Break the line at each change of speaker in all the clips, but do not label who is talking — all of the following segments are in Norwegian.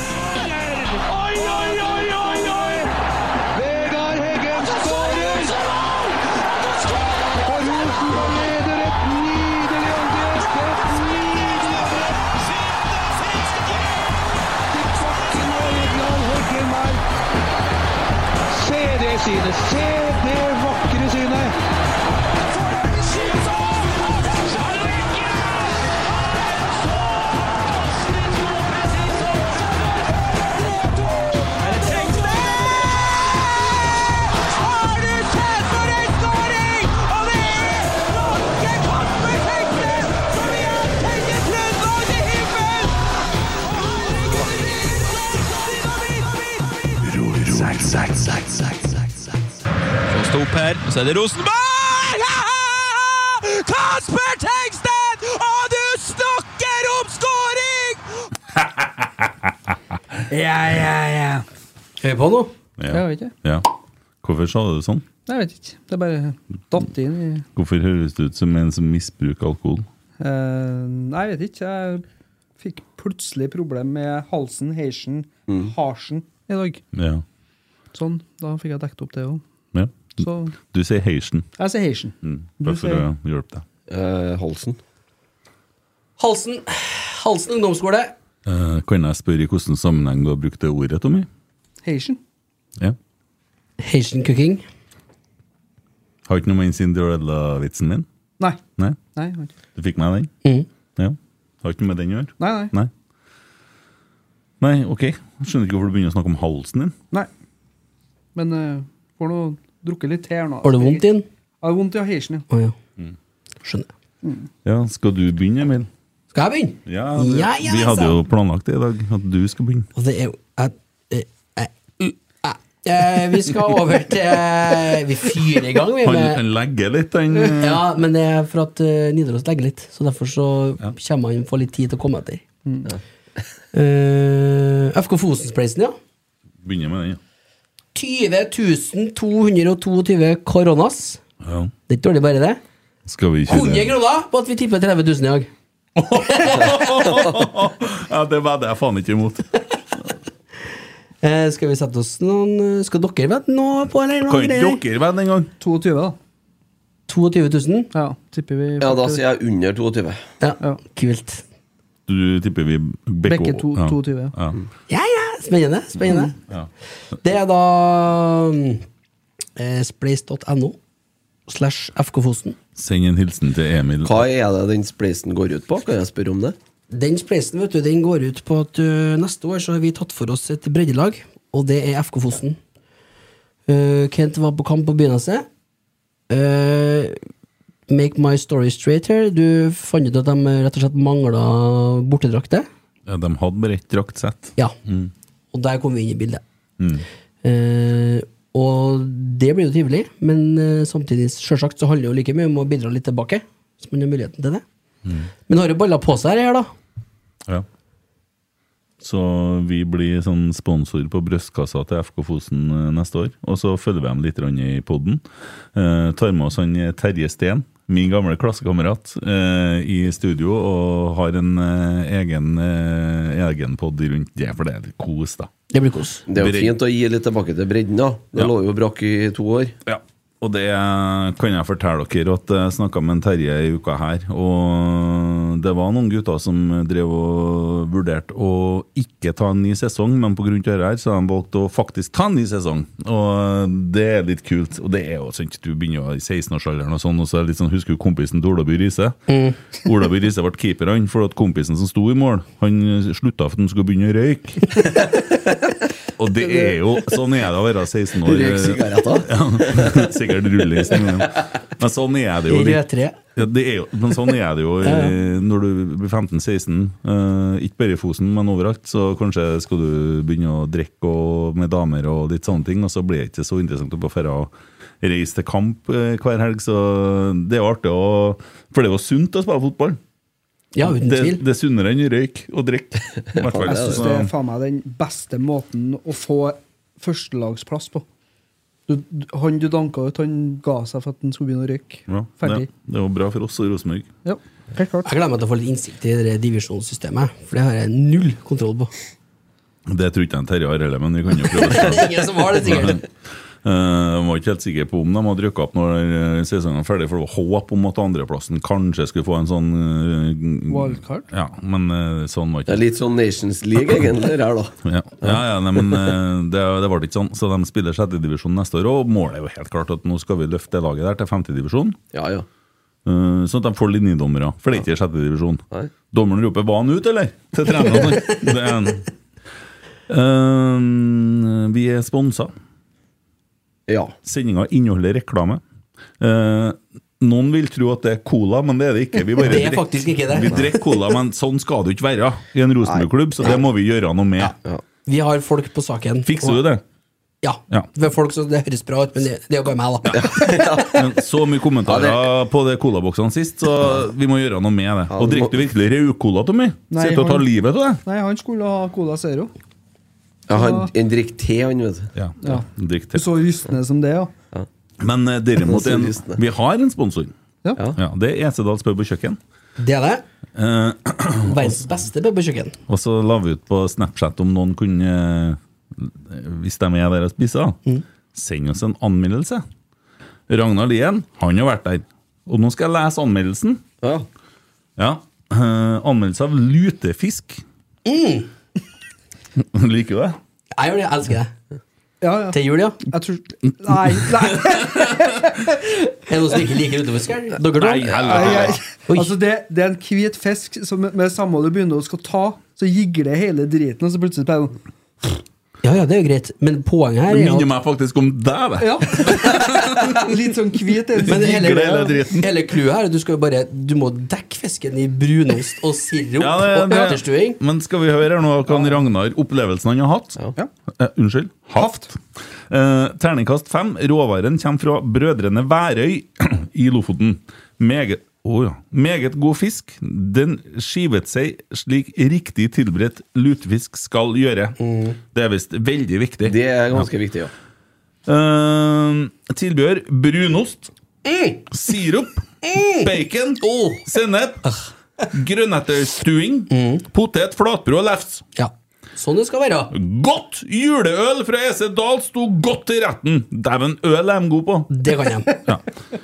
Oi, oi, oi, oi, oi! Vegard Heggen skårer! Og Rosenborg leder et nydelig angrep! Et nydelig angrep! Til bakken og Egeland Heggen der. Se det synet! Se det vakre synet!
Som sto opp her, og så er det Rosenborg! Kasper Tengstedt! Og du snakker om skåring!
Ja, ja, ja.
Er vi på nå?
Jeg
Ja.
vet ikke.
ja. Hvorfor sa du det sånn?
Jeg vet ikke. Det er bare datt inn i
Hvorfor høres du ut som en som misbruker alkohol?
Eh, Nei, jeg vet ikke. Jeg fikk plutselig problem med halsen, heisen, harsen i dag.
Ja.
Sånn. Da fikk jeg dekket opp det òg.
ja.
Så
Du sier Haitian,
jeg sier heisen.
mm.
Du
bare for å
sier-
hjelpe deg.
Eh, Halsen.
Halsen, Halsen ungdomsskole.
Eh, kan jeg spørre i hvilken sammenheng du har brukt det ordet, Tommy?
Heisen.
Ja.
Haitian cooking.
Har ikke noe med Cinderella-vitsen min?
Nei.
Nei?
Nei, jeg har ikke-
Du fikk med den? Ja. Har ikke noe med den å gjøre?
nei. Mm. nei.
Nei. Nei, ok. Skjønner ikke hvorfor du begynner å snakke om halsen din.
nei. Men uh, får nå drukket litt te her nå.
Har du vondt i den?
Jeg har vondt i heisen, ja.
Å ja. Skjønner.
Ja, skal du begynne, Emil?
Skal jeg begynne?
Ja, det,
Ja, ja, altså.
vi hadde
altså.
jo planlagt det i dag, at du skal begynne.
Og det er jo eh, jeg- jeg- jeg- jeg- jeg- eh, Vi skal over til eh, Vi fyrer i gang, vi.
Han,
Med,
han legger litt, han. eh,
ja, men det er for at eh, Nidaros legger litt, så derfor så
Ja.
kommer han få litt tid til å komme etter. Eh, FK Fosen-spleisen, ja.
Begynner med den, ja.
20 222 koronas.
ja.
Det er ikke dårlig, bare det.
Skal vi
100
kjøre
kroner på at vi tipper 30 000 i dag.
Ja, det vedder jeg faen ikke imot.
Eh, skal vi sette oss noen eh, Skal dere vette noe på, eller? noe
Kan ikke
greier?
dere vedde en gang?
22, da.
22 000?
Ja, tipper vi
Ja, da sier Altså, jeg under 22.
Ja,
Ja.
kult.
Du tipper vi Bekke,
Bekke to-
ja.
22, ja.
Ja.
Ja, ja, spennende. spennende.
Ja.
Det er da mm, eh, spleis.no slash FK Fosen.
Send en hilsen til Emil.
Hva er det den spleisen går ut på? Kan jeg spørre om det?
Den spleisen vet du, den går ut på at ø, neste år så har vi tatt for oss et breddelag, og det er FK Fosen. Uh, Kent var på kamp på begynnelsen. Uh, make my story straight here. Du fant ut at de rett og slett mangla bortedrakter.
Ja, de hadde bare ett draktsett.
Ja. Og der kom vi inn i bildet.
Mm.
Eh, og det blir jo trivelig, men eh, samtidig selvsagt så handler det jo like mye om å bidra litt tilbake. Hvis man har muligheten til det. Men har jo baller på seg her, da.
Ja. Så vi blir sånn sponsor på brystkassa til FK Fosen eh, neste år. Og så følger vi dem litt grann i poden. Eh, tar med oss han eh, Terje Steen, min gamle klassekamerat, eh, i studio. Og har en eh, egen, eh, egen pod rundt det, for det er litt kos, da.
Det blir kos.
Det er jo
Bredden.
fint å gi litt tilbake til bredden, da. Det
Ja.
lå jo brakk i to år.
Ja, og det eh, kan jeg fortelle dere at jeg snakka med en Terje i uka her, og det var noen gutter som drev og vurderte å ikke ta en ny sesong, men pga. dette her, så har de valgt å faktisk ta en ny sesong. Og det er litt kult. Og det er jo sånn at du begynner jo i 16-årsalderen og sånn, og så er det litt sånn, husker du kompisen til Olaby Riise? Olaby Riise ble keeper, han, for at kompisen som sto i mål, han slutta for at han skulle begynne å røyke. Og det er jo Sånn er det å være 16 år.
Røyk sigaretter.
Ja, sikkert rullings. Men men sånn er det jo.
Rød
litt.
tre.
Ja, det er jo, men sånn er det jo i- når du blir 15-16. eh, ikke bare i Fosen, men overalt. Så kanskje skal du begynne å drikke og, med damer og litt sånne ting, og så blir det ikke så interessant å bare fære og reise til kamp eh, hver helg. Så det er jo artig å For det er jo sunt å spille fotball.
Ja, uten
Det,
tvil.
det er sunnere enn røyk og drikke. i hvert fall.
Jeg syns det
Så-
er faen meg den beste måten å få førstelagsplass på. Du, du- han du danka ut, han ga seg for at han skulle begynne å røyke.
Ja, det,
Ferdig.
det er jo bra for oss og Rosenborg.
Ja. Helt klart.
Jeg gleder meg til å få litt innsikt i det divisjonssystemet, for det har jeg null kontroll på.
Det tror ikke jeg Terje har heller, men vi kan jo prøve.
Det er ingen som har det, sikkert.
Eh, Jeg var ikke helt sikker på om de hadde rykka opp når eh, sesongen var ferdig, for det var håp om at andreplassen kanskje skulle få en sånn eh,
Wildcard?
Ja, men eh, sånn var
Det
ikke
er litt sånn Nations League egentlig her, da.
Ja, ja, ja nei, men eh, det, det ble ikke sånn. Så de spiller sjettedivisjon neste år, og målet er jo helt klart at nå skal vi løfte det laget der til femtedivisjon.
Ja, ja.
Uh, sånn at de får linjedommere, for det er ikke i sjette divisjon.
Nei.
Dommeren roper 'var han ut', eller? til treneren. det er en. Eh, vi er sponsa.
Ja.
Sendinga inneholder reklame. Eh, noen vil tro at det er cola, men det er det ikke. Vi bare
Det er
drikker-
faktisk ikke det.
Vi drikker cola, men sånn skal det jo ikke være i en Rosenborg-klubb, så det må vi gjøre noe med.
Vi har folk på saken.
Fikser du det?
Ja.
Ja.
Det er folk som det høres bra ut, men det, det er jo bare meg, da.
Men så mye kommentarer på det colaboksene sist, så vi må gjøre noe med det. Og
det må-
drikker du virkelig Raucola, Tommy?
Nei,
Sitter du og tar
han-
livet av det?
Nei, han skulle ha Cola Zero.
ja han, en drikker te, han, vet du.
Ja,
Ja.
drikk
Du
te.
så rystende som det, ja.
Men eh, derimot,
Så
en,
lystende.
vi har en sponsor.
Ja.
Ja. det er Esedals pub og kjøkken.
Det er det.
Eh,
Verdens beste pub og kjøkken.
og så la vi ut på Snapchat om noen kunne eh, Hvis de er der og spiser, da, send oss en anmeldelse. Ragnar Lien, han har vært der. Og nå skal jeg lese anmeldelsen.
Ja.
Ja. eh, anmeldelse av lutefisk. Liker du det?
Jeg gjør det, jeg elsker det.
ja, ja.
Til jul, ja.
Jeg tror Nei, nei!
Er det noen som ikke liker utoverskall? Dere
Nei,
to?
helvete.
Oi.
Altså, det, det er en hvit fisk som med samme du begynner å skal ta, så gigler hele driten, og så plutselig bare
Ja, ja, det er jo greit, men poenget her
Det
er
minner
at
meg faktisk om deg, det.
Ja! Litt sånn hvit. en sånn-
men hele,
Gigler hele driten.
hele clouet her er at du skal jo bare Du må dekke fisken i brunost og sirup
Ja, det-
og
det-
etterstuing.
Men skal vi høre her nå hva han Ragnar opplevelsen han har hatt?
Ja.
Ja.
Eh, unnskyld. Haft. Eh, terningkast fem. Råvaren kommer fra Brødrene Værøy i Lofoten. Meget å ja. Meget god fisk. Den skivet seg slik riktig tilberedt lutefisk skal gjøre. Det er visst veldig viktig.
Det er ganske viktig, ja.
Eh, tilbehør brunost, sirup,
Mm.
bacon, sennep, grønnetterstuing, potet, flatbrød og lefs.
Ja. Sånn det skal være.
Godt juleøl fra EC Dahl sto godt til retten. Dæven, øl er de gode på.
Det kan jeg.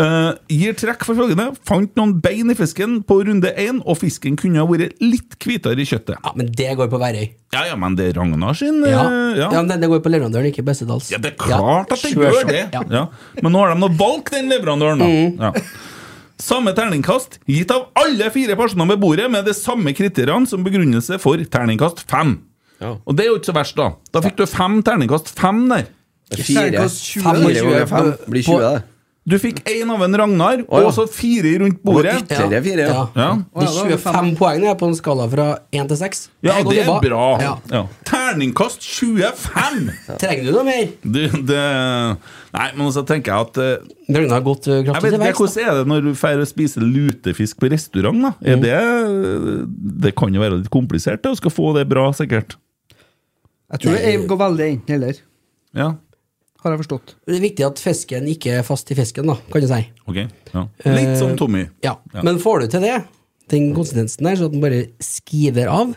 Eh, gir trekk for følgende. Fant noen bein i fisken på runde én, og fisken kunne ha vært litt hvitere i kjøttet.
Ja, Men det går på Værøy.
Ja, ja, men det er Ragnar sin eh,
Ja.
ja.
ja, men den- den går på leverandøren, ikke Bessedals.
Ja, det er klart at det
Sure,
gjør
sure.
det!
Ja. Mm.
Ja. Men nå har de nå valgt den leverandøren, da. Ja. Samme terningkast gitt av alle fire personene ved bordet med de samme kriteriene som begrunnelse for terningkast fem.
Ja.
Og det er jo ikke så verst, da. Da fikk du fem terningkast fem der.
Fire.
Terningkast 20,
Fem og
Fire ganger fem
på-
blir 20, det.
Du fikk én av en Ragnar,
ja.
og så fire rundt bordet.
Ja. Serie fire, ja.
Ja.
De
Å, ja, da er det
25 poengene er på en skala fra 1 til 6.
Ja,
Jeg går
det er
tilbake.
bra.
Ja.
Ja. Terningkast 25!
Trenger du noe mer?
Du, det Nei, men så tenker jeg at eh,
Ragnar har gått eh,
Jeg
kraftig
vet
til
ikke,
verks.
Hvordan er det når du drar og spiser lutefisk på restaurant? da? Er det, det kan jo være litt komplisert det, å skal få det bra, sikkert.
Jeg tror det går veldig enten eller,
Ja,
har jeg forstått.
da. Det er viktig at fisken ikke er fast i fisken, da, kan du si.
ok. Ja. Litt som Tommy.
Ja.
Ja.
Men får du til det, den konsistensen der, så at den bare skiver av,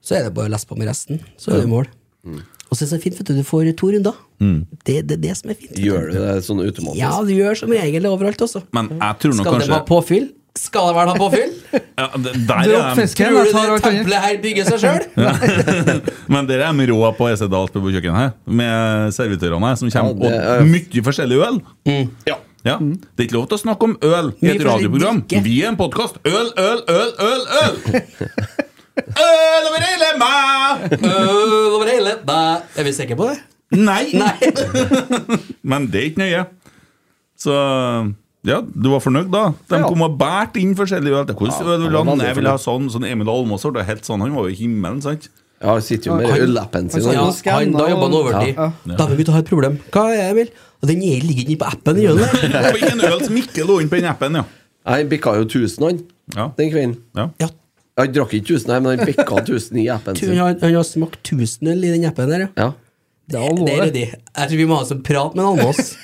så er det bare å lese på med resten. Så er det mål.
Mm.
Og så er det så fint, vet du. Du får to runder. Det er det, er det som er fint. vet du.
Gjør du det sånn automatisk?
Ja, du gjør som regel overalt også.
Men jeg tror nok
Skal det
kanskje
være påfyll? Skal det være noe påfyll?
ja, det, Der
Dropp
er de.
fisken, jeg
Tror du
tar
det
alt annet.
tempelet her bygger seg sjøl?
Men dere er de rå på EC Dahls pub og kjøkken her, med servitørene her, som kommer
Ja, det
og
er-
mye forskjellig øl. Ja. ja. Det er ikke lov til å snakke om øl i
Mye
et radioprogram.
forskjellig drikke.
Vi er en podkast. Øl, øl, øl, øl, øl! Øl over hele meg!
Øh, over hele Nei, Er vi sikre på det?
Nei.
Nei.
Men det er ikke nøye. Så ja, du var fornøyd da? De
Ja.
kom og bært inn forskjellige øl. Hvordan
Ja,
vil du
jeg var
ha den?
veldig
Jeg vil ha
fornøyd.
sånn, sånn Emil Almås var helt sånn. Han var jo i himmelen, sant?
Ja, han sitter jo med
Han-
øllappen sin.
han
Ja,
da.
skal jeg
han da
nå-
jobber han overtid.
Ja,
Da vil vi ta et problem. Hva er det, Emil? Og den er- ligger ikke på appen. Gjør den
Det
det?
var ikke en øl som ikke lå inn på den appen, ja.
Han bikka jo 1000, han,
Ja.
den kvelden.
ja.
Ja,
Han drakk ikke 1000, nei, men han bikka 1000 i appen
tu-
sin.
han, har- han har smakt tusenøl i den appen der, ja.
Ja.
Det er
Det er
alvorlig.
ryddig. Jeg tror vi må ha oss en prat med en Almås.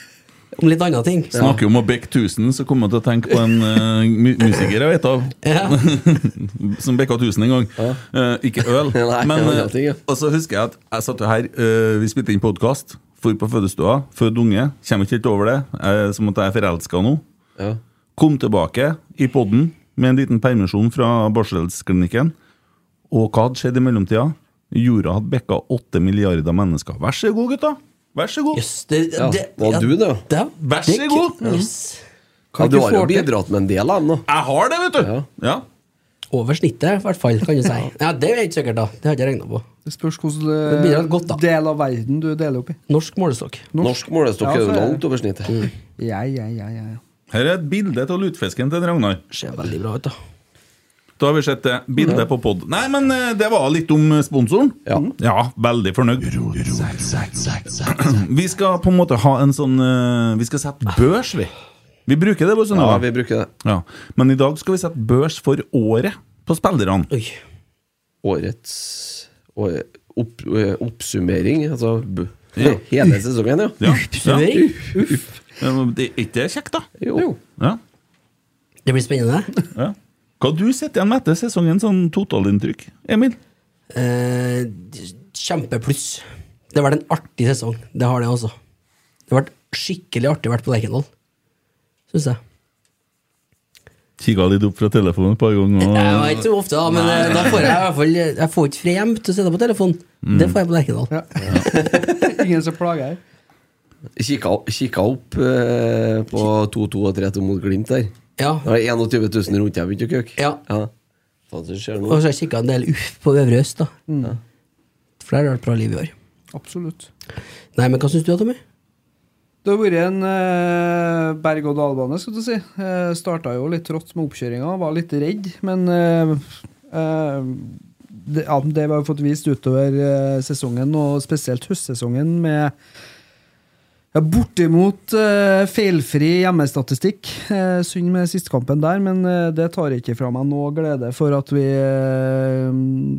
om litt andre ting.
Snakker om å bekke 1000, så kommer jeg til å tenke på en eh, mu musiker jeg vet av.
Ja.
som bekka 1000 en gang. Eh, ikke øl.
Nei,
men,
det var
eh,
helt ting, ja.
og så husker jeg at jeg satt jo her, eh, vi spilte inn podkast, for på fødestua, født unge. Kommer ikke helt over det. Jeg, som at jeg er forelska nå.
Ja.
Kom tilbake i podden med en liten permisjon fra barselsklinikken. Og hva hadde skjedd i mellomtida? Jorda hadde bekka åtte milliarder mennesker. Vær så god, gutta! Vær så god!
Jøss, det,
Ja, var du det?
Vær så god.
Yes.
Ja, du
ikke
har jo
få til.
bidratt med en del av dem, da.
Jeg har det, vet du!
Ja.
ja.
Over snittet, i hvert fall, kan du si. Ja, Det er ikke sikkert, da. Det har jeg ikke regna på.
Det spørs
Det bidrar
hvilken
godt, da.
del av verden du deler opp i.
Norsk målestokk.
Norsk målestokk
Ja, så
er jo
er det.
langt over snittet.
Ja, ja, ja, ja. ja.
Her er et bilde av lutefisken til Ragnar.
Ser veldig bra ut, da.
Da har vi sett det. Bildet på pod. Nei, men eh, det var litt om eh, sponsoren.
Ja.
veldig fornøyd. Vi skal på en måte ha en sånn eh, Vi skal sette børs, vi. Vi bruker det, bare sånn.
Ja,
Ja,
vi bruker det.
ja. Men i dag skal vi sette børs for året på spillerne.
Oi.
Årets å- opp, ø, oppsummering, altså b hele sesongen, ja.
Ja. ja.
Servering.
Ja, men det- Er ikke det kjekt, da?
Jo.
Ja.
Det blir spennende.
ja. Hva du sitter igjen med etter sesongen, sånn totalinntrykk, Emil?
Eh, kjempepluss. Det har vært en artig sesong. Det har det, altså. Det har vært skikkelig artig å være på Lerkendal, syns jeg.
Kikka litt opp fra telefonen et par ganger.
Det var ikke så ofte, da, men eh, da får jeg i hvert fall Jeg får ikke fri hjem til å sitte på telefonen. Det får jeg på Lerkendal.
ja. Ingen som plager her.
Kikka, kikka opp ø, på 2-2 og 3-2 mot Glimt der.
Ja.
Det var 21 000 rundt jeg begynte å køke.
Ja.
Faen, så skjer det
Og
nå.
så har jeg kikka en del uff på Øvre Øst, da.
Mm.
For der har det vært bra liv i år.
Absolutt.
Nei, men hva syns du, Tommy?
Det har vært en eh, berg-og-dal-bane, skal du si. Uh, Starta jo litt trått med oppkjøringa, var litt redd, men eh, eh, det, ja, det vi har fått vist utover eh, sesongen, og spesielt høstsesongen, med ja, bortimot eh, feilfri hjemmestatistikk. Eh, synd med sistkampen der, men eh, det tar ikke fra meg noe glede for at vi eh,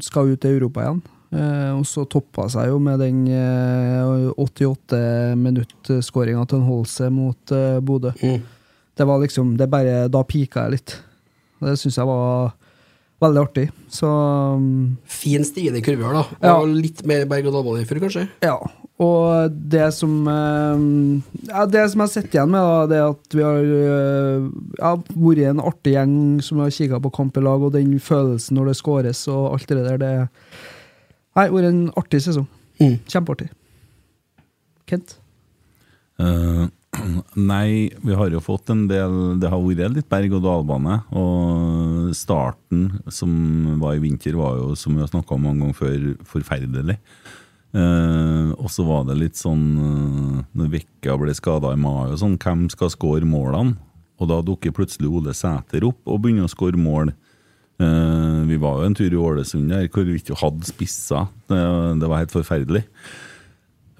skal ut i Europa igjen. Eh, og så toppa seg jo med den eh, 88 minutt-skåringa til en Holse mot eh, Bodø. Det var liksom det bare, Da pika jeg litt. Og Det syns jeg var veldig artig. Så mm,
Fin stigende kurve her, da. Og
Ja.
litt mer berg-og-dal-bane enn før, kanskje?
Ja. Og det som eh, ja, Det som jeg har sett igjen med, da, det er at vi har eh, ja, vært en artig gjeng som har kikka på kamp i lag, og den følelsen når det skåres og alt det der, det Nei, det har vært en artig sesong.
Mm.
Kjempeartig. Kent?
Eh, nei, vi har jo fått en del Det har vært litt berg-og-dal-bane. Og starten som var i vinter, var jo, som vi har snakka om mange ganger før, forferdelig. Eh, og så var det litt sånn eh, Når Vekka ble skada i mai og sånn, hvem skal skåre målene? Og da dukker plutselig Ole Sæter opp og begynner å skåre mål. Eh, vi var jo en tur i Ålesund der hvor vi ikke hadde spisser. Det, det var helt forferdelig.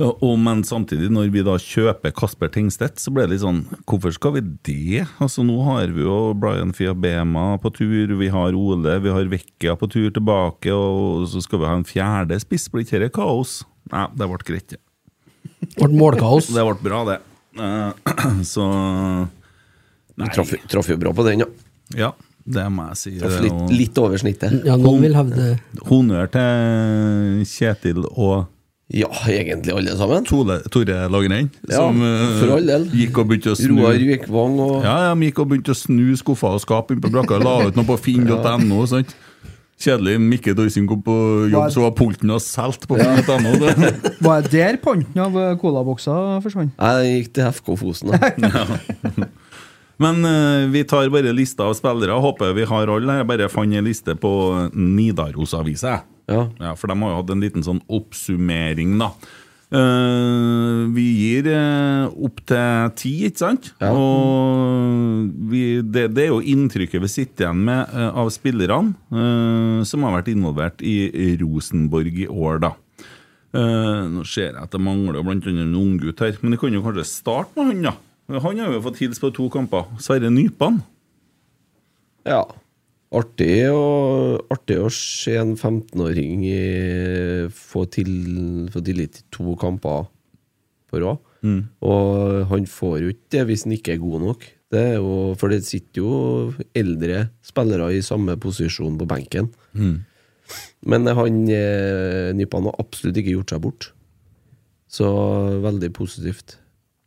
Ja, og, men samtidig, når vi da kjøper Kasper Tengstedt, så ble det litt sånn Hvorfor skal vi det? Altså, nå har vi jo Brian Fiabema på tur, vi har Ole, vi har Vekkia på tur tilbake, og så skal vi ha en fjerde spiss. Blir ikke dette kaos? Nei, det ble greit, det.
Ble målkaos.
Det ble bra, det. Eh, Så
Vi traff, traff jo bra på den, ja.
Ja, det må jeg si.
Traff
det,
litt,
og-
litt over snittet.
Ja, noen vil hevde
Honnør til Kjetil og
Ja, egentlig alle sammen.
Tole, Tore Lagrein,
Ja,
som eh,
for all del.
gikk og begynte å snu.
Roar Vikvang og
Ja, de gikk og begynte å snu skuffer og skap innpå brakka. La ut noe på finn.no. sant? Kjedelig. Mikke Doysing kom på jobb, så var pulten og solgt på finn.no. det.
Var jeg der panten av eh, colaboksa forsvant?
Nei, den gikk til FK Fosen, da.
Men eh, vi tar bare lista av spillere. Håper vi har alle. Jeg bare fant en liste på Nidaros-avisa. jeg.
Ja.
Ja, for de har jo hatt en liten sånn oppsummering, da. Eh, vi gir eh, opp til ti, ikke sant?
Ja.
Og vi, det, det er jo inntrykket vi sitter igjen med eh, av spillerne eh, som har vært involvert i Rosenborg i år, da. Eh, nå ser jeg at det mangler jo blant annet en unggutt her, men vi kan jo kanskje starte med han, da. Han har jo fått hilse på to kamper. Sverre Nypan.
ja. Artig, å- artig å se en 15-åring i- få, til, få tillit i to kamper på rad. Og han får jo ikke det hvis han ikke er god nok. Det er jo, for det sitter jo eldre spillere i samme posisjon på benken. Men han eh, Nippan har absolutt ikke gjort seg bort. Så veldig positivt.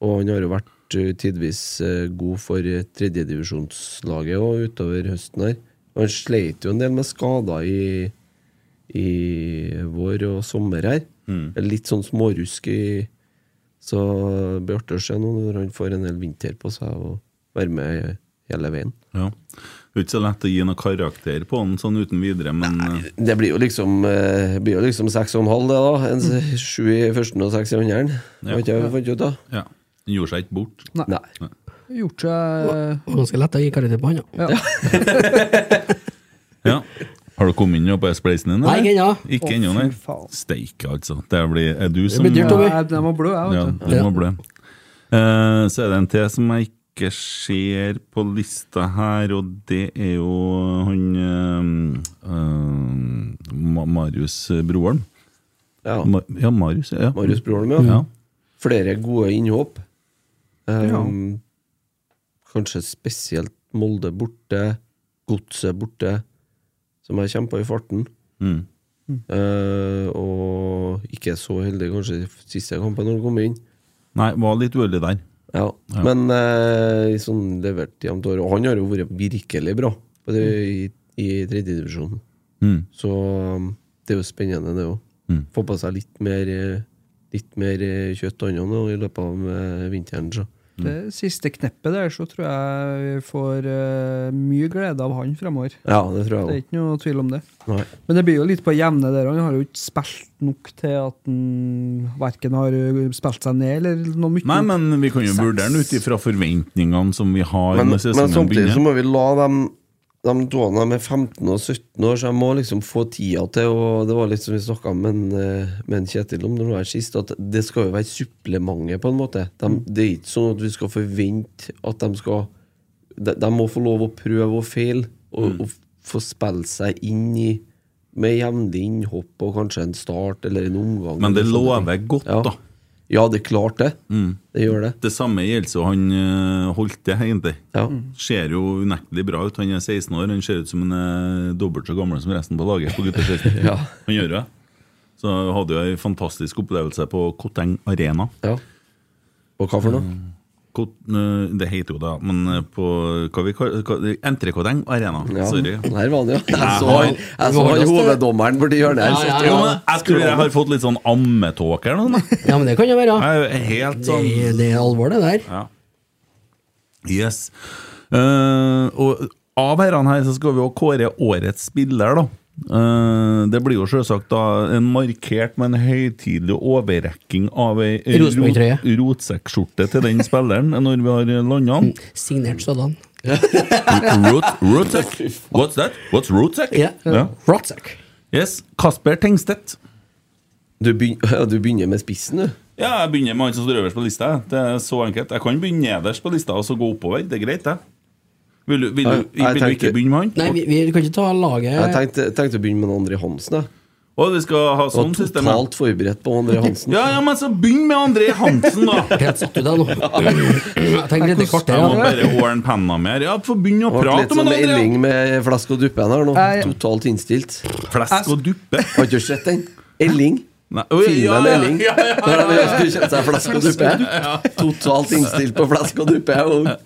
Og han har jo vært eh, tidvis eh, god for eh, tredjedivisjonslaget og utover høsten her. Han sleit jo en del med skader i, i vår og sommer her. Litt sånn smårusk i Så det blir artig å se nå når han får en hel vinter på seg og være med hele veien.
Ja. Det er ikke så lett å gi noen karakter på den sånn uten videre, men eh,
Det blir jo liksom eh, blir jo liksom seks og en halv, det, da. En s- Sju i første og seks i andre.
Ja.
Har ikke jeg fant ut, da?
ja. den gjorde seg ikke bort.
Nei.
Gjort seg
Ganske lett å gi karakter på han, ja.
ja.
Ja. Har du kommet inn nå på spleisen din?
Nei, ikke ennå.
Ikke
Å,
ennå,
fy
nei.
faen.
Steike, altså. Det blir, er du som
blir dyrt, Tommy.
Ja, jeg- Jeg må blø, jeg,
Ja,
vet du.
det må bli. Eh, så er det en til som jeg ikke ser på lista her, og det er jo han eh, eh, Ma- Marius Broholm.
Ja.
Ma ja, Marius. Ja.
Marius Broholm, ja.
Ja.
Flere gode innhopp. Um,
Ja.
Kanskje spesielt Molde borte, Godset borte, som jeg kjempa i farten.
Mm.
Eh, og ikke så heldig kanskje i siste kampen når han kom inn.
Nei, var litt uheldig der.
Ja, men eh, sånn levert jevnt over. Og han har jo vært virkelig bra på det, i, i tredjedivisjonen.
Mm.
Så um, det er jo spennende, det òg.
Mm.
Få på seg litt mer, eh, litt mer eh, kjøtt og annet nå i løpet av eh, vinteren. Så.
Det siste kneppet der, så tror jeg vi får eh, mye glede av han fremover.
Ja, det
Det
tror
er
jeg òg.
ikke noe tvil om det.
Nei.
Men det blir jo litt på jevne der. Han har jo ikke spilt nok til at han verken har eh, spilt seg ned eller noe mye.
Nei, men vi kan jo
Sats.
vurdere den ut ifra forventningene som vi har
Men,
når
men
sesongen
samtidig så
begynner.
må vi la dem de toene de er 15 og 17 år, så jeg må liksom få tida til Og det var litt som vi snakka med, en, eh, med en Kjetil om det var her sist, at det skal jo være supplementet, på en måte. De,
Mm.
det er ikke sånn at vi skal forvente at de skal De, de må få lov å prøve og feile,
Mm.
og, og få spille seg inn i med jevnlig innhopp og kanskje en start eller en omgang.
Men det
eller sånne ting.
lover godt,
ja.
da. Mm.
Ja, det er klart det. Det gjør det.
Det samme gjelder så han eh, Holte, egentlig.
Ja.
Ser jo unektelig bra ut. Han er 16 år, han ser ut som han er dobbelt så gammel som resten på laget. på gutteskilten.
Ja.
Han gjør det. Så jeg hadde jo en fantastisk opplevelse på Koteng Arena.
ja. Og hva for
Mm.
noe?
Kot, eh, det heter jo det, men eh, på hva vi kaller hva- NTR Koteng Arena.
Ja.
Sorry.
Der var han, ja. Jeg så,
har-
han- jeg så han hoveddommeren borti hjørnet her.
Ja, ja,
Jo,
ja.
men jeg tror jeg har fått litt sånn ammetåke eller noe. da.
Ja, men det kan jo være, ja.
Jeg er jo helt
Det,
sånn
det er alvor, det der.
Ja. Yes. Eh, og av herrene her så skal vi jo kåre årets spiller, da. Eh, det blir jo selvsagt da en markert, men høytidelig overrekking av ei
Rosenborg-trøye.
rot- rotsekkskjorte til den spilleren når vi har landa den.
Signert sådan.
Rot, rotsekk? What's that? What's rotsekk?
Ja.
Ja.
Rocksack.
Yes. Kasper Tengstedt.
Du, begyn ja, du begynner med spissen, du.
Ja, jeg begynner med han som står øverst på lista. jeg. Det er så enkelt. Jeg kan begynne nederst på lista og så gå oppover. Det er greit, det. Vil du, vil du,
Nei, jeg
vil du ikke
tenkte-
begynne med han?
Nei, vi, vi kan ikke ta laget
Jeg tenkte, tenkte å begynne med André Hansen. Jeg.
Og vi skal ha
Jeg var
sånn system. ja.
totalt sånn. forberedt på André Hansen.
Ja, ja, men så begynn med André Hansen, da!
Helt satt ut deg nå. Jeg tenkte litt i kvarter,
Jeg må
ja.
bare ordne penna mer. Ja, få begynne
Det
å
ble litt sånn
prate om
som
en André!
Elling med flask og duppen her nå.
Nei.
Totalt innstilt.
Flesk og duppe.
Har ikke du sett den? Elling.
Nei, oi, ja,
Filmen
ja,
Elling.
ja, ja.
Når de skulle kjøpe seg flask og duppe. Totalt innstilt på flask og duppe. Og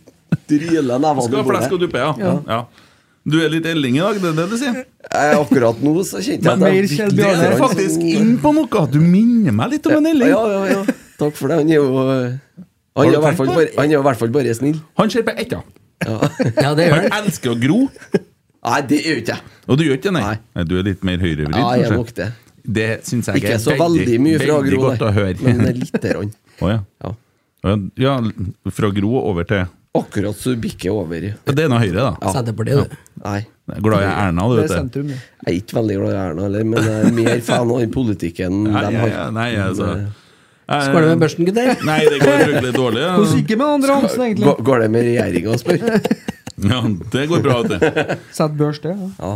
dryler
Skal
nevene
ha flesk og
bordet.
duppe, ja. ja. Du er litt Elling i dag, det er det du sier?
Eh, Akkurat nå så kjente
Men
jeg
mer Kjell
Du
Ja, det
er
er
grann
faktisk
sånn-
inn på noe! Du minner meg litt om en Elling.
Ja, ja, ja. Takk for det. Han er jo eh, Han
du
er i hvert fall
tenkt på
bare, han er i hvert fall bare snill.
Han ser på ett, ja.
ja det gjør
Han
det.
elsker å gro.
Nei, det er jo ikke jeg.
Og du gjør ikke det, nei?
Nei.
nei. Du er litt mer høyrevridd,
Ja, jeg er nok
kanskje?
det.
Det syns jeg
Ikke så veldig mye fra
veldig
Gro,
godt å
nei.
høre.
men det er lite grann.
Å, ja.
Ja.
ja, fra Gro over til
Akkurat så du bikker over.
Det er nå Høyre, da.
Senterpartiet, det.
Nei,
Jeg er Glad i Erna,
Det
du
er
vet det.
sentrum, det.
jeg er ikke veldig glad i Erna heller, men jeg er mer fan av den politikken de
Nei,
har. Mm.
ja, ja, nei, altså Eh,
Skål med børsten, gutter.
Nei, det går fryktelig dårlig.
Hvordan
Ja.
gikk det med Andre Hansen, egentlig?
Går- Går det med regjeringa, spør?
ja, Det går bra, vet du.
Sett børs, det. Ja.
Ja.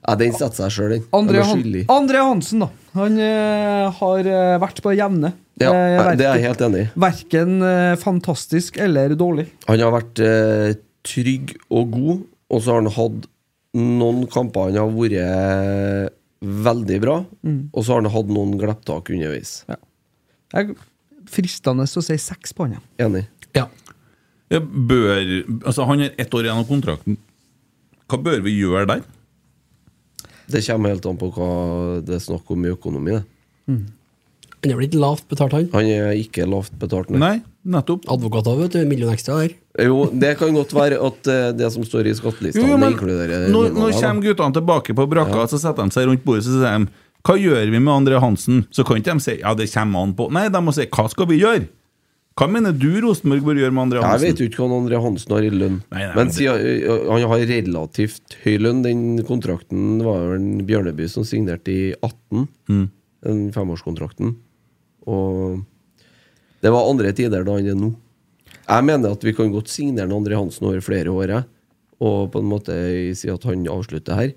Ja, den setter seg sjøl, den.
André,
Den er
Han
skyldig.
André Hansen, da. Han eh, har eh, vært på det jevne.
Ja,
Eh,
nei, det er
verken-
jeg helt enig i.
Verken eh, fantastisk eller dårlig.
Han har vært eh, trygg og god, og så har han hatt noen kamper han har vært veldig bra,
Mm.
og så har han hatt noen glepptak underveis.
Jeg Fristende å si seks på han. ja.
Enig.
Ja.
Jeg bør, altså Han har ett år igjen av kontrakten. Hva bør vi gjøre der?
Det kommer helt an på hva det er snakk om i økonomi. det.
Han er blitt lavt betalt, han.
Han er ikke lavt betalt. Nei.
Nei, nettopp.
Advokater, vet du. En million ekstra der.
Jo, det kan godt være at eh, det som står i skattelistene,
Jo, men
inkluderer
når,
lønna
når
der, da.
kommer guttene tilbake på brakka, så setter de seg rundt bordet så sier de, hva gjør vi med André Hansen? Så kan ikke de si ja, det kommer han på. Nei, de må si hva skal vi gjøre? Hva mener du Rosenborg bør gjøre med André
Jeg vet
Hansen?
jo ikke hva André Hansen har i lønn.
Nei, nei, men
men
det-
sier, ø, ø, han har relativt høy lønn. Den kontrakten var jo en Bjørneby som signerte i 18.
Mm.
Den femårskontrakten. Og det var andre tider da han er nå. Jeg mener at vi kan godt signere en André Hansen over flere år, jeg. og på en måte si at han avslutter her.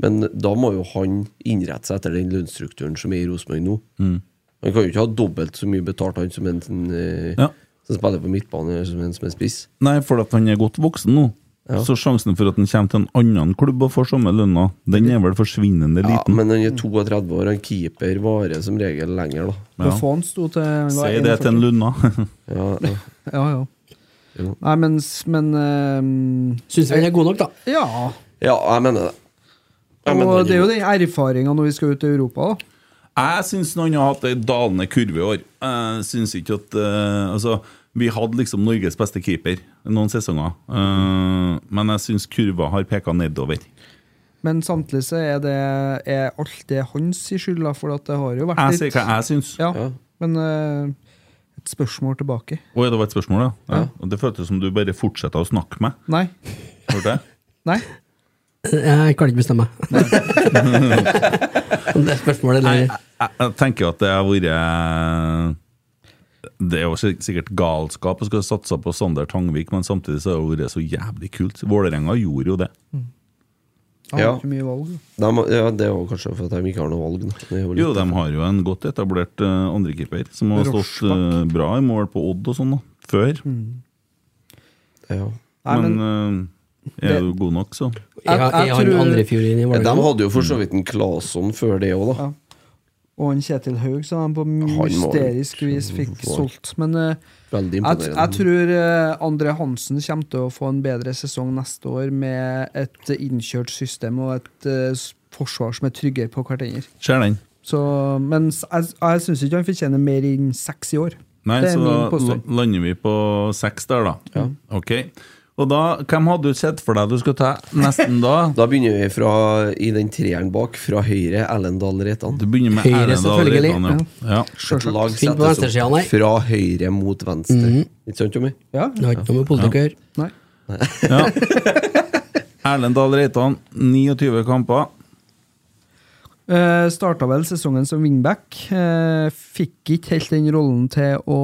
Men da må jo han innrette seg etter den lønnsstrukturen som er i Rosenborg nå.
Mm.
Han kan jo ikke ha dobbelt så mye betalt, han som en, eh,
Ja.
som spiller på midtbane, eller som en som er spiss.
Nei, for at han er godt voksen nå.
Ja.
Så sjansen for at han kommer til en annen klubb og får samme lønna, den er vel forsvinnende
Ja,
liten.
men han er 32 år, han keeper varer som regel lenger, da.
Ja.
Buffon sto til han var
Si det til en
41.
Lunna.
Ja, ja.
Ja, ja.
Jo.
Nei, men, s- men eh,
Syns vi han er god nok, da.
Ja.
ja, jeg mener det. Jeg mener
Og
han
det er jo den erfaringa når vi skal ut i Europa, da.
Jeg syns han har hatt ei dalende kurve i år. Jeg synes ikke at eh, Altså, vi hadde liksom Norges beste keeper noen sesonger, eh, men jeg syns kurva har peka nedover.
Men samtidig så er, det, er alt det hans i skyld, da, for at det har jo vært
Jeg sier hva jeg syns.
Ja,
Ja.
men eh, et spørsmål tilbake.
Å, ja, det var et spørsmål, ja? ja. Og Det føltes som du bare fortsetter å snakke med.
Nei.
Hørte jeg?
Nei.
Jeg kan ikke bestemme meg. Om det er spørsmålet
Nei,
eller
jeg, jeg tenker jo at det har vært Det er jo sik- sikkert galskap å skulle satse på Sander Tangvik, men samtidig så har det vært så jævlig kult. Vålerenga gjorde jo det.
Jeg har
Ja.
ikke mye valg. da.
De, ja, det er jo kanskje for at de ikke har noe valg. Da. Det er jo litt-
Jo, de har jo en godt etablert uh, andrekeeper, som har stått eh, bra i mål på Odd og sånn da, før.
ja.
Mm. Nei,
men
men,
eh, er du god nok, så?
Er
jeg- jeg
er han
tror-
andre fiorin i
De
Vålerenga?
hadde jo for så vidt en Claesson før det òg, da.
Ja. Og en Kjetil Haug, som han på
må-
mysterisk vis fikk
Får-
solgt. Men eh,
Veldig
jeg, t-
imponerende.
jeg tror eh, André Hansen kommer til å få en bedre sesong neste år med et innkjørt system og et eh, s- forsvar som er tryggere på hverandre.
Ser den.
Så, men s- jeg, jeg syns ikke han fortjener mer enn seks i år.
Nei,
det er
så
min
da
påstand.
la- lander vi på seks der, da. Ok. Og da, hvem hadde du sett for deg du skulle ta nesten da?
Da begynner vi fra, i den treeren bak, fra høyre, Ellendal Reitan.
Du begynner med
Høyre,
Erlend Dahl
selvfølgelig.
Reitan, ja. ja.
Et lag
Finn på
settes
venstresiden, nei.
opp fra høyre mot venstre.
Mhm.
Ikke sant, Tommy?
Ja.
Det har ikke noe med politikk å gjøre.
Nei.
Erlend Dahl Reitan, 29 kamper.
Uh, starta vel sesongen som wingback. Eh, fikk ikke helt den rollen til å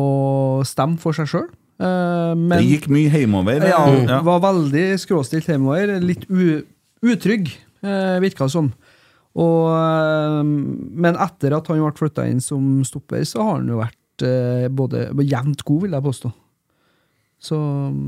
stemme for seg sjøl. men
Det gikk mye hjemover.
ja, Mm.
Ja.
var veldig skråstilt hjemover. Litt u utrygg, uh, virka det som. Og, eh, men etter at han ble flytta inn som stopper, så har han jo vært eh, både jevnt god, vil jeg påstå. Så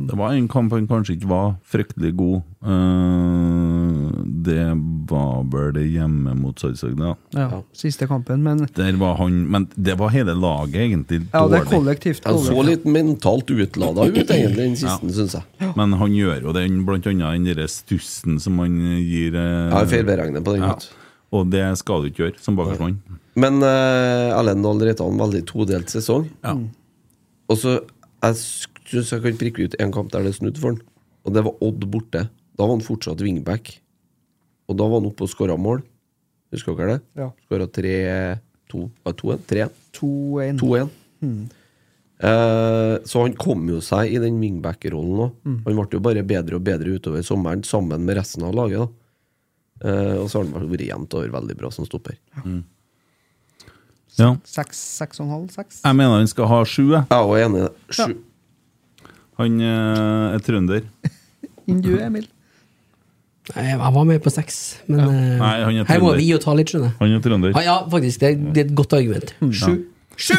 Det var en kamp han kanskje ikke var fryktelig god. Eh, det var vel det hjemme mot Sarpsborg, ja.
ja,
Ja.
siste kampen. Men
Der var han Men det var hele laget egentlig
ja, det er
dårlig.
kollektivt.
Han så
dårlig.
litt mentalt utlada ut, egentlig, den siste, synes syns jeg.
Men han gjør jo den, blant annet den derre stussen som han gir eh,
Jeg har feilberegnet på den.
ja.
vet du.
Og det skal du ikke gjøre som bakerstmann.
Men uh, Erlend Dahl Reitan, veldig todelt sesong.
Ja.
Og så Jeg syns jeg kan prikke ut en kamp der det snudde for han. Og det var Odd borte. Da var han fortsatt wingback. Og da var han oppe og skåra mål. Husker dere det?
Ja.
Skåra 3-2 ja, 2-1? 3-1?
2-1.
2-1. Eh, så han kom jo seg i den wingback-rollen òg. Han ble jo bare bedre og bedre utover sommeren sammen med resten av laget. da Eh, og så har han vel vært jevnt over veldig bra som stopper.
Ja.
Seks, seks og en halv, seks?
Jeg mener han skal ha sju. jeg.
Jeg er også enig. i det. Sju,
Han eh, er trønder.
Enn du, Emil?
Nei, Jeg jeg var med på seks, men eh,
Nei, han er
her må
trønder.
vi jo ta litt, skjønner jeg. Ah,
Han er Mm. trønder.
Ja, ja, faktisk. Det er, det er et godt argument. Sju. Sju!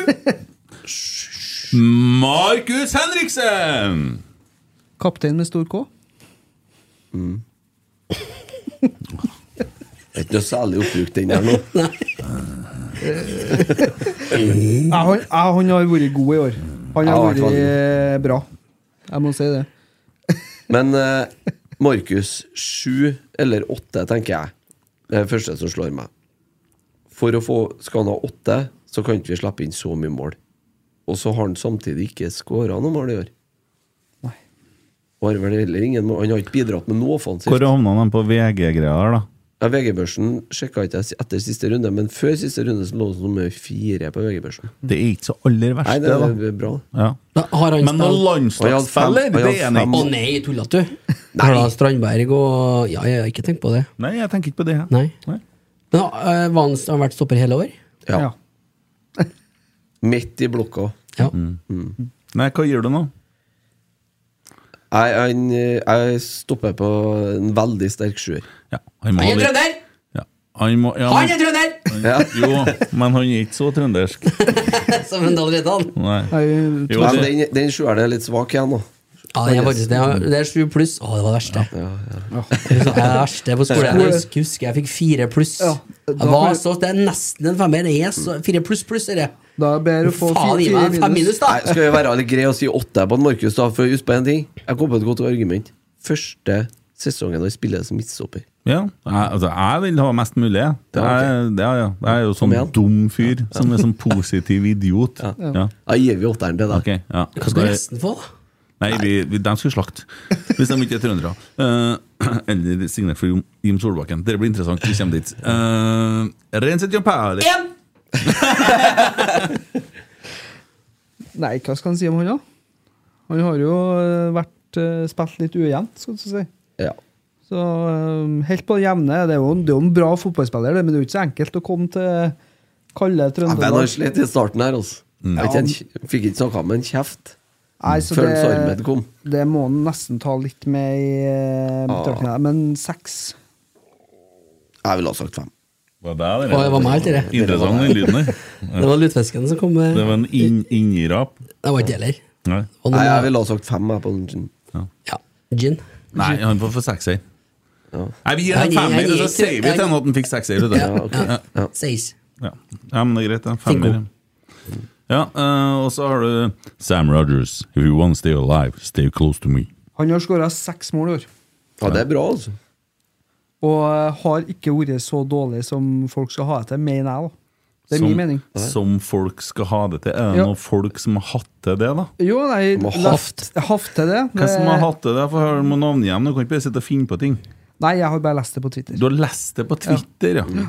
Markus Henriksen!
Kaptein med stor K.
Det er ikke noe særlig oppbrukt, den der nå.
Ja, han, ja, han har vært god i år. Han har
Ja, han har vært
vært eh, bra. Jeg må si det.
Men eh, Markus, sju eller åtte, tenker jeg. Det er det første som slår meg. For å få Skal han ha åtte, så kan ikke vi slippe inn så mye mål. Og så har han samtidig ikke skåra noe mål i år.
Nei.
Og har vel heller ingen mål. Han har ikke bidratt med noe
Hvor
offensivt.
havna han på VG-greia der, da?
Ja, VG-børsen sjekka ikke jeg etter siste runde, men før siste runde så lå det som nummer fire på VG-børsen.
Det er ikke så aller
Nei,
verste,
det
da.
er bra.
Ja.
Da har han
Men noen
spilt
landslagsspiller,
Og jeg hadde fem- og
det
jeg
er
hadde
han
fem-
Å
ikke.
nei, tullete du? Karla Strandberg og Ja, ja, ikke tenk på det.
Nei, jeg tenker ikke på det. jeg.
Nei. Men uh, Vans har vært stopper hele år?
Ja.
Ja.
Midt i blokka.
Ja.
Nei, hva gir du nå?
Jeg, han, eh, jeg stopper på en veldig sterk sjuer.
Ja, han må
Han er
ha litt
trønder!
ja. han må, ja,
Han er trønder!
Ja.
Jo, men han er ikke så trøndersk.
Som en Dahl Reitan.
Nei.
Nei,
Jo,
Men
det,
den, den sjueren er litt svak igjen, da.
Ja, det er faktisk det. Det er sju pluss. Å, det var det verste.
Ja, ja.
Det er det verste på skolen. Jeg husker- husker jeg fikk fire pluss.
Ja, da-
Jeg var så, det er nesten en femmer. Det er så, fire pluss pluss, er det.
Da er det bedre å få
Faen gi
fire
meg en fem minus,
Nei,
da!
skal vi være litt greie og si åtte på en Markus, da? For husk på en ting. Jeg kom på et godt argument. Første sesongen han spiller som midtstopper.
ja. Jeg, altså, jeg vil ha mest mulig. jeg. Det
Ja,
er, det er, ja. det er jo sånn
igjen.
dum fyr som er sånn positiv idiot. Ja.
Da gir vi åtteren til deg.
Ok, ja.
Hva skal resten få, da?
Nei, vi, vi, de skulle slakte. Hvis de ikke er trøndere. Eh, eller signert for Jim- Jim Solbakken. Det blir interessant. Vi kommer dit. Uh, Renset Jampale.
Én!
Nei, hva skal han si om han, da? Han har jo eh, vært eh, spilt litt ujevnt, skal du si.
Ja.
Så eh, helt på det jevne. Det er jo en, det er jo en bra fotballspiller, det, men det er jo ikke så enkelt å komme til kalde
Men han
Trøndelag.
slet i starten her, altså. Jeg vet ikke, han fikk ikke snakka med en kjeft
Nei, så
før det... Sarmed kom.
Det må han nesten ta litt med i eh,
Ah.
betraktning. her, Men seks
Jeg ville ha sagt fem.
Var det der,
Å, det var meg, dere.
Interessant, den lyden der.
Det var lutfisken som kom. eh,
Det var en inn- innirap.
Det var ikke det heller.
Nei.
Og
Nei, jeg
nå-
ville ha sagt fem, jeg, på den.
Ja, gin.
Nei, han får få sekser.
Ja.
Nei, vi gir ham
Jeg gir- jeg
femmer, og
gir-
så sier vi til han at han fikk sekser. vet du.
Ja,
ok. Ja.
Seis.
Ja. ja, men det er greit. det. Femmer. Ja, eh, og så har du Sam Rogers. If you want to stay alive, stay close to me.
Han har skåra seks mål i år.
ja, det er bra, altså.
Og eh, har ikke vært så dårlig som folk skal ha det til, mener jeg. da Det er
Som-
min mening.
Som folk skal ha det til. Er det
Ja.
noen folk som har hatt til det, da?
Jo, nei
Må
la-
haft.
Haft til det.
Hvem som har hatt til det? For her må navnet igjen. Du kan ikke bare sitte og finne på ting.
Nei, jeg har bare lest det på Twitter.
Du har lest det på Twitter, ja.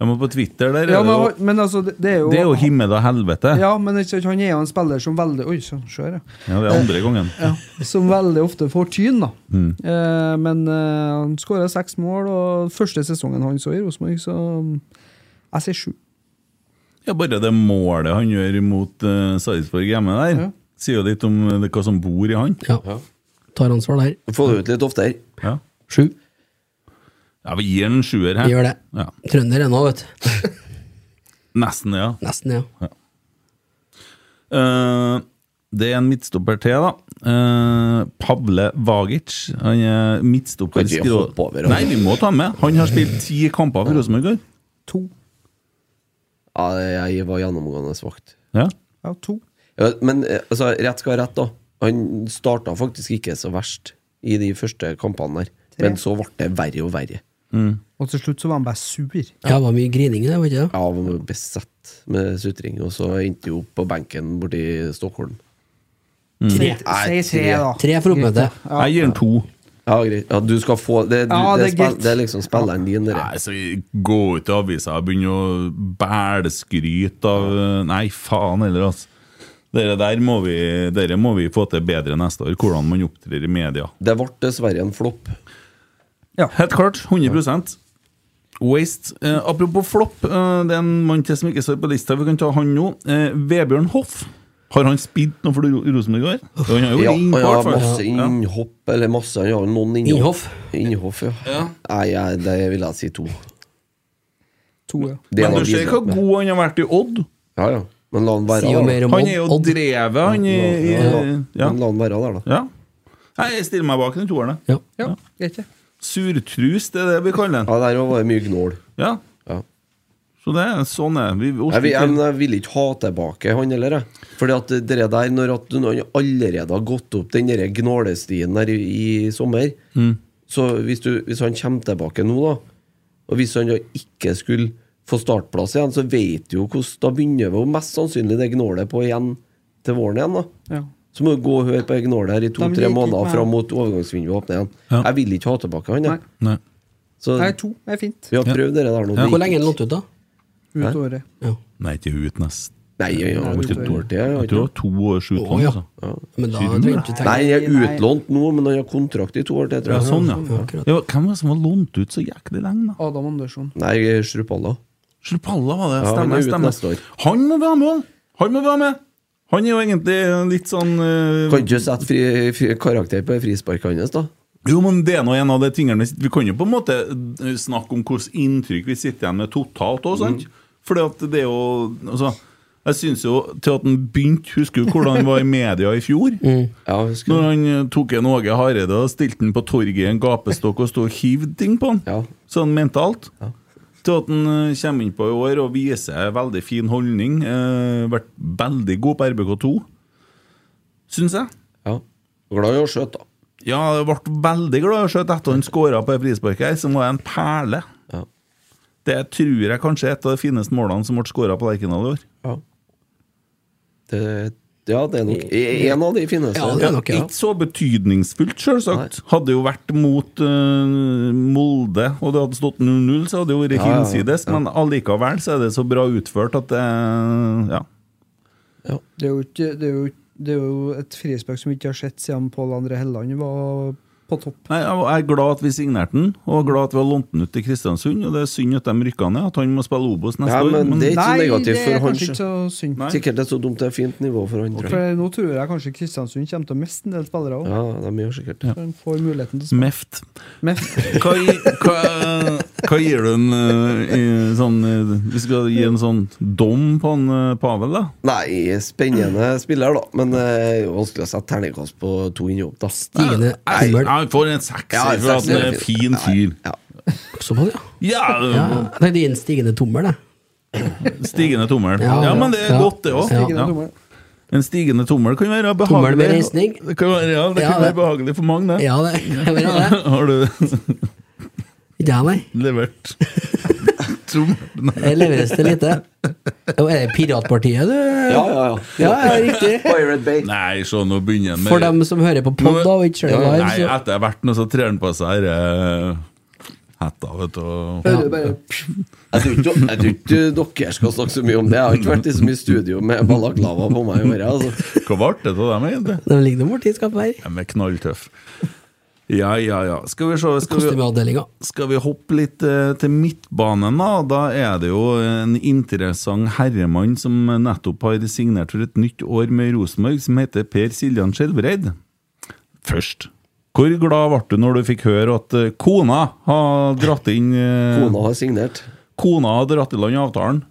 Ja, men på Twitter der er
Ja,
det jo
men, men altså, det det er jo
Det er jo himmel og helvete. Ja.
Ja, men ikke sant, han er jo en spiller som veldig Oi, så skjør jeg.
det er andre gangen.
Ja, som veldig ofte får tyn, da.
Mm.
Eh, men eh, han skåra seks mål, og første sesongen han så i Rosenborg, så mm, Jeg sier sju.
Ja, bare det målet han gjør mot uh, Sarpsborg hjemme der,
Ja.
sier jo litt om eh, hva som bor i han.
Ja. Tar ansvar der.
Få det ut litt oftere.
Ja,
Sju.
ja vi gir han en sjuer her.
Vi gjør det.
Ja.
Trønder ennå, vet du.
Nesten, ja.
Nesten, ja.
Eh, det er en midtstopper til, da. Eh, Pavle Vagic. Han er midtstopper
Kan vi
skrå-
hoppe over, altså?
Nei, vi må ta med. Han har spilt ti kamper for Rosenborg. i år.
To.
Ja, jeg var gjennomgående svakt.
Ja.
Ja, to.
Ja, men eh, altså, rett skal være rett, da. Han starta faktisk ikke så verst i de første kampene der.
Tre.
Men så ble det verre og verre.
Og til slutt så var han bare sur.
Mm.
Ja, det var mye grining i det, var ikke det?
Jeg var besatt med sutring, og så endte jeg opp på benken borti Stockholm.
Tre.
Nei,
Si tre, da.
Tre for oppmøte.
Greit, da.
Jeg gir han to.
Ja, greit. Ja, du skal få Det, du,
Ja,
det,
det er
er, spill,
greit.
det er liksom spilleren din, det
Nei,
der.
så Gå ut i avisa og begynne å bælskryte av eh, Nei, faen heller, altså. Dere der må vi, dere må vi få til bedre neste år, hvordan man opptrer i media.
Det ble dessverre en flopp.
Helt klart. 100 Waste. Eh, apropos flopp, eh, det er en mann til som ikke står på lista. Vi kan ta han nå. Eh, Vebjørn Hoff. Har han spilt noe for Ro- Rosenborg i år? Han har jo
Ja, han har
innpart,
masse
faktisk. Ja.
innhopp, eller masse Han har noen innhopp.
Innhoff.
Innhopp, ja. Nei, jeg- det vil jeg si to.
To, ja.
Det er
Men
han
du ser
bidrar
hvor
med.
god han har vært i Odd.
Ja, ja. Men la han være
Sier jo
der,
mer
da.
om
Han
Odd.
er jo
Odd.
drevet, han i, i
Ja, la-
ja.
Men la han være der, da.
ja. Nei, Jeg stiller meg bak den toeren. jeg.
Ja.
Ja, greit, det.
Surtrus, det er det vi kaller den.
Ja, der var det mye gnål.
Ja.
Ja.
Så det er sånn er vi.
Jeg, vil-
Oslo-
jeg, jeg vil ikke ha tilbake han heller, jeg. Fordi at det der, når at han allerede har gått opp den der gnålestien der i, i sommer Så hvis, du, hvis han kommer tilbake nå, da, og hvis han da ikke skulle få startplass igjen, så vet du jo hvordan Da begynner vi jo mest sannsynlig det gnålet på igjen til våren igjen, da.
Ja.
Så må du gå og høre på det gnålet her i
De
to-tre
liker ikke
måneder
meg.
fram mot overgangsvinduet åpner igjen.
Ja.
Jeg vil ikke ha tilbake han, jeg.
Nei.
Nei.
Så
Nei, to er fint.
vi har prøvd det der nå.
Ja.
Det
Hvor
gikk
lenge er
ikke.
den lånt ut, da?
Ut
Hæ?
året.
Ja.
Nei, ikke ut nest.
Nei, jeg har
Jeg
ikke
tror-
tålt det. Jeg har
Jeg
ikke
tror det var to års
Å
utlån.
ja.
altså.
Men da
Sier du
trengte du tenke
Nei, jeg er
Nei, nei.
utlånt nå, men han har kontrakt i to år til, tror
Ja,
jeg.
sånn, ja.
Ja, akkurat.
ja. Hvem var det som var lånt ut så jæklig lenge, da?
Adam Andersson.
Nei, Strupalla.
Slupalla var det.
Ja, han er
Stemmer.
ute neste
stemmer.
år.
Han må være med! Han må være med! Han er jo egentlig litt sånn eh,
Kan ikke sette fri, fri, karakter på frisparket hans, da.
Jo, men det er nå en av de tingene vi sitter- Vi kan jo på en måte eh, snakke om hvilket inntrykk vi sitter igjen med totalt òg,
Mhm.
sant? Fordi at det er jo Altså, jeg syns jo til at han begynte Husker du hvordan han var i media i fjor?
Ja,
Når
husker du?
han eh, tok en Åge Hareide og stilte han på torget i en gapestokk og stod og hivde ting på han,
Ja.
sånn mentalt.
Ja.
Til at han eh, kommer inn på i år og viser en veldig fin holdning. Eh, vært veldig god på RBK2, syns jeg.
ja. Glad i å skjøte, da.
Ja, jeg ble veldig glad i å se etter han skåra på det frisparket her, som var en perle.
Ja.
Det tror jeg kanskje er et av de fineste målene som ble skåra på Lerkendal i år.
Ja. Det, ja, det er nok en av de fineste.
Ja, det er nok, ja.
Eh, Ikke så betydningsfullt, selvsagt. Hadde jo vært mot eh, Molde, og det hadde stått 0-0, så hadde det jo vært
Ja, ja, ja.
hinsides, men allikevel så er det så bra utført at det Ja.
Det er jo, ikke, det er jo, det er jo et frispark som vi ikke har sett siden Pål André Helland var på topp.
Nei, Jeg jeg er glad at vi signerte den, og glad at vi har lånt den ut til Kristiansund. Og Det er synd at de rykka ned, at han må spille Obos neste
Ja, men
år. Men
det- er ikke så negativt
det
for
er
han
kanskje
selv.
ikke så synd.
Nei.
Sikkert et så dumt det er fint nivå for han, tror jeg.
For nå tror jeg kanskje Kristiansund kommer til å miste en del spillere òg.
Ja, de gjør sikkert det.
Han får muligheten til å
Meft.
spille. Men
Hva, gi- hva, hva gir du en eh, i sånn eh, Vi skal gi en sånn dom på han eh, Pavel, da?
Nei, spennende spiller, da. Men eh, det er jo vanskelig å sette terningkast på to innhopp, da.
Stigende
Nei,
kummel.
Jeg får en
Ja,
sekser
en
for at han
sekser
er
er
en
fint.
fin fyr.
Ja.
Såpass, ja.
Ja,
ja. Jeg tenkte inn stigende tommel, jeg.
Stigende tommel. Ja,
Ja, ja.
men det er
Ja.
godt, det òg.
Ja.
Ikke
Ja.
noe dummere.
En stigende tommel kan være
Tommel med
behagelig.
reisning.
Det kan være, ja, det
Ja,
kan være
det.
behagelig for mange, det.
Ja, det kan være det.
Har du
Ikke jeg, nei.
levert tommel? Nei.
Jeg leveres til lite. Ja, Er det Piratpartiet, du?
Ja, ja, ja.
Ja, ja, riktig.
Pirate Bay.
Nei, se, nå begynner han med
For dem som hører på pod og ikke ser det
Nei,
live, så
etter verten, så trer han på seg her, eh, hetta, vet du. og-
Hører du bare
Jeg tror ikke, jeg tror ikke dere skal snakke så mye om det. Jeg har ikke vært i så mye studio med balaklava på meg i året. Altså.
Hva ble det av dem, egentlig?
De ligger noe borti skapet her.
De er knalltøffe. Ja, ja, ja. Skal vi se skal vi,
Kostymeavdelinga.
skal vi hoppe litt eh, til midtbanen, da? Da er det jo en interessant herremann som nettopp har signert for et nytt år med Rosenborg, som heter Per Siljan Skjelbreid. Først. Hvor glad ble du når du fikk høre at eh, kona har dratt inn eh,
Kona har signert.
Kona har dratt i land avtalen?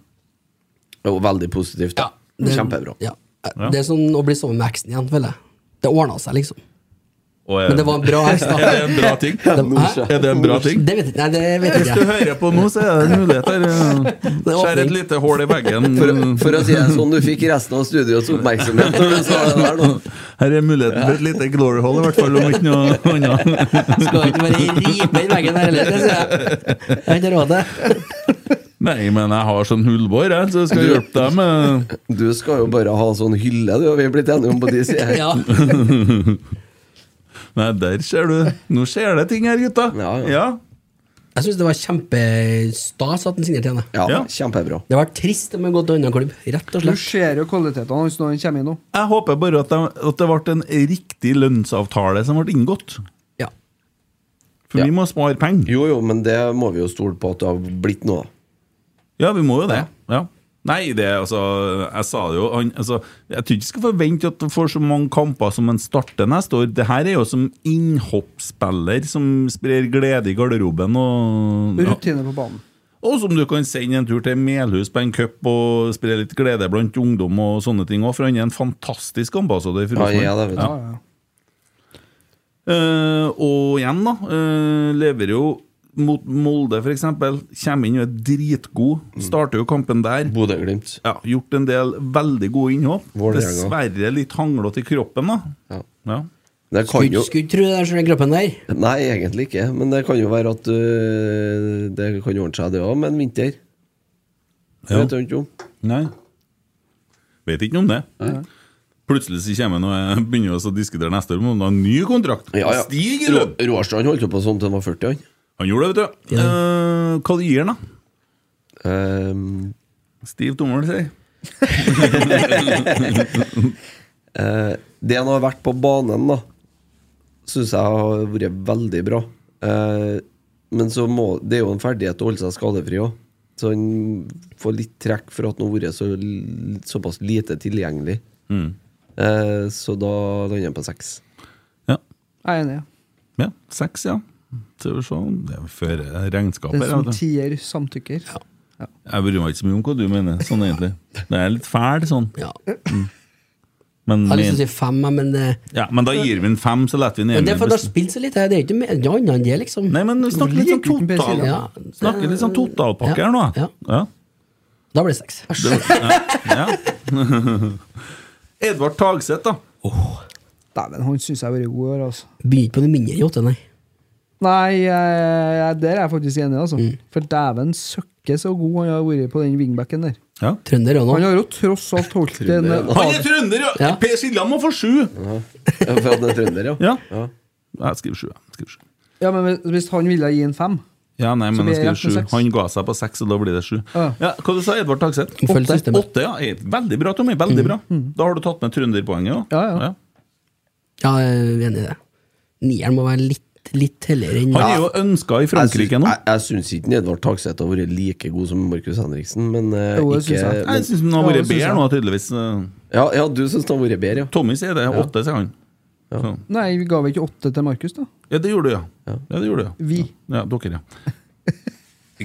Det var veldig positivt. da.
Det-
Kjempebra.
Ja.
Ja.
Det er sånn å bli sammen med eksen igjen, føler jeg. Det ordna seg, liksom.
Og eh, er-
Men det var en bra eks, da.
Er det en bra ting?
Hæ?
Er det en bra ting?
Det vet jeg ikke. Nei, det vet
Hvis du
jeg ikke.
hører på nå, så er det en mulighet her. eh,
Det er
Skjær et
åpning.
lite hull i veggen.
For, for å si det sånn, du fikk resten av studioets oppmerksomhet når du sa det der. Da.
Her er muligheten for et lite glory hole, i hvert fall om ikke noe annet.
Skal ikke bare ripe inn veggen der heller, det sier jeg. Jeg har ikke råd til det.
Nei, men jeg har sånn hullbår, jeg, så jeg skal hjelpe deg med
Du skal jo bare ha sånn hylle, du, og vi er blitt enige om på de sider.
Ja.
Nei, der ser du. Nå skjer det ting her, gutta.
Ja, ja.
Jeg syns det var kjempestas at han signerte igjen. jeg.
Ja,
Ja.
kjempebra.
Det har vært trist om han gått til en annen klubb, rett og
Du
slett.
ser jo kvalitetene hans når han kommer inn nå.
Jeg håper bare at det, at det ble en riktig lønnsavtale som ble inngått.
Ja.
For
Ja.
vi må spare penger.
Jo, jo, men det må vi jo stole på at det har blitt noe.
Ja, vi må jo det. Ja. Nei, det er altså Jeg sa det jo han, altså, Jeg tror ikke jeg skal forvente at du får så mange kamper som han starter neste år. Det her er jo som innhoppsspiller som sprer glede i garderoben. Og, ja.
Rutine på banen.
og som du kan sende en tur til Melhus på en cup og spre litt glede blant ungdom og sånne ting òg, for han er en fantastisk ambassadør for
Ja,
Rosenborg.
ja, det vet du.
Ja, ja.
Eh, og igjen, da. eh, lever jo mot Molde, f.eks. Kommer inn og er dritgod.
Mm.
Starter jo kampen der.
Bodø-Glimt.
Ja, gjort en del veldig gode innhopp.
Vålerenga.
Dessverre litt hanglete i kroppen, da.
Ja.
Ja.
Det kan
Skulle
jo
skulle ikke tro det der som den kroppen der.
Nei, egentlig ikke. Men det kan jo være at øh, det kan ordne seg, det òg, med en vinter. Det
Ja.
vet jeg ikke om.
Nei. Vet ikke noe om det. Plutselig så kommer han og jeg begynner oss å diskutere neste år, men han har en ny kontrakt.
Ja, ja.
Stig i
Rå,
lønn!
Råstrand holdt jo på sånn til han var 40, han.
Han gjorde det, vet du. Eh, hva gir han, da?
Ehm,
Stiv tommel, sier
eh, det han har vært på banen, da, syns jeg har vært veldig bra. Eh, men så må, det er jo en ferdighet å holde seg skadefri òg. Så han får litt trekk for at han har vært så, l- såpass lite tilgjengelig.
Mm.
Eh, så da lander han på seks.
Ja.
Jeg er enig. ja.
ja. Seks, ja. Skal vi se Det er før
Den
regnskapet. her,
som
vet du.
tier, samtykker.
Jeg bryr meg ikke så mye om hva du mener, sånn egentlig. Det er litt fæl, sånn.
Ja.
Men,
Jeg har lyst til
men,
å si fem, jeg, men det,
ja, men da gir vi en fem, så lar vi den
men det
ene
er fordi det har
bestemme.
spilt så lite. Det er ikke mer- det er annet enn det, liksom.
Nei, men snakk litt
Lik uten
sånn total
persille.
Ja, det-
Snakker litt sånn totalpakke her nå.
Ja.
Ja.
Da blir det seks.
Edvard Tagseth, da.
Dæven, han syns jeg har vært god i år, altså.
Begynner ikke på noe mindre enn åtte, nei.
Nei, jeg, jeg, der er jeg faktisk enig, altså.
Mm.
For dæven søkke så god han har vært på den wingbacken der.
Ja.
Trønder òg
Han
nå.
har jo tross alt holdt eh, en
Han er trønder, ja!
Ja.
Per Siljan må få sju!
Ja, for at han er trønder, ja.
Ja.
ja.
Jeg skriver sju. Jeg skriver sju.
Ja, men hvis- hvis han ville gi en fem
Ja, nei, men
blir
jeg skriver
jeg
sju.
på seks.
Han ga seg på seks, og da blir det sju.
Ja.
Ja, hva du sa Edvard Tagseth?
Må følge
Åtte.
systemet.
Åtte, ja. Eh, Veldig bra, Tommy. Veldig bra. Da har du tatt med trønderpoenget òg.
Mm. Ja, ja.
Ja, jeg er enig i det. Nieren må være litt, litt helligere enn
Han er jo ønska i Frankrike nå.
Jeg, syns- jeg, jeg syns ikke Edvard Tagseth har vært like god som Markus Henriksen, men eh,
Jo, det syns
ikke
jeg.
Jeg
men,
syns han har
Ja,
vært
det synes
bedre
jeg.
nå, tydeligvis. Eh,
ja, ja, du syns han har vært bedre, ja.
Tommy sier det. Åtte, sier han. Så.
Nei, vi ga vel ikke åtte til Markus, da?
Ja, det gjorde du, ja.
Ja.
Ja, det gjorde du, ja.
Vi.
Ja, dere, ja.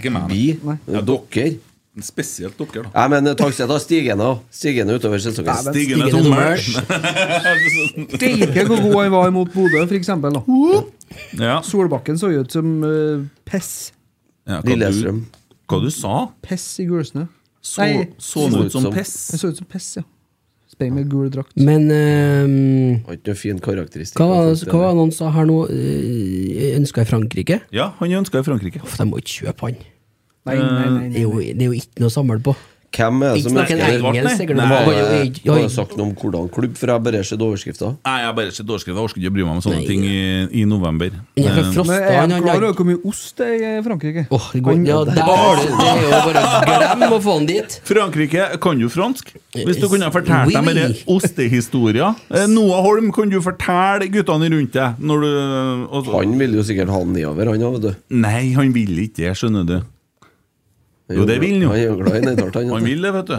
Ikke meg,
Vi?
Nei.
Ja, dere?
men spesielt dere, da.
Nei, men eh, Tagseth har stigende, stigende utover sesongen.
Stigende
Stigende
tommel.
Steike hvor god han var imot Bodø, for eksempel. Da.
Ja.
Solbakken så jo ut som eh, pess.
Ja, hva, du,
Lillestrøm.
hva du sa?
Pess i gulsnø.
Så,
Nei.
så han ut som pess?
Han så ut som pess, ja. Speil med gul drakt.
Men ehm,
Har ikke noen fin karakteristikk.
hva var
faktisk,
hva var det noen sa her nå? Eh, Ønska i Frankrike?
Ja, han ønska i Frankrike.
Uff, de må ikke kjøpe han.
Nei, nei, nei.
Det
nei.
er jo, det er jo ikke noe å samle på.
Hvem er det
Ikke
som
snakk en
ønsker det?
Edvard, nei.
engelsk, sikkert.
Nei.
Var
Oi,
det,
oi,
var
oi.
det sagt noe om hvordan klubb? For jeg bare ser overskrifta.
Nei, jeg er bare ikke dårskrevet. Jeg orker ikke å bry meg om sånne ting i, i november.
Han er fra
Eh,
Frosta,
Men er
han
han
han
klar
har
over hvor mye ost det er i eh, Frankrike?
Åh, det går Ja, der har du Det er jo bare glem å få han dit.
Frankrike kan jo fransk. Hvis du kunne ha fortalt dem
Oui, oui.
denne ostehistoria. Eh, Noah Holm, kan du fortelle guttene rundt deg når du og, så-
Han vil jo sikkert ha den nedover, han òg, vet du.
Nei, han vil ikke det, skjønner du. Jo, det vil han jo.
Han er jo glad i nedtalt, han. vet
Han
du.
vil det, vet du.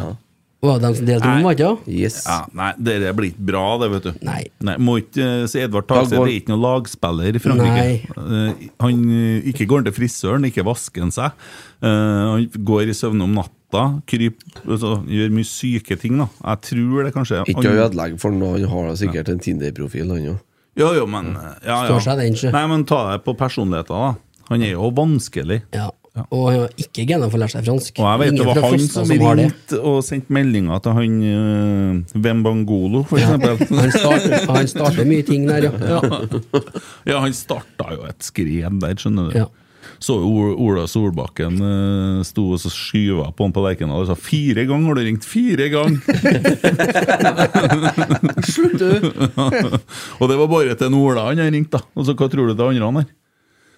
Var det dem som delte om, var det ikke?
Yes.
Ja, nei, det er blitt bra, det, vet du.
Nei.
må ikke eh, si Edvard Tagseth
Da går-
er ikke noen lagspiller i Frankrike. Eh, han eh, ikke går han til frisøren, ikke vasker han seg. Eh, han går i søvne om natta, kryp, altså, gjør mye syke ting, da. Jeg tror det kanskje
Ikke å ødelegge for noe, han har da sikkert en Tinder-profil, han òg.
Jo, jo, men eh, ja, ja.
Står seg den ikke.
Nei, men ta det på personligheten, da. Han er jo vanskelig.
Ja. Og han har ikke gener for å lære seg fransk.
Og jeg vet
Ingen
det var
fra
han
Frosta
som
har det.
ringte og sendte meldinger til han uh, Vembangolo, for eksempel.
Han starter, han starter mye ting der, ja.
Ja, han starta jo et skred der, skjønner du.
Ja.
Så jo Ol- Ola Solbakken eh, sto og så skyva på han på Lerkendal og sa 'fire ganger har du ringt', fire ganger!
Slutt, du!
og det var bare til en Ola han har ringt, da. Og så hva tror du til andre han har?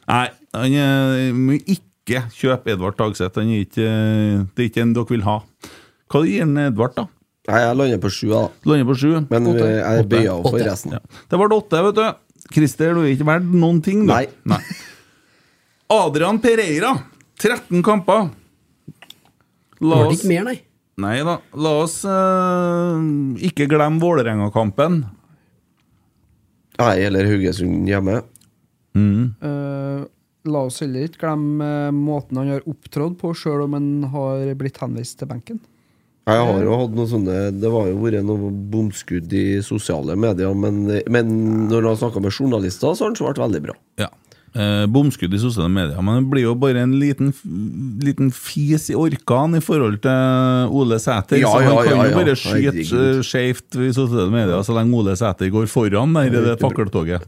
Nei, han eh, må ikke kjøpe Edvard Tagseth. Han er ikke eh, Det er ikke en dere vil ha. Hva gir han Edvard, da?
Nei, jeg lander på sju, da.
Lander på sju.
Men eh, jeg bøyer av for
Åtte.
resten.
Ja. Det ble åtte, vet du. Christer, du er ikke verdt noen ting, du.
Nei.
Adrian Pereira, 13 kamper. La
Var det
oss
ikke mer, nei?
Nei da, la oss eh, ikke glemme Vålerenga-kampen.
Nei, eller Haugesund hjemme.
Mm.
Eh, la oss heller ikke glemme eh, måten han har opptrådt på, sjøl om han har blitt henvist til benken.
Jeg har jo hatt noen sånne Det var jo vært noen bomskudd i sosiale medier, men, men når han snakka med journalister, så har han svart veldig bra.
Ja. Eh, bomskudd i sosiale medier. Men det blir jo bare en liten, liten fis i orkan i forhold til Ole Sæter.
Ja,
så han
ja,
kan
ja,
jo
ja.
bare skyte
Herregud.
eh, skjevt i sosiale medier så lenge Ole Sæter går foran der i det fakkeltoget.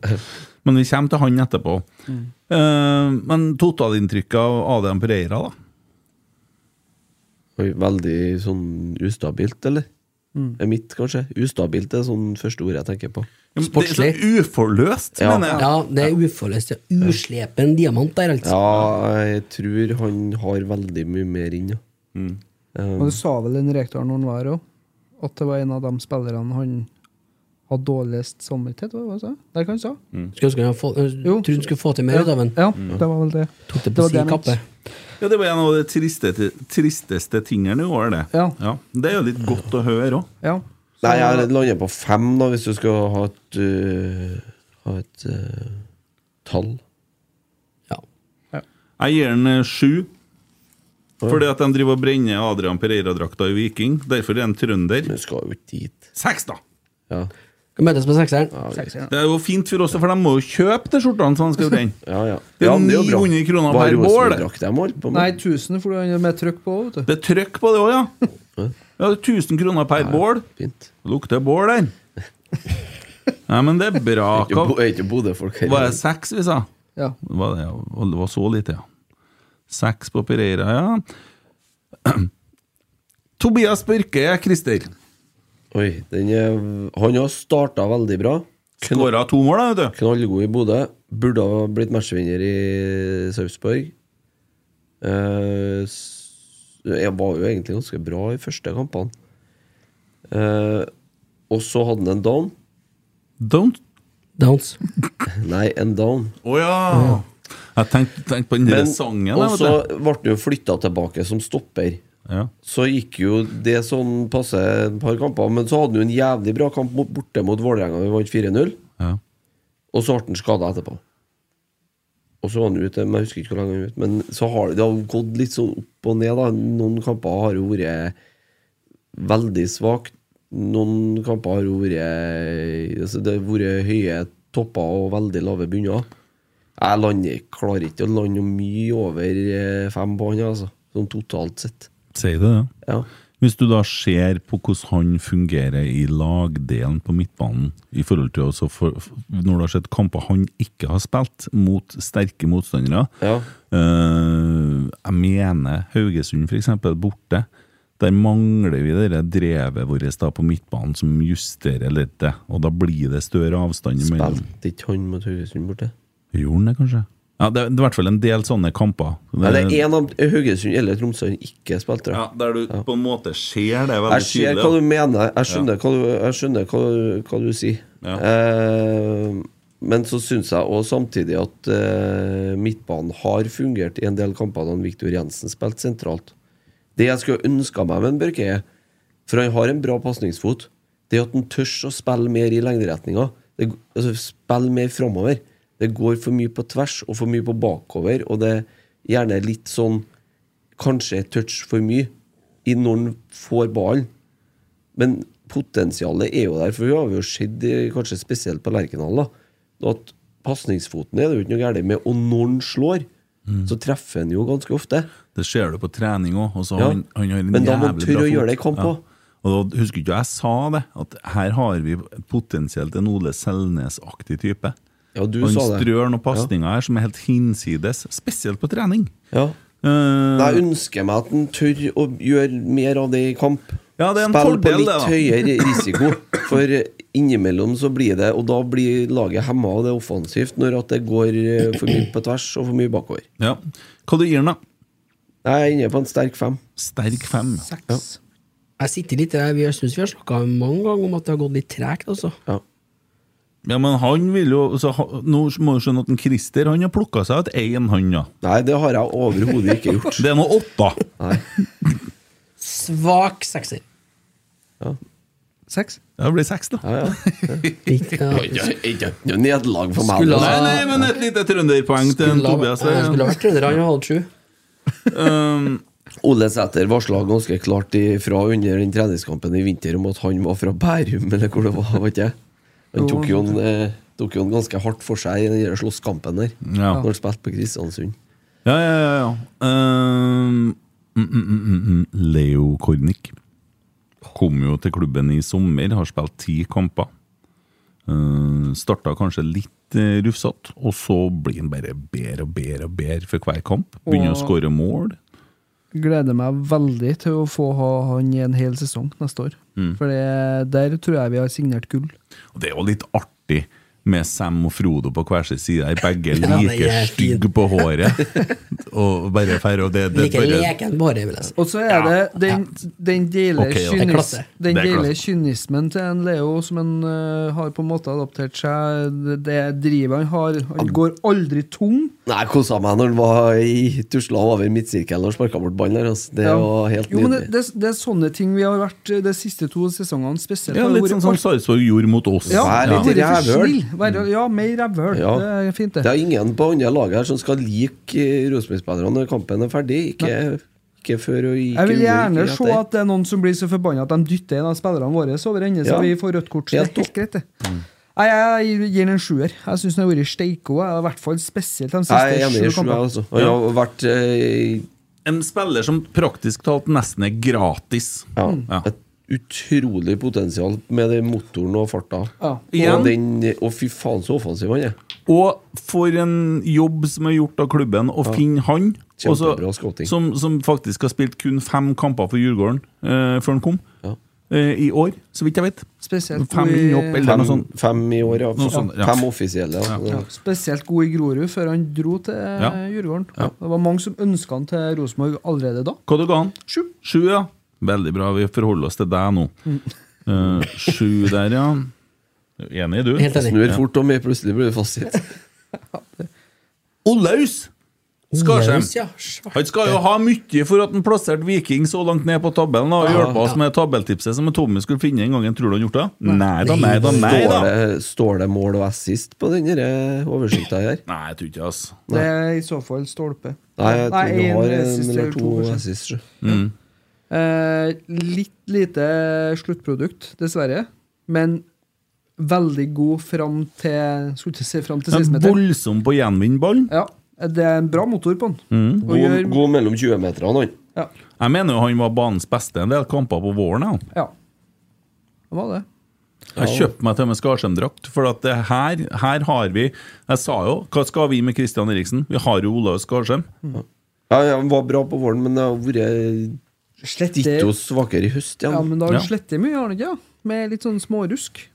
Men vi kommer til han etterpå.
Mm.
Eh, men totalinntrykket av Adrian Pereira, da?
Oi, Veldig sånn ustabilt, eller? Er mitt, kanskje? Ustabilt er sånn første ordet jeg tenker på.
Det er så uforløst,
Ja.
mener jeg.
Ja, det er uforløst. ja. Uslepen diamant der, altså.
Ja, jeg tror han har veldig mye mer inn, ja.
Og det sa vel en rektor når han var her òg, at det var en av de spillerne han hadde dårligst samvittighet for. hva sa jeg? Det er hva han sa.
Skulle ønske han få, øh,
Jo.
trodde han skulle få til mer ut av den. Mm.
Ja, det var vel det.
Tok det
Det
på
var det jeg
sin
mente.
kappe.
Ja, Det var en av de tristeste, tristeste tingene i år, det.
Ja.
Det er jo litt godt å høre òg.
Ja. Så-
Nei, jeg lander på fem, da, hvis du skal ha et øh, Ha et øh, tall.
Ja.
Jeg gir den eh, sju. Fordi at de driver og brenner Adrian Pereira-drakta i Viking. Derfor er han trønder.
Men du skal jo ikke dit.
Seks, da!
Ja.
Skal møtes på sekseren.
Det er jo fint for oss, for de må jo kjøpe de skjortene som de skal brenne.
Ja, ja.
Det er
ja, men jo bra.
900 kroner
Hva
per
Rosenborg
bål, det.
drakk de holdt på med?
Nei, 1000 for han er med trykk på, vet du.
Det er trøkk på det òg, ja. ja. det er 1000 kroner per bål.
Fint.
Lukter bål der. Nei, men det er bra.
Jeg
Hva-
er ikke Bodø-folk her.
Var det seks vi sa?
Ja.
Det var, det, ja. Og det var så lite, ja. Seks på Pereira, ja. Tobias Børke, Christer.
Oi, den er, han har starta veldig bra.
Skåra to mål, da, vet du.
Knallgod i Bodø. Burde ha blitt matchvinner i Sarpsborg. Eh, s- jeg var jo egentlig ganske bra i første kampene. Eh, og så hadde han en down.
Don't
Downs.
Nei, en down.
Å ja! Jeg tenkte tenkte på den der
Men-
sangen.
og
Jeg, vet
så ble han jo flytta tilbake som stopper.
du. Ja.
så gikk jo det sånn passe et par kamper. Men så hadde han jo en jævlig bra kamp mot, borte mot Vålerenga, vi vant 4-0.
Ja.
Og så ble han skada etterpå. Og så var han ute, men jeg husker ikke hvor lenge han var ute. Men så har det, det har gått litt sånn opp og ned, da. Noen kamper har jo vært veldig svake. Noen kamper har jo vært altså Det har vært høye topper og veldig lave bunner. Jeg lander, klarer ikke å lande mye over eh, fem på han, altså. Sånn totalt sett.
Sier det, ja.
Ja.
Hvis du da ser på hvordan han fungerer i lagdelen på midtbanen, i forhold til også for, når du har sett kamper han ikke har spilt mot sterke motstandere
Ja.
Eh, Jeg mener Haugesund, for eksempel, borte. Der mangler vi det der drevet vårt da på midtbanen som justerer litt, det, og da blir det større avstand imellom.
Spilte ikke han mot Haugesund borte?
Gjorde han det, kanskje? Ja, det er i hvert fall en del sånne kamper.
Nei, det er én av Haugesund eller Tromsø han ikke spilte.
Ja,
Ja,
Der du på en måte ser det veldig
jeg ser hva du mener, jeg skjønner, hva, du, jeg skjønner hva, hva du sier.
Ja.
Eh, men så syns jeg òg samtidig at eh, midtbanen har fungert i en del kamper da Viktor Jensen spilte sentralt. Det jeg skulle ønska meg med en Børke, er For han har en bra pasningsfot. Det er at han tør å spille mer i lengderetninga. Det g- Altså, spille mer framover. Det går for mye på tvers og for mye på bakover, og det er gjerne litt sånn Kanskje et touch for mye i når han får ballen. Men potensialet er jo der, for vi har jo sett, eh, kanskje spesielt på Lerkendal, da, at pasningsfoten er det jo ikke noe galt med, og når han slår,
Mm.
så treffer han jo ganske ofte.
Det ser du på trening òg.
Ja,
Han, han har en
men da må
jævlig
du tørre
bra
å
fot.
gjøre det i kamp også.
Og da husker ikke jeg sa det, at her har vi potensielt en Ole Selnes-aktig type.
Ja, du
han
sa det.
strør noen pasninger her som er helt hinsides, spesielt på trening.
Ja.
Eh,
Men jeg ønsker meg at han tør å gjøre mer av det i kamp.
Ja, det er en
Spill
fordel,
på litt høyere risiko, for innimellom så blir det Og da blir laget hemma, og det er offensivt når at det går eh, for mye på tvers og for mye bakover.
ja. Hva du gir den, da?
Jeg er inne på en sterk fem.
Sterk fem.
Seks.
Jeg sitter litt der, jeg syns vi har snakka mange ganger om at det har gått litt tregt, altså.
Ja.
Ja, men han vil jo så, ha- Nå må du skjønne at en Christer han har plukka seg ut én, han, ja.
Nei, det har jeg overhodet ikke gjort.
Det er nå åtta.
Nei.
Svak sekser.
Seks?
Ja, det blir seks, da.
Ja, ja.
Ikke,
Oi,
ja.
ja, Ikke ikke noe nederlag for meg.
Nei,
Skulle ha-
altså.
nei, men et lite trønderpoeng til en
Skulle ha-
Tobias.
han skulle
her,
ha vært trønder, han hadde sju.
Ja. Um,
Ole Sæter varsla ganske klart ifra under den treningskampen i vinter om at han var fra Bærum, eller hvor det var. vet ikke jeg. Han tok jo en, eh, tok jo en ganske hardt for seg i den der slåsskampen der,
ja.
når han spilte på Kristiansund.
Ja, ja, ja. ja. Ehm, mm, mm, mm, mm, mm. Leo Kornic kom jo til klubben i sommer, har spilt ti kamper. Uh, starta kanskje litt eh, rufsete, og så blir han bare bedre og bedre og bedre for hver kamp. Begynner å
Og-
skåre mål.
Gleder meg veldig til å få ha han i en hel sesong neste år. For det- der tror jeg vi har signert gull.
Og det er jo litt artig med Sam og Frodo på hver sin side. her. Begge
Ja, det
like
er fint.
stygge på håret. Og bare fer, og det, det
Like
bare-
leken bare, vil jeg si.
Og så er det den, den deilige
Ok, da.
Det er
kynis,
klasse.
den
Det er
deilige
klasse.
kynismen til en Leo som han eh, har på en måte adaptert seg Det, det drivet han har. Han går aldri tom.
Nei, jeg kosa meg når han var i tusla over midtsirkelen og sparka bort ballen der. Altså. Det
Ja.
var helt
jo, men det,
nydelig.
det, det er sånne ting vi har vært eh, de siste to sesongene spesielt.
Ja,
har
litt
vært
sånn som
alt-
Sarpsborg gjorde mot oss.
ja,
Vær litt
vært for
rævhøl.
snill. Vær- ja, mer rævhøl.
Ja.
Det er fint,
Det
det.
er ingen på andre laget her som skal like eh, Rosenborg-spillerne når kampen er ferdig. Ikke, ikke før og ikke
Jeg vil
under,
gjerne
ikke
se
etter.
at det er noen som blir så forbanna at de dytter en av spillerne våre så over ende, så
Ja. Mm.
vi får rødt kort. Så det
Helt
er helt greit, det. Nei, Jeg gir den en sjuer. Jeg syns den har vært steikgod. jeg, I hvert fall spesielt de
Jeg er
siste
enig i
sju
Sjua,
kampene.
altså. Han har vært eh,
En spiller som praktisk talt nesten er gratis.
ja,
Mm.
Ja.
et utrolig potensial med den motoren og farta.
Ja.
Igjen.
Og, den, og fy faen, så offensiv han er.
Og for en jobb som er gjort av klubben, å finne han også,
Kjempebra scouting.
som, som faktisk har spilt kun fem kamper for Djurgården eh, før han kom,
Ja.
eh, i år, så vidt jeg vet.
Spesielt
Fem
god
inn opp,
i,
eller
Fem,
noe sånt.
fem i år, ja.
Noe sånt, ja.
Fem offisielle. Ja.
ja, spesielt god i Grorud, før han dro til eh,
Ja.
Djurgården. Det var mange som ønska han til Rosenborg allerede da.
Hva du ga han?
Sju.
Sju, ja. Veldig bra, vi forholder oss til deg nå. Eh, sju der, ja. Enig, du?
Helt enig.
Snur fort og mer, plutselig blir det fasit.
Olaus Skarsheim!
Yes, ja, svart.
Han skal jo ha mye for at han plasserte Viking så langt ned på tabellen. da, Og hjelpe oss med tabelltipset som Tommy skulle finne en gang. Tror du han gjorde det? Nei da, nei da, nei
Står
da.
det, står det mål og assist på denne oversikta her?
Nei, jeg tror ikke det, altså.
Det er i så fall stolpe.
Nei, jeg tror du
en
har
assist
en eller to
kanskje.
assist. sjø.
Eh, litt lite sluttprodukt, dessverre. Men veldig god fram til Skulle ikke si fram til
Men
sistemeter.
voldsom på å gjenvinne ballen.
Ja, det er en bra motor på den. Og
God,
gjør,
god mellom 20-meterne, han.
ja,
Jeg mener jo han var banens beste en del kamper på våren. Jeg,
ja. Det var det.
jeg kjøpte meg til og med Skarsheim-drakt, for at det her, her har vi Jeg sa jo hva skal vi med Christian Eriksen? Vi har jo Olaus Skarsheim.
Ja, ja, han var bra på våren, men det har vært ditto svakere i høst. Ja.
Ja, men da har
Ja.
du slettet mye, har han ikke? Ja. Med litt sånn smårusk.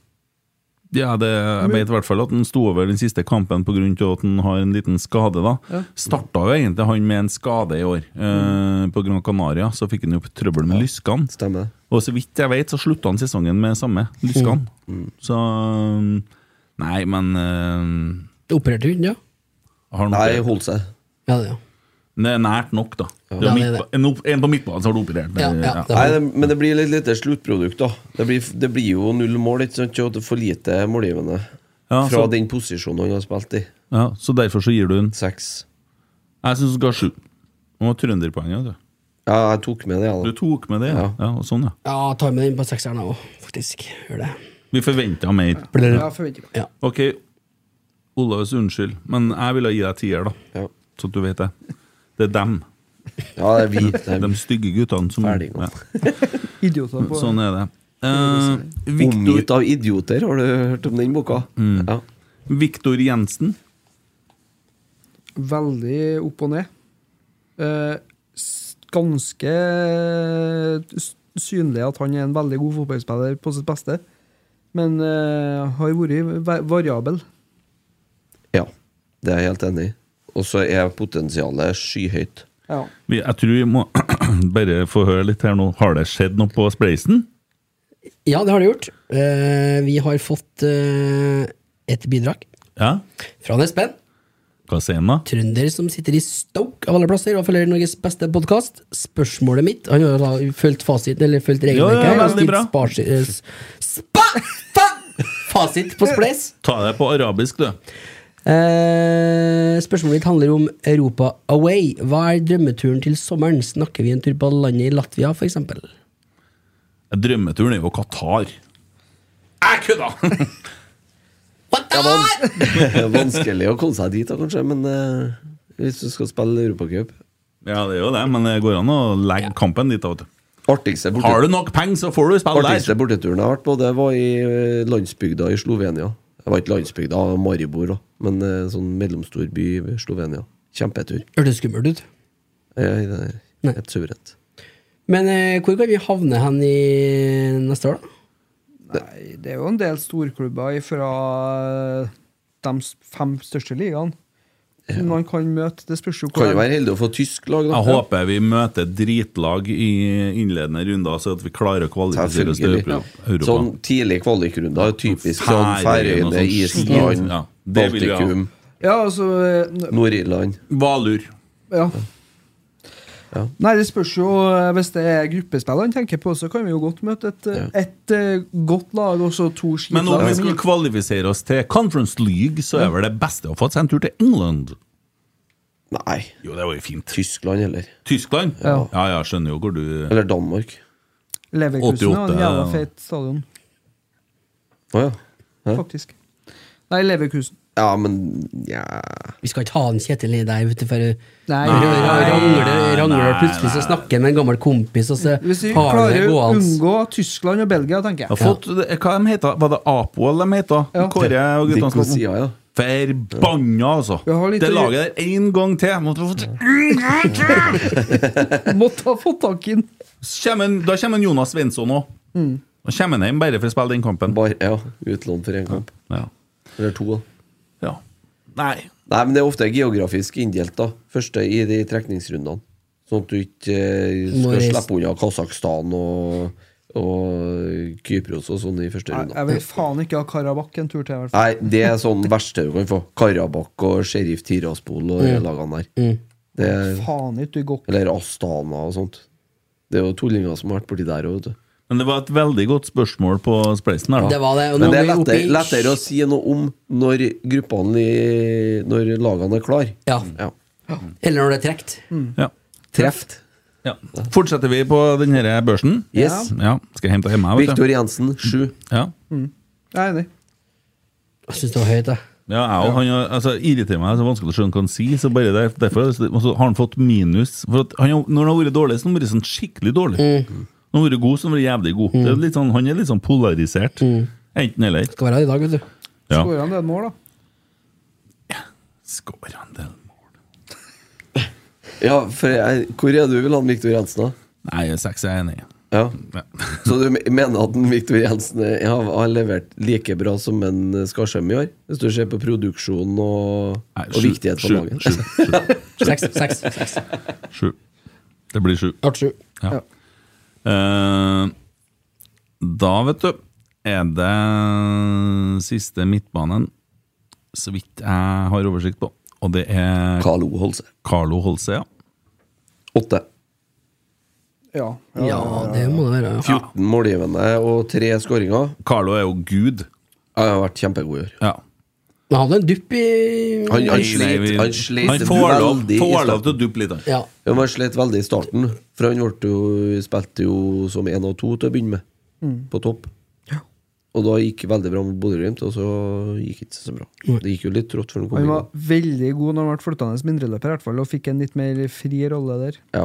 Ja, det, jeg vet i hvert fall at han sto over den siste kampen pga. at han har en liten skade. da
Ja.
Starta jo egentlig han med en skade i år. Eh, på Gran Canaria så fikk han jo trøbbel med lyskene.
Stemmer.
Og så vidt jeg vet, så slutta han sesongen med samme lyskene.
Mm.
Så mm, Nei, men eh,
Opererte hund, ja.
har han
Nei,
operert?
holdt seg.
Ja, det, ja.
Det er nært nok, da. Du
Ja,
har
det er
midtba- en, opp- en på midtbanen som har du operert. Det-
Ja, ja,
ja.
det
Nei,
var-
det, men det blir litt lite sluttprodukt, da. Det blir, det blir jo null mål, ikke sant? Og det er for lite målgivende
Ja,
fra
så-
den posisjonen han har spilt i.
Ja, så derfor så gir du en
Seks.
Jeg syns du skal ha sju. Du må ha trønderpoenget. Du.
Ja, jeg tok med det,
du
jeg, da.
tok med det, ja.
Ja.
ja og sånn, ja.
Ja, tar med den på sekseren òg, faktisk. Gjør det.
Vi forventa mer.
Ja, forventer meg.
Ok, Olaus, unnskyld, men jeg ville gi deg tier, da.
Ja,
Så at du vet det. Det er dem.
ja det er vi. Det er
De stygge guttene som
Ferdinger.
Idioter på
Sånn er det. Eh,
Omgitt
Victor,
av idioter, har du hørt om den boka? Ja.
Victor Jensen.
Veldig opp og ned. Eh, s- ganske eh, s- synlig at han er en veldig god fotballspiller på sitt beste. Men eh, har vært va- variabel.
ja. Det er jeg helt enig i. Og så er potensialet skyhøyt.
Ja.
Vi- Jeg tror vi må bare få høre litt her nå. Har det skjedd noe på spleisen?
Ja, det har det gjort. Eh, vi har fått eh, et bidrag
Ja?
fra en Espen.
Hva sier han da?
trønder som sitter i Stoke av alle plasser og følger Norges beste podkast. Spørsmålet mitt Han har jo da fulgt fasit, eller fulgt
Ja, ja,
regelverket. her, og
veldig
stilt
bra.
sparsi- eh, s- Spa! Fa! Fasit på Spleis.
Ta det på arabisk, du.
Eh, spørsmålet mitt handler om Europa away. Hva er drømmeturen til sommeren? Snakker vi en tur på landet i Latvia, f.eks.?
Drømmeturen er jo Qatar. Jeg kødda!
Vanskelig å komme seg dit, da, kanskje, men eh, hvis du skal spille Europacup
ja, det er jo det, men det går an å legge kampen dit. da, vet du.
Artigste, borte,
Har du nok penger, så får du spille der.
artigste borteturen jeg har vært på, det var i eh, landsbygda i Slovenia. Det var ikke landsbygda, det var Maribor, da, men eh, sånn mellomstor by i Slovenia. Kjempetur.
Hørtes skummelt ut.
Eh, det er
Nei.
Helt suverent.
Men eh, hvor kan vi havne hen i eh, neste år, da?
Nei, det er jo en del storklubber fra de s- fem største ligaene som man kan møte. Det spørs jo
Kan jo
hvor
være heldig å få tysk lag, da.
Jeg håper vi møter dritlag i innledende runder, så at vi klarer å kvalifisere oss til
Selvfølgelig.
Euro- Europa.
Sånn tidlig kvalikrunde, typisk sånn
Færøyene og
Færøyene,
sånn
Island,
skit. Ja, det vil vi ha.
Baltikum,
Ja, altså eh,
Nord-Irland.
Valur.
Ja.
Ja.
Nei, det spørs jo eh, Hvis det er gruppespill han tenker på, så kan vi jo godt møte et, eh, et eh, godt lag og så to
Men om
skitlag.
vi skulle kvalifisere oss til Conference League, så er vel det beste å få seg en tur til England?
Nei,
Jo, det var jo fint.
Tyskland heller.
Tyskland?
Ja.
ja, ja, skjønner jo hvor du
Eller Danmark.
Leverkusen har
88,
en jævla
ja.
feit stadion,
Å ja. Hæ?
faktisk. Nei, Leverkusen.
Ja, men ja.
Vi skal ikke ha en Kjetil i deg ute for
Nei.
Rangler-
Nei,
Rangler
nei,
plutselig så
nei.
snakker han med en gammel kompis, og så
Hvis vi
har han det
klarer å
gående.
unngå Tyskland og Belgia, tenker
har
jeg.
fått, Hva de heter Var det Apoel de heter?
Ja.
Kåre og guttene
Dick
som
Messia, ja.
Forbanna, altså!
Vi har litt
Det
å gjøre.
laget der én gang til! Måtte få til.
Måtte ha fått tak i den.
Så kommer en- Da kommer en Jonas Svensson òg. Da kommer han hjem bare for å spille den kampen.
Bare, ja. Utlån for én kamp.
Ja.
Eller to. da.
ja. Nei.
Nei, men det er ofte geografisk inndelt, da. Første i de trekningsrundene. Sånn at du ikke eh,
Må
skal
reise-
slippe unna Kasakhstan og, og Kypros og sånn i første
Nei,
runde.
Jeg vil faen ikke ha Karabakh en tur til, i hvert fall.
Nei, det er sånn verste du kan få. Karabakh og Sheriff Tiraspol og
Mm.
de lagene der. Det er,
Faen ikke, du går ikke
eller Astana og sånt. Det er jo tullinger som har vært borti der òg, vet du.
Men det var et veldig godt spørsmål på Spleisen her,
Det
da.
var det. Og nå
Men det er
må vi opp i-
lettere, lettere å si noe om når gruppene i- Når lagene er klare.
Ja.
Ja.
Eller når det er trukket.
Ja.
Treft.
Ja. Fortsetter vi på denne børsen?
Yes.
Ja. Skal jeg hente hjemme, vet du.
Viktor Jensen, sju.
Ja.
Nei, nei.
Jeg syns det var høyt, jeg.
Ja, jeg, og han har- altså, irriterer meg, det er så vanskelig å skjønne hva han sier. Så bare der, derfor og så har han fått minus. For at han, har- når han har vært dårlig, så har han vært sånn skikkelig dårlig. Når han har vært god, så har han vært jævlig god. Det er litt sånn, han er litt sånn polarisert. Enten eller.
Skal være her i dag, vet du.
Ja.
Skårer han det mål, da?
Skår han del mål?
Ja, for jeg, hvor er du vil ha Viktor Jensen, da?
Nei, seks er jeg enig i.
Ja.
Ja.
Så du mener at en Viktor Jensen er- har, har levert like bra som en Skarsheim i år? Hvis du ser på produksjonen og,
Nei,
og
sju,
viktighet for
sju,
laget?
Sju, sju,
Seks. seks, seks.
sju. Det blir sju.
Art sju.
Ja. Eh, da, vet du, er det siste midtbanen, så vidt jeg har oversikt på. Og det er
Carlo Holse.
Carlo Holse, ja.
Åtte.
Ja.
Ja, det må det være. ja.
14 målgivende og tre skåringer.
Carlo er jo gud.
Jeg har vært kjempegod i år.
Ja.
Men han hadde en dupp i
Han, han
Nei, nei,
slet,
vi-
han slet
han får lov,
veldig i
får lov
starten.
til å duppe litt. han.
Ja.
Ja, men han slet veldig i starten, for han ble jo, spilte jo som én og to til å begynne med,
Mm.
på topp. Og da gikk det veldig bra med Bodø-Glimt, og så gikk det ikke så bra. Det gikk jo litt trått før han kom
Han
inn.
var veldig god når han ble flyttende mindreløper, i hvert fall, og fikk en litt mer fri rolle der.
Ja.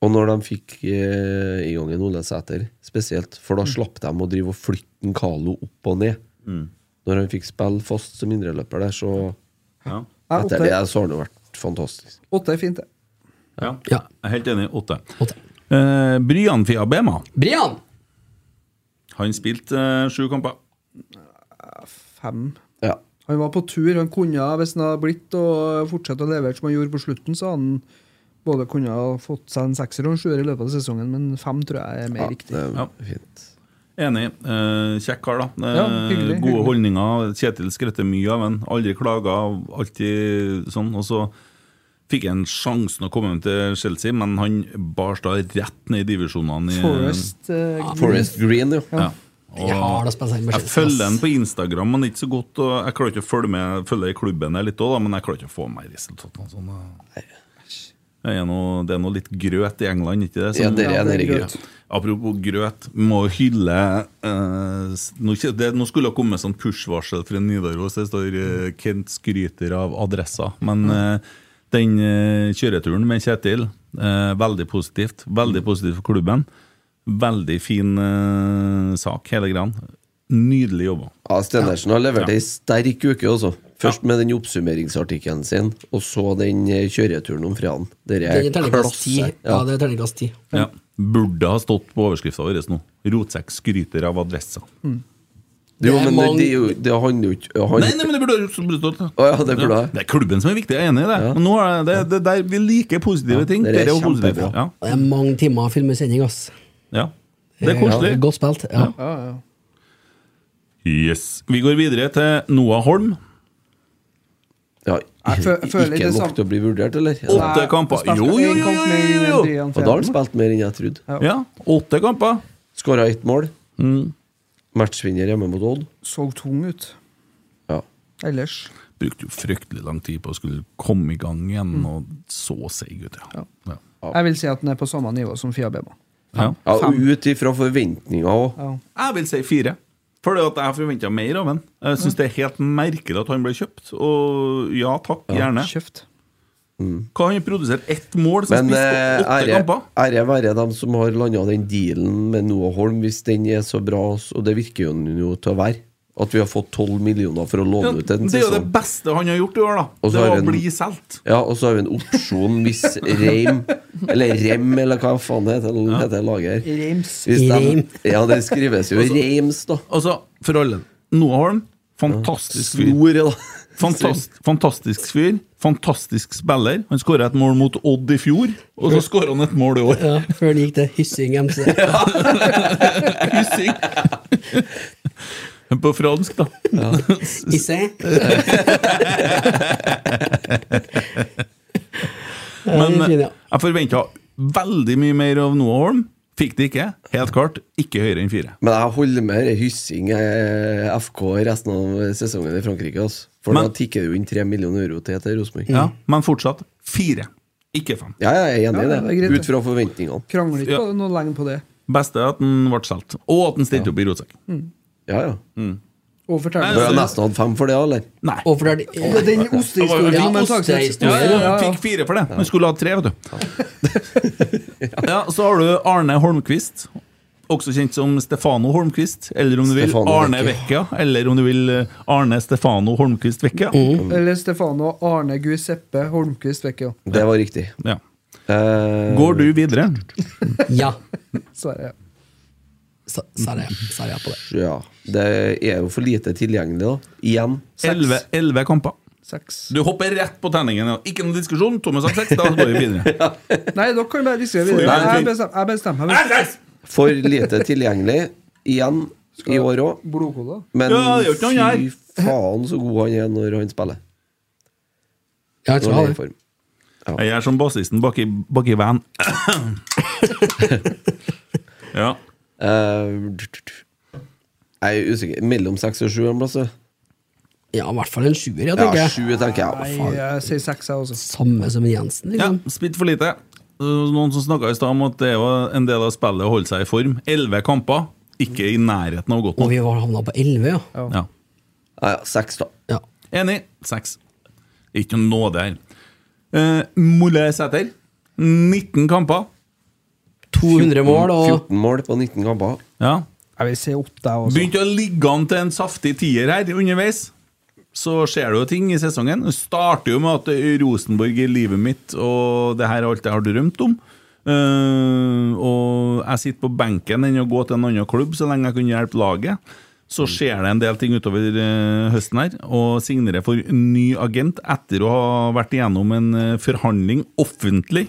Og når de fikk eh, i gang en Ole Sæter, spesielt, for da
Mm.
slapp de å drive og flytte en Carlo opp og ned. Når han fikk spille fast som indreløper der, så
Ja.
Nei,
Etter det
åtte,
så har han jo vært fantastisk.
åtte er fint, det.
Ja.
Ja.
Jeg er helt enig. Åtte.
Åtte.
Eh, Bryan Fiabema.
Brian!
Han spilte eh, sju kamper.
Fem.
Ja.
Han var på tur. Han kunne, hvis han hadde blitt og fortsatt å levere som han gjorde på slutten, så hadde han både kunne ha fått seg en sekser og en sjuer i løpet av sesongen, men fem tror jeg er mer
ja
riktig.
det er
Ja.
fint.
Enig. Eh, kjekk kar, da. Eh,
Ja, hyggelig,
gode
hyggelig.
holdninger. Kjetil skretter mye av en. Aldri klaga, alltid sånn. Og så fikk han sjansen å komme hjem til Chelsea, men han bars da rett ned i divisjonene. i-
Forest eh,
Forest Green, jo.
Ja.
Jeg har da spilt seg med
Jeg
Chelsea,
følger
ass.
den på Instagram, men ikke så godt. Og jeg klarer ikke å følge med Følge i klubben der litt òg, men jeg klarer ikke å få med resultatene. Sånn, da. det, er noe, det er noe litt grøt i England, ikke det?
Ja, dere er nede i
det er
grøt.
Apropos grøt, må hylle eh, s- nå, kje- det, nå skulle det komme sånn push-varsel fra Nidaros. Det står eh, 'Kent skryter av adressa'. Men
Mm.
eh, den eh, kjøreturen med Kjetil, eh, veldig positivt.
Mm.
Veldig positivt for klubben. Veldig fin eh, sak, hele greia. Nydelig jobba.
Ja, Stenersen har levert ei sterk uke, også. Først med den oppsummeringsartikkelen sin, og så den eh, kjøreturen om fredagen. Dere er
Den er terningkast ti.
klasse.
Ja,
Ja.
det er terningkast ti.
Ja. Burde ha stått på overskrifta vår nå. 'Rotsekk skryter av adressa'.
Jo,
Det
men
er
det,
mange-
det, er jo- det handler jo ikke han-
Nei, nei, men det burde ha stått det.
Å ja, det burde ha.
det er klubben som er viktig, jeg er enig i det.
Ja.
Men nå er det, det, det der, vi liker positive ting.
det er
Dere er jo positive.
kjempebra.
Ja.
Og Det er mange timer å filme sending, ass.
ja. Det er koselig.
Godt spilt.
Ja,
Ja.
ja.
Yes. Vi går videre til Noah Holm.
Ja,
Jeg fø- jeg føler
ikke
det
nok
samme.
til å bli vurdert, eller?
Åtte
Nei,
kamper.
jeg spilte
Jo, jo,
en
jo,
kamp
jo,
med
jo, jo.
André
Og da har han
Antwerpen.
spilt mer enn jeg trodde.
Ja, åtte kamper.
Skåra ett mål. Matchvinner hjemme mot Odd.
Så tung ut
Ja.
ellers.
Brukte jo fryktelig lang tid på å skulle komme i gang igjen,
Mm.
og så seig ut, ja. ja.
Jeg vil si at den er på samme nivå som Fia Bema.
ja.
ja og ut ifra forventninger òg.
Ja.
Jeg vil si fire. For det at jeg forventa mer av ham. Jeg syns det er helt merkelig at han ble kjøpt. Og ja takk, gjerne.
Kjøft.
Hva har han produsert? Ett mål som
Men
spiste
eh,
åtte
ære
kamper?
ære være dem som har landa den dealen med Noah Holm, hvis den er så bra, og det virker jo den jo til å være. At vi har fått 12 millioner for å
Ja,
låne ut en
det er jo det
sesong.
beste han har gjort i år, da.
Og så
Det
har
var å
vi en-
bli solgt.
Ja, og så har vi en opsjon hvis Reim Eller Rem, eller hva faen det heter, heter laget her.
Reims.
Hvis
Reim.
De, ja, det skrives jo Reims, da.
Altså, for alle Noah Holm, fantastisk fyr.
Snoret, da.
Fantast, fantastisk fyr. Fantastisk spiller. Han skåra et mål mot Odd i fjor, og så skåra han et mål i år.
Ja, før det gikk til Hyssing MC. Ja.
Hyssing! På fransk, da. Men
Ja, det er fin, ja.
eh, jeg forventa veldig mye mer av Noah Holm. Fikk det ikke. Helt klart ikke høyere enn fire.
Men jeg holder med det hyssing eh, FK resten av sesongen i Frankrike. Altså. For
Men-
da tikker det jo inn 3 millioner euro til til Rosenborg.
Ja, men fortsatt fire, ikke fem.
Ja, jeg er
Ja,
enig
det
i
er greit,
det.
det.
Ut fra forventningene.
Krangler ikke
Ja.
på det noe lenger på det.
Beste er at den ble solgt, og at den stilte opp i rotsekk.
Ja, ja.
Og fortell
Bør
Nei,
jeg
altså-
nesten hatt fem for det, eller?
Nei.
Og for det er
Men Den ostehistorien
Ja,
om en
ostehistorien.
saksrett.
Ja, ja, ja,
Ja, ja.
Fikk fire for det, men skulle ha tre, vet du. Ja, Så har du Arne Holmquist, også kjent som Stefano Holmquist. Eller om du vil
Stefano
Arne Vecchia.
Vecchia.
Eller om du vil eh, Arne Stefano Holmquist Vecchia.
Mm.
Eller Stefano Arne Guiseppe Holmquist Vecchio.
Det var riktig.
Ja.
Eh,
Går du videre?
Ja.
Sverre.
Sa sa jeg sa jeg på det.
ja. Det er jo for lite tilgjengelig, da. Igjen.
Elleve elleve kamper.
Seks.
Du hopper rett på terningen. ja. Ikke noen diskusjon. Thomas har seks, da går vi videre.
Nei, dere kan bare diskutere videre.
Nei,
Jeg bestem- Jeg bestemmer meg.
For lite tilgjengelig. Igjen. I år òg.
Blodkode.
Men
Ja, det er jo ikke noe her.
fy faen så god han er når han spiller.
Ja, jeg
Når han
tror jeg
er
har
i
det.
form.
Jeg er som bassisten bak i, bak i van. ja.
Eh, tut, tut, tut. jeg er usikker. Mellom seks og sju en plass. ja.
Ja, i hvert fall en sjuer, ja, tenker
Ja,
jeg.
sju tenker jeg. Hva
Nei,
faen?
jeg sier seks, jeg også.
Samme som en Jensen,
ja.
liksom.
Spilt for lite. Uh, Noen som snakka i stad om at det var en del av spillet å holde seg i form. Elleve kamper. Ikke i nærheten av godt
Og
nok.
vi var havna på elleve, ja.
Ja.
Ja, ja, seks, da.
ja.
Enig. Seks. Ikke noe nåde her. Uh, Molle Sæter. 19 kamper.
200 mål og
14 mål på 19 kamper.
Ja.
Jeg vil si åtte, jeg også.
Begynte å ligge an til en saftig tier her underveis. Så skjer det jo ting i sesongen. Det starter jo med at Rosenborg er livet mitt, og det her er alt jeg har drømt om. Eh, og jeg sitter på benken enn å gå til en annen klubb så lenge jeg kunne hjelpe laget. Så skjer det en del ting utover eh, høsten her, og signerer for ny agent etter å ha vært igjennom en eh, forhandling offentlig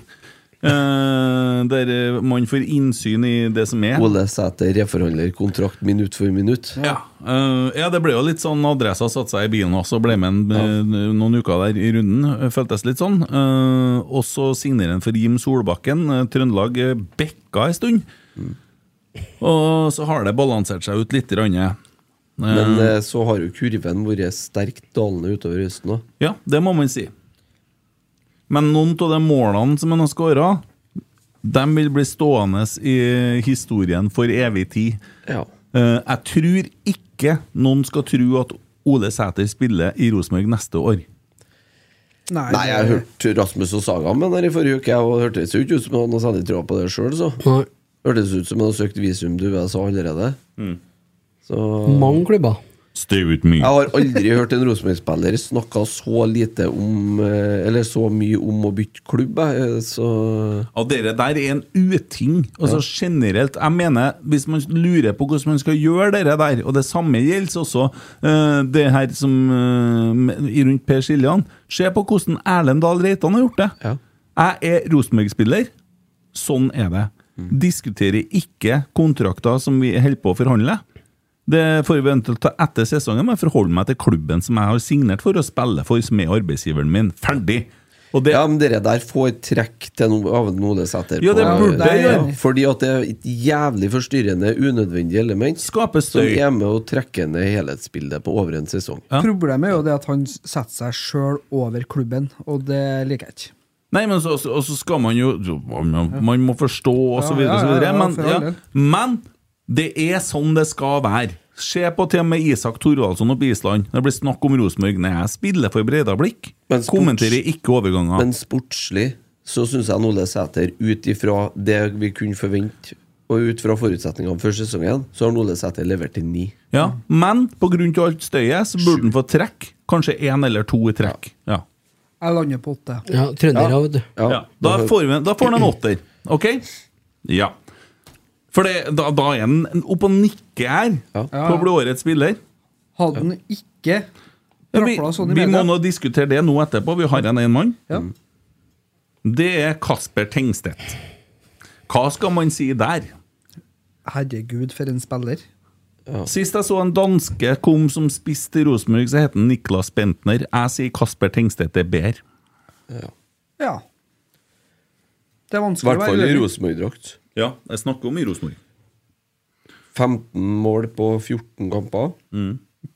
eh, der eh, man får innsyn i det som er.
Ole Sæter reforhandler kontrakt minutt for minutt.
Ja. eh, ja, det ble jo litt sånn adressa satte seg i bilen også, ble med en, eh, noen uker der i runden. eh, Føltes litt sånn. Eh, og så signerer han for Jim Solbakken. eh, Trøndelag eh, bekka en stund. Og så har det balansert seg ut litt. Rann,
Men eh, så har jo kurven vært sterkt dalende utover høsten òg.
Ja, det må man si. Men noen av de målene som han har skåra, de vil bli stående i historien for evig tid.
Ja.
Eh, Jeg tror ikke noen skal tro at Ole Sæter spiller i Rosenborg neste år.
Nei, jeg hørte Rasmus og Saga med den her i forrige uke, og det hørtes jo ikke ut som han hadde noe særlig troa på det sjøl, så.
Nei,
Hørtes ut som han hadde søkt visum til USA allerede. Så
mange klubber.
Stay with me.
Jeg har aldri hørt en Rosenborg-spiller snakke så lite om eh, Eller så mye om å bytte klubb, jeg, eh, så
Og dere der er en uting. Altså generelt, jeg mener Hvis man lurer på hvordan man skal gjøre dere der, og det samme gjelder også eh, det her som eh, med- i rundt Per Siljan Se på hvordan Erlend Dahl Reitan har gjort det.
Ja.
Jeg er Rosenborg-spiller. Sånn er det.
Mm.
Diskuterer ikke kontrakter som vi holder på å forhandle. Det får vi eventuelt ta etter sesongen, men forholde meg til klubben som jeg har signert for å spille for, som er arbeidsgiveren min. Ferdig! Og det
Ja, men dere der får trekk til noe av en Ole Sæter.
Ja, det
på-
burde
jeg gjøre.
Ja, Fordi at det er et jævlig forstyrrende, unødvendig element
skaper
som
støy.
er med å trekke ned helhetsbildet på over en sesong.
Ja.
Problemet er jo det at han setter seg sjøl over klubben, og det liker jeg ikke.
Nei, men så, så- og så skal man jo Man, man må forstå og så
Ja,
videre og så
ja, ja,
videre.
ja,
Men,
for all
ja,
del.
men det er sånn det skal være. Se på til og med Isak Thorvaldsson og Bisland. Det blir snakk om Rosenborg. Nei, jeg spiller for Breidablikk.
Men sports-
Kommenterer ikke overganger.
Men sportslig så syns jeg Ole Sæter, ut ifra det vi kunne forvente, og ut fra forutsetningene for sesongen, så har Ole Sæter levert til ni.
ja, men pga. alt støyet så burde han få trekk. Kanskje én eller to i trekk. Ja.
Jeg lander på åtte.
Ja, trøndere, vet du.
Ja,
Ja. Da, får vi, da får han en åtter, ok? Ja. For det, da, da er han oppe og nikker her
Ja.
på å bli årets spiller.
Hadde han ikke
Ja, vi,
Brakla sånn i
vi må
media.
nå diskutere det nå etterpå. Vi har en én mann.
Ja.
Det er Kasper Tengstedt. Hva skal man si der?
Herregud, for en spiller.
Sist jeg så en danske kom som spiss til Rosenborg, så het han Niklas Bentner. Jeg sier Kasper Tengstedt er bedre.
Ja. Det er
I
vanskelig
hvert fall i
uenig.
Rosenborg-drakt.
Ja, jeg snakker om i Rosenborg.
15 mål på 14 kamper.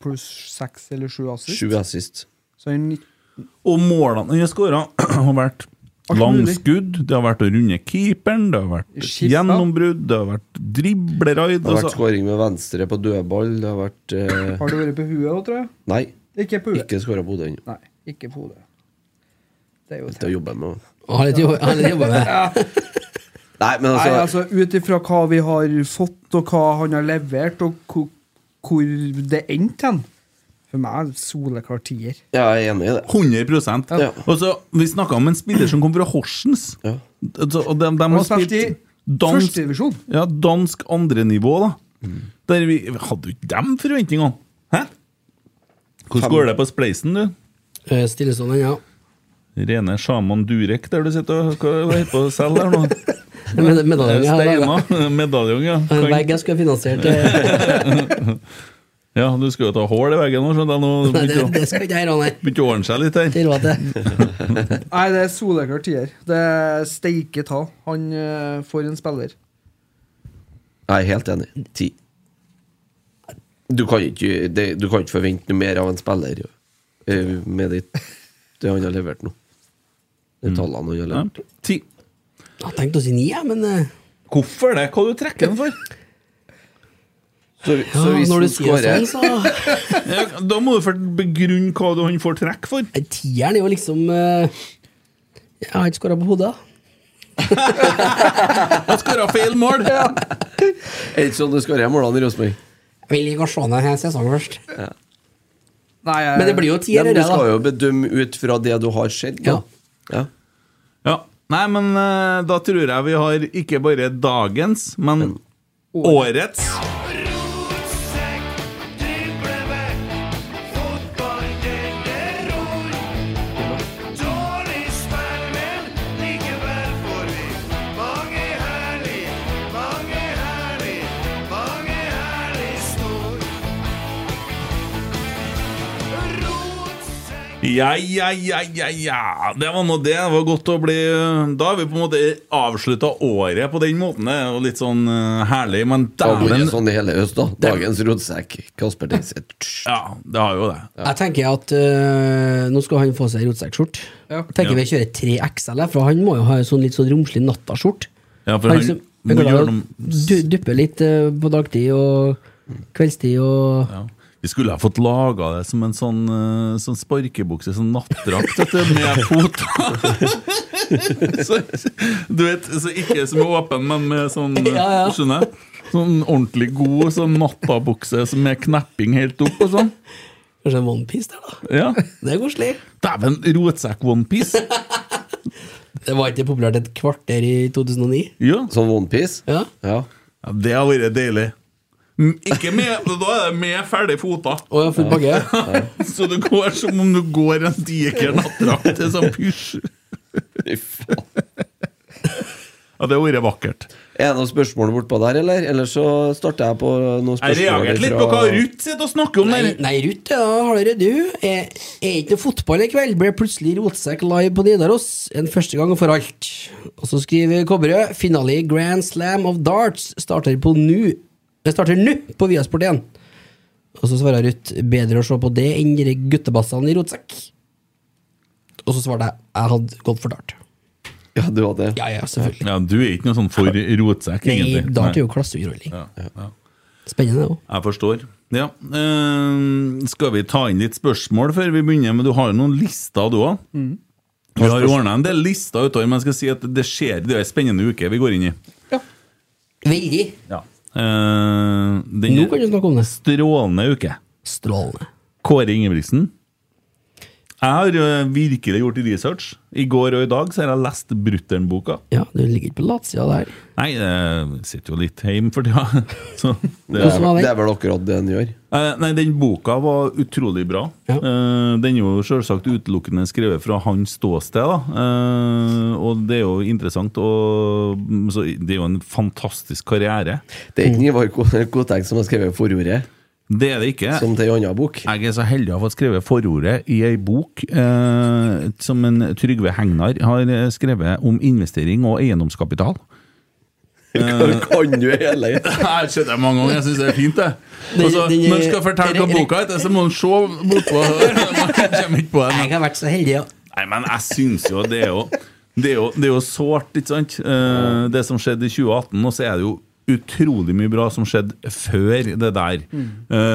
Pluss seks eller sju assist.
7 assist.
Så han gikk-
Og målene han har skåra, har vært
Alt mulig.
langskudd, det har vært å runde keeperen, det har vært
Skifta.
gjennombrudd, det har vært dribleraid
Det har vært
altså.
skåring med venstre på dødball. Det har vært eh,
har det vært på huet òg, tror jeg.
Nei,
Ikke på huet.
ikke skåra på hodet ennå.
Nei, ikke på hodet. Det er jo
Det jobber jeg med.
Og har litt jobb- har litt jobba med.
Nei, men
Nei,
altså
altså Ut ifra hva vi har fått, og hva han har levert, og hvor, hvor det endte hen For meg er det soleklart tier.
Jeg er enig i det.
100
Ja.
Og så, Vi snakka om en spiller som kom fra Horsens.
Ja.
Altså, Og de, de
Han
har
spilte i
spilt dansk,
førstedivisjon.
ja, dansk andrenivå, da.
Mm.
Der vi, vi hadde jo ikke de forventningene! Hæ? Hvordan går det på spleisen, du?
Eh, Stillestående, ja.
Rene Sjaman Durek, der du sitter og hva hva heter det på selv her nå?
Med, medaljen jeg har laget.
Steina. Medaljong, ja.
En
Kan-
vegg jeg skulle ha finansiert. eh,
Ja, du skal jo ta hull i veggen nå, skjønner jeg. Nå
Nei, det,
begynte å-
det skal ikke jeg gjøre, nei.
begynte å ordne seg litt her.
Det er råd til.
Nei, det er soleklart tier. Det er steike ta. Han eh, får en spiller.
Jeg er helt enig. 10. Du kan ikke, det, du kan ikke forvente noe mer av en spiller eh, med ditt, det han har levert nå. De tallene han har
Mm. Ja.
levert.
Ti.
Jeg tenkte å si ni, jeg, men eh,
Hvorfor det? Hva du trekker den for?
Så,
ja,
så hvis
når
han
du sier
skårer
sånn, så
Ja, da må du for- begrunne hva du han får trekk for.
Nei, Tieren er jo liksom eh, Jeg har ikke skåra på hodet.
Han skåra feil mål!
Er det ikke sånn du skårer målene i Rosenborg?
Jeg vil ikke se ned hele sesongen først.
Nei, jeg,
Men det blir jo tier,
Men Du
det,
skal
da.
jo bedømme ut fra det du har sett. Da. Ja.
Ja. Nei, men eh, da tror jeg vi har ikke bare dagens, men årets.
Rotsekk, drible vekk. Fotball, det er ror. Dårlig spill, men likevel får vi
Ja, ja, ja, ja, ja. Det var nå det. Det var godt å bli eh, Da har vi på en måte avslutta året på den måten. Det er jo litt sånn eh, herlig, men
Det har vært
dæven
sånn i hele høst, da. Dagens rotsekk. Kasper Tenseth.
Ja, det har jo det.
Jeg tenker at øh, nå skal han få seg rotsekkskjort.
Ja.
Jeg Tenker vi kjører 3XL, her, for han må jo ha en sånn litt sånn romslig nattaskjort.
Ja, for han
som-
må
er glad i
gjøre
å
noe-
du- Duppe litt øh, på dagtid og kveldstid og
Ja. Vi skulle ha fått laga det som en sånn, eh, sånn sparkebukse, sånn nattdrakt, vet du, med foto. så, du vet, så ikke som er åpen, men med sånn eh,
Ja, ja.
Skjønner? Sånn ordentlig god sånn nattabukse som er knepping helt opp og sånn.
Kanskje en onepiece der, da.
Ja.
Det er koselig.
Dæven, rotsekk-onepiece!
Det var ikke populært et kvarter i 2009.
Ja.
Sånn onepiece?
Ja.
ja.
Ja, det har vært deilig. Mm, Ikke med, da er det med ferdige foter.
Å ja, full pakke?
Så det går som om du går en diger nattdrakt til sånn pysj.
Fy faen.
Ja, det har vært vakkert.
Er det noen spørsmål bortpå der, eller? Eller så starter jeg på noen
Jeg
spørsmål
reagerte litt på hva Ruth sitter og snakker om
Nei,
der.
nei Ruth, ja, har det du? Er, er ikke noe fotball i kveld? Ble plutselig rotsekk live på Nidaros. En første gang for alt. Og så skriver Kobberød finale i Grand Slam of Darts starter på nu. Det starter nå på Viasport 1. Og så svarer Ruth bedre å se på det enn de guttebassene i rotsekk. Og så svarte jeg jeg hadde gått for dart.
Ja, du hadde det.
Ja, ja, selvfølgelig.
Ja, Du er ikke noe sånn for rotsekk,
Nei,
egentlig.
dart er
Nei.
jo klasseunderholdning.
Ja, ja.
Spennende, det òg.
Jeg forstår. Ja. eh, skal vi ta inn litt spørsmål før vi begynner? Men du har jo noen lister, du òg.
Mm.
Vi har ordna en del lister utover, men jeg skal si at det skjer, det er en spennende uke vi går inn i.
Veldig.
Ja. Uh, den
Nå kan du snakke om det.
strålende uke.
Strålende.
Kåre Ingebrigtsen. Jeg har eh, virkelig gjort research. I går og i dag så har jeg lest Brutter'n-boka.
Ja, du ligger ikke på latsida der.
Nei, jeg sitter jo litt hjemme for tida. så det
Det er,
Hvordan var
vel-
den?
det er vel akkurat det en gjør.
Eh, Nei, den boka var utrolig bra.
Ja.
Eh, den er jo selvsagt utelukkende skrevet fra hans ståsted, da. Eh, og det er jo interessant. Og mm, så det er jo en fantastisk karriere.
Det er ikke Ivar Ko- Koteng som har skrevet forordet,
Det er det ikke.
som til ei anna bok.
Jeg er så heldig å ha fått skrevet forordet i ei bok eh, som en Trygve Hegnar har eh, skrevet om investering og eiendomskapital. Eh.
Hva kan du hele
Jeg har sett det mange ganger, jeg syns det er fint, det.
Den-
Og så,
den-
når du skal fortelle hva boka heter, så må du se bortpå. Man kommer ikke på det.
Jeg har vært så heldig, ja.
Nei, men jeg syns jo det er jo Det er jo, det er jo sårt, ikke sant? Eh, det som skjedde i 2018, og så er det jo utrolig mye bra som skjedde før det der.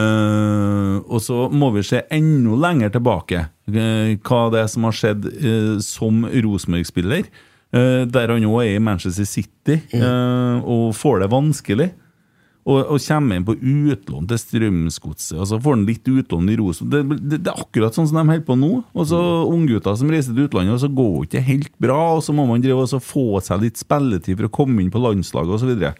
Eh, og så må vi se enda lenger tilbake eh, hva det er som har skjedd eh, som Rosenborg-spiller. eh, der han nå er i Manchester City eh, og får det vanskelig og, og kommer inn på utlån til Strømsgodset, og så får han litt utlån i Rosenborg. Det, det, det er akkurat sånn som de holder på nå. Og så Unggutter som reiser til utlandet, og så går det ikke helt bra, og så må man drive og så få seg litt spilletid for å komme inn på landslaget osv.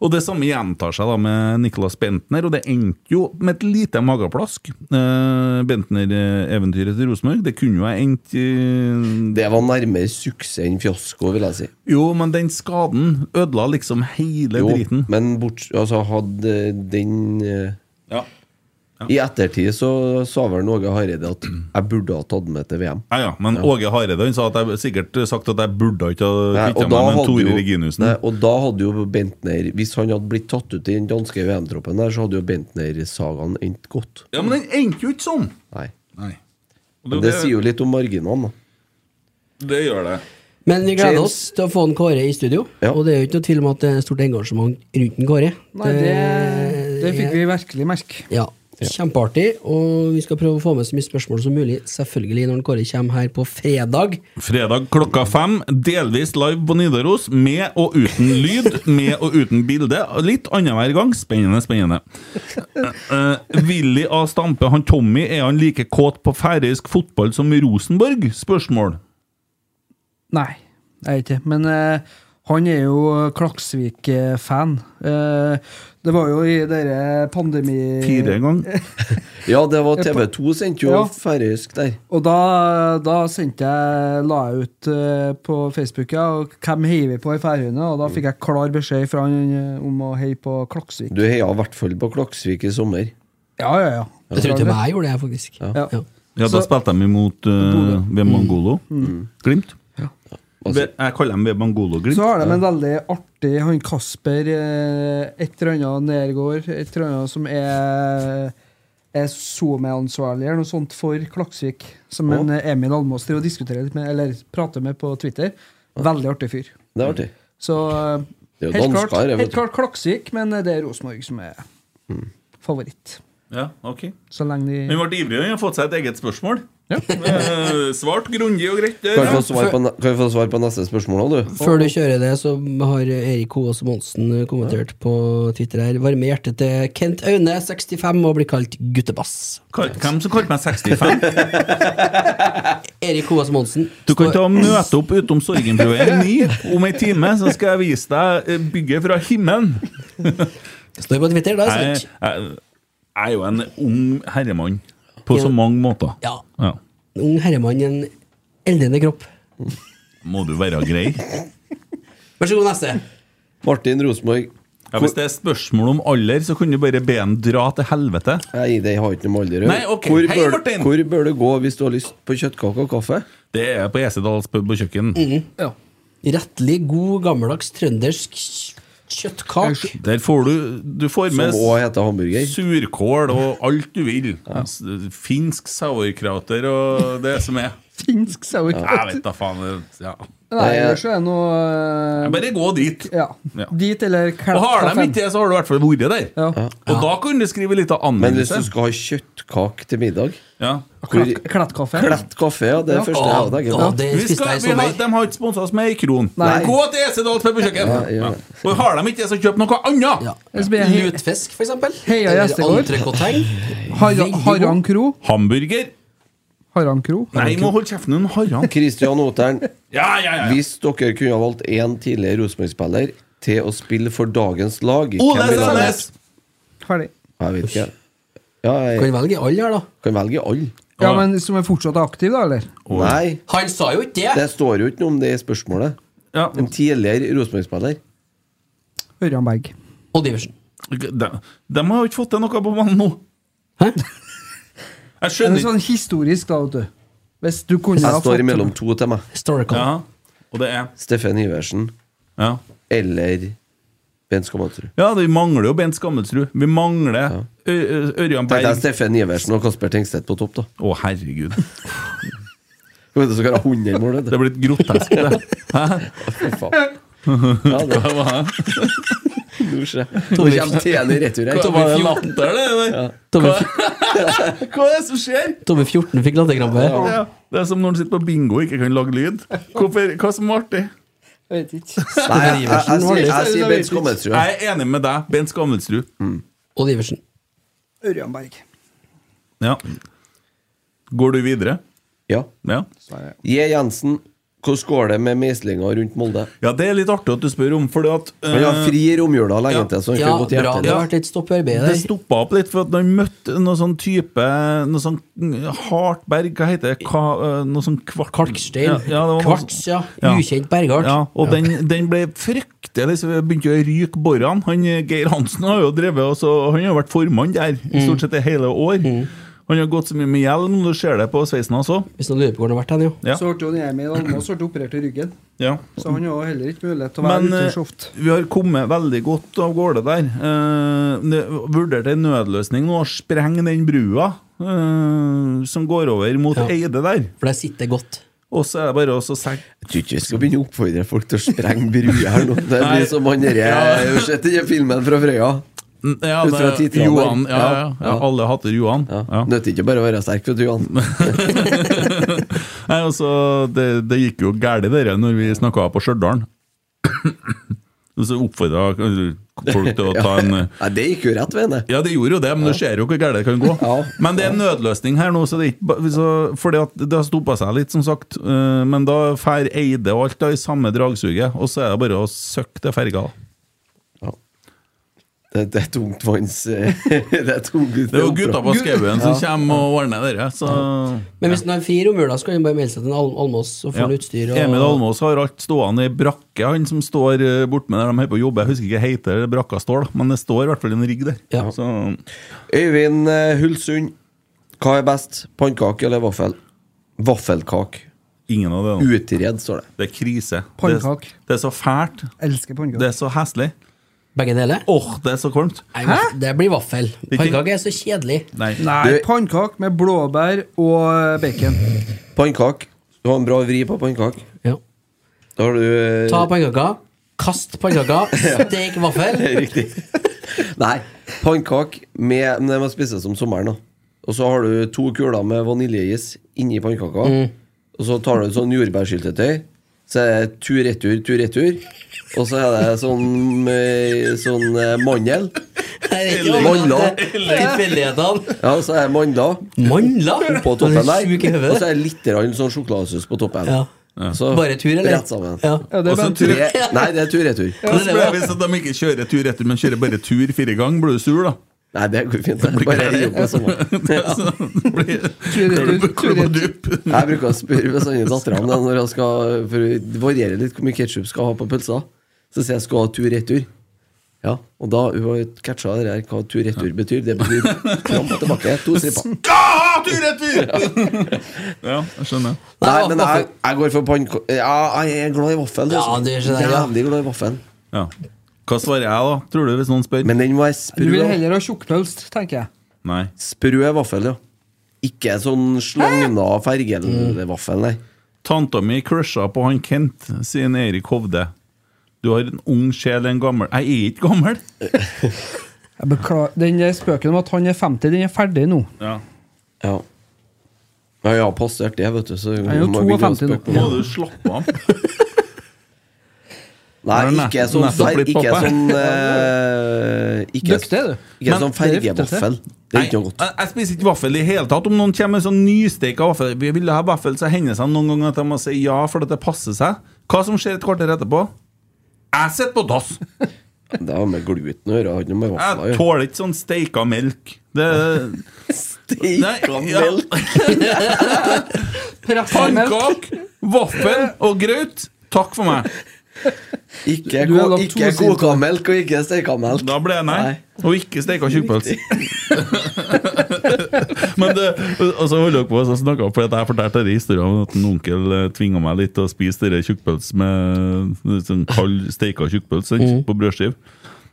Og det samme gjentar seg da med Nicolas Bentner, og det endte jo med et lite mageplask. Eh, Bentner-eventyret til Rosenborg, det kunne jo ha endt i
Det var nærmere suksess enn fiasko, vil jeg si.
Jo, men den skaden ødela liksom hele
Jo,
driten.
men bort, altså, hadde den eh,
Ja.
I ettertid så sa vel Åge Hareide at jeg burde ha tatt med til VM.
Ja, ja, men Åge Hareide han sa at jeg sikkert sagt at jeg burde ikke ha
Nei,
kvitta meg med Tore Reginussen.
nei, og da hadde jo Bentner Hvis han hadde blitt tatt ut i den danske VM-troppen der, så hadde jo Bentner-sagaen endt godt.
Ja, men den endte jo ikke sånn!
Nei.
Nei.
Men det sier jo litt om marginene, da.
det gjør det.
Men vi gleder
James.
oss til å få en Kåre i studio.
Ja.
Og det er jo ikke noe tvil om at det er stort engasjement rundt en Kåre.
Nei, det, det fikk vi virkelig merke.
Ja, Kjempeartig. Og vi skal prøve å få med så mye spørsmål som mulig, selvfølgelig, når en Kåre kommer her på fredag.
Fredag klokka fem, delvis live på Nidaros, med og uten lyd, med og uten bilde. Litt annenhver gang. Spennende, spennende. Eh, Willy A. Stampe, han Tommy, er han like kåt på færøysk fotball som Rosenborg? Spørsmål.
Nei, jeg er ikke det. Men eh, han er jo eh, Klaksvik-fan. Eh, det var jo i dere pandemi...
Fire en gang.
Ja, det var TV2 sendte jo
Ja.
færøysk der.
Og da, da sendte jeg, la jeg ut eh, på Facebook ja, og hvem heier vi på i Færøyene, og da fikk jeg klar beskjed fra han eh, om å heie på Klaksvik.
Du heia i hvert fall på Klaksvik i sommer.
Ja, ja, ja.
Jeg tror til meg gjorde det, faktisk.
Ja.
Ja.
Ja, da
Så-
spilte de imot uh,
Bodø.
Vemangolo. Glimt.
Altså,
Ve- Jeg kaller dem Vemangolo-Glimt.
Så har de en veldig artig han Kasper, eh, et eller annet Nergård, et eller annet som er er SoMe-ansvarlig eller noe sånt for Klaksvik, som en eh, Emil Almås driver og diskuterer litt med, eller prater med på Twitter. Veldig artig fyr.
det er artig.
Så eh,
Det er jo
helt klart,
dansker, jeg vet Mm.
helt
du.
klart Klaksvik, men eh, det er Rosenborg som er favoritt.
Ja, ok.
Så lenge de
Han ble ivrig, han har fått seg et eget spørsmål.
Ja.
Eh, Svart grundig og greit.
Kan vi
Der,
få svar på, ne- kan vi få svar på neste spørsmål, da, du?
Før du kjører det, så har Erik Hoaas Monsen kommentert på Twitter her. Varme hjertet til Kent Aune, 65, og blir kalt guttebass.
Kall- Hvem som kalte meg 65?
Erik Hoaas Monsen.
Du kan
står-
ta og møte opp utom Sorgenbrøen 9 om ei time, så skal jeg vise deg eh, bygget fra himmelen.
Står på Twitter, da. er
Jeg,
det sant.
jeg, jeg er jo en ung herremann på så mange måter.
Ja. En Ung herremann, en eldrende kropp.
Må du være grei?
Vær så god, neste.
Martin Rosenborg.
Ja, hvis det er spørsmål om alder, så kan du bare be han dra til helvete.
Nei, det har ikke noe med alder å
Nei,
gjøre.
ok.
Hvor
Hei,
bør-
Martin!
Hvor bør du gå hvis du har lyst på kjøttkake og kaffe?
Det er på Esedals pub og kjøkken.
Rettelig god, gammeldags trøndersk kj- kjøttkak.
Der får du Du får
Som
med
òg heter hamburger.
surkål og alt du vil. S- Finsk sauerkrauter og det som er.
Finsk
Jeg
sauerkraut.
vet da faen. det- Ja.
Nei, ellers så er det noe eh,
Bare gå dit.
Ja.
Ja.
Dit eller Klepp.
Og har de
kaffen.
ikke det, så har du i hvert fall vært der.
Ja.
Og da kan du skrive litt av
Men hvis du
anmeldelse.
skal ha kjøttkake til middag
Ja.
hvor,
Klett- Klettkaffe.
Klett kaffe, ja. Det er det
Ja.
første jeg har tenkt.
Ja, det
Vi
spiste
skal,
jeg i
vi har,
sommer.
de har ikke sponsa oss med ei kron.
Nei.
Gå til Esedals pub og kjøkken!
Ja, ja.
Ja. Og har de ikke det, så kjøp noe annet!
Ja.
Ellers blir jeg helt-
Lutfisk, for eksempel.
Heia
Eller
Gjestegård.
entrecôteng.
Har-
Veldig god.
Harran Kro.
Hamburger?
Harran Kro.
Nei, må holde kjeften din, Harran.
Christian Oteren,
Ja, ja, ja.
hvis dere kunne ha valgt én tidligere Rosenborg-spiller til å spille for dagens lag
Ole
hvem ville ha
Sandnes!
vært?
Ferdig.
Jeg vet ikke. Ja, jeg
Kan velge alle her, da.
kan velge alle.
Ja, men Som er fortsatt aktiv, da, eller?
Nei,
Han sa jo ikke det!
det står jo ikke noe om det i spørsmålet.
Ja.
En tidligere Rosenborg-spiller.
Ørjan Berg.
Odd Iversen.
De, de har jo ikke fått til noe på banen nå.
Hæ?
Det
Jeg
er
skjønner ikke.
sånn historisk, da, vet du. Hvis du kunne ha
Jeg
fått
står imellom to til meg.
Historical.
Ja. Og det er
Steffen Iversen
Ja,
eller Ben Skamantrud.
ja det, vi mangler jo Bent Skammelsrud. Vi mangler Ø- Ø-
Tenk
Ørjan
deg
Berg.
Steffen Iversen og Kasper Tengstedt på topp, da.
Å, herregud.
Hva er det som kan ha 100 mål?
Det
vet
er blitt grotesk, det.
du? Fy faen. Ja, det Nå skjer det. Nå kommer TN i retur her.
Hva er det latter, det der?
Tommy,
Hva er det som skjer?
Tommy 14 fikk latterkrampe.
Ja. Det er som når han sitter på bingo og ikke kan lage lyd. Hvorfor, hva som var artig?
Jeg vet ikke.
Nei, jeg, jeg, jeg, sier- jeg sier Ben Skamantrud.
Jeg er enig med deg, Bent Skammelsrud.
Odd Iversen.
Ørjan Berg.
Ja. Går du videre?
Ja.
Ja.
J. Jensen, hvordan går det med meislinga rundt Molde?
ja, det er litt artig at du spør om, fordi at
Han har
eh,
fri i romjula lenge
Ja.
til, så han
Ja,
kunne
bra.
gått
Det
hjem til
har vært litt stopp i arbeidet
Det
der.
stoppa opp litt, for at når jeg møtte noe sånn type Noe sånn Hartberg, hva heter det? Ka, eh, noe sånn kvark...
Kalkstein.
det var- sånn-
Kvarts, ja. Ukjent bergart.
Ja, og Den, den ble fryktelig så jeg begynte å ryke borene. Han, eh, Geir Hansen har jo drevet og så- Han har vært formann der i
Mm.
stort sett i hele år. Han har gått så mye med hjelm, du ser det på sveisen hans òg.
Hvis noen lurer på hvor han har vært hen, jo.
Ja.
Så ble jo Emil Almås ble operert i ryggen,
Ja.
så han har jo heller ikke mulighet til å være
Men
ute
eh,
så ofte.
vi har kommet veldig godt av gårde der. Eh, det- Vurderte en nødløsning nå, spreng den brua eh, som går over mot
Ja.
Eide der.
For der sitter det godt.
Og så er det bare å så senke
Jeg tror ikke vi skal begynne å oppfordre folk til å sprenge bruer her nå. Det
Nei.
blir som han derre Jeg har sett den filmen fra Frøya.
Mm, ja,
Ut fra
det-
titallet.
Johan. Ja, ja, ja.
Ja.
Alle hater Johan.
Ja.
Ja.
Nødte ikke bare å være sterk, vet du, Jan.
Nei, altså, det, det gikk jo galt, det der, når vi snakka på Stjørdal. Og så oppfordra folk til å ta en eh,
Nei, det gikk jo rett ved henne.
Ja, det gjorde jo det, men du ser jo hvor galt det kan gå.
Ja.
Men det er en nødløsning her nå, så det er ikke ba- så, fordi at det har stoppa seg litt, som sagt. Eh, Men da fer Eide og alt da i samme dragsuget, og så er det bare å søkke til ferga.
Ja. Det, det er tungt vanns eh, Det er tungt
Det er jo gutta på skauen som kommer og ordner det der, så
Men hvis han har fri i romjula, så kan han bare melde seg til en Al Almås og få
Ja.
noe utstyr. Og...
Emil Almås har alt stående i brakke, han som står eh, borte med der de er på jobb. Jeg husker ikke heter det brakka står, da, men det står i hvert fall en rigg der.
Ja.
Så,
Øyvind eh, Hulsund, Hva er best, pannkake eller vaffel? Vaffelkake.
Ingen av det nå.
Utred, står det.
Det er krise.
Pannkak.
Det, det er så fælt.
Elsker
Det
pannekaker.
er så hæslig.
Begge deler?
Åh, det er så kvalmt.
Nei, Det blir vaffel.
Ikke-
Pannekake er så kjedelig.
Nei.
Nei,
Du-
pannekake med blåbær og eh, bacon.
Pannkake. Du har en bra vri på pannkake.
Ja.
Da har du eh,
Ta pannekaker, kast pannekaker, stek vaffel.
Riktig. Nei. Pannkake med Men det må spises om sommeren, da. Og så har du to kuler med vaniljeis inni pannekaka.
Mm.
Og så tar du sånn jordbærsyltetøy. Så er det tur-retur, tur-retur. Og så er det sånn, eh, sånn eh, mandel.
Nei, det er ikke
Mandler.
overalt, det- Tilfeldighetene.
Ja, og så er det mandler
Mandler?
på toppen
Er du sjuk i
der. Og
hodet?
så er det litt grann sånn sjokoladesaus på toppen.
Ja.
Så
Bare tur, eller?
Rett sammen.
Ja.
Ja, det er
Og så
bare-
tur-
Tre, nei, det er tur-retur.
Ja, det er
Men
bra.
Hvis at de ikke kjører tur etter, men kjører bare tur fire ganger, blir du sur, da?
Nei, det går fint. Det. Bare jobb med sommeren.
Så blir-
Tur-retur,
klubber
tur-retur.
dupp.
Jeg bruker å spørre bestandig dattera om det når jeg skal For å variere litt hvor mye ketsjup skal ha på pølsa. Så sier jeg skal ha tur-retur. Ja, og da hun har catcha det her, hva tur-retur betyr. Det betyr fram og tilbake. To stripper.
Ja, tur-retur! Ja, jeg skjønner.
Nei,
Nei,
men jeg, jeg går for pannekake Ja, jeg er glad i vaffel.
Ja,
liksom.
du skjønner, ja.
Jævlig glad i vaffel.
Ja. Hva svarer jeg, da? Tror du, hvis noen spør?
Men den må jeg
Du vil
sprø.
heller ha tjukkpølst, tenker jeg.
Nei.
Sprø vaffel, ja. Ikke sånn slagna
Mm.
fergelvaffel, nei.
Tanta mi crusha på han Kent, sier Erik Hovde. Du har en ung sjel, en gammel Jeg er ikke gammel!
Jeg beklager. Den der spøken om at han er 50, den er ferdig nå.
Ja.
Ja. Ja, jeg har passert det, vet du. Så
er jo
man begynner å
52 nå.
spøke
Må
om-
du slappe av?
Nei, ikke sånn,
Nettopp
fer,
blitt
ikke
pappa.
sånn eh, Ikke,
Dyktig er du.
ikke
Men
sånn fergevaffel. Det er
Nei,
ikke
jeg,
noe godt.
jeg spiser ikke vaffel i hele tatt. Om noen kommer med sånn nysteika vaffel Vi ville ha vaffel, så hender det seg noen ganger at de må si ja fordi det passer seg. Hva som skjer et kvarter etterpå? Jeg sitter på dass!
Det har med gluten å gjøre. Har ikke noe med vafler å gjøre.
Jeg tåler ikke sånn steika melk. Det
Steika
Nei, ja.
melk.
Pressemelk.
Pannkake, vaffel og grøt. Takk for meg.
Ikke,
Du har
ko-
lagt to
ikke
sider.
koka melk og ikke steika melk.
Da ble jeg nei. Og ikke steika tjukkpølse. Men det, og så holdt dere på og snakka om for at jeg fortalte denne historien om at en onkel eh, tvinga meg litt til å spise denne tjukkpølse med eh, sånn kald steika tjukkpølse
Mm.
sant, på brødskive.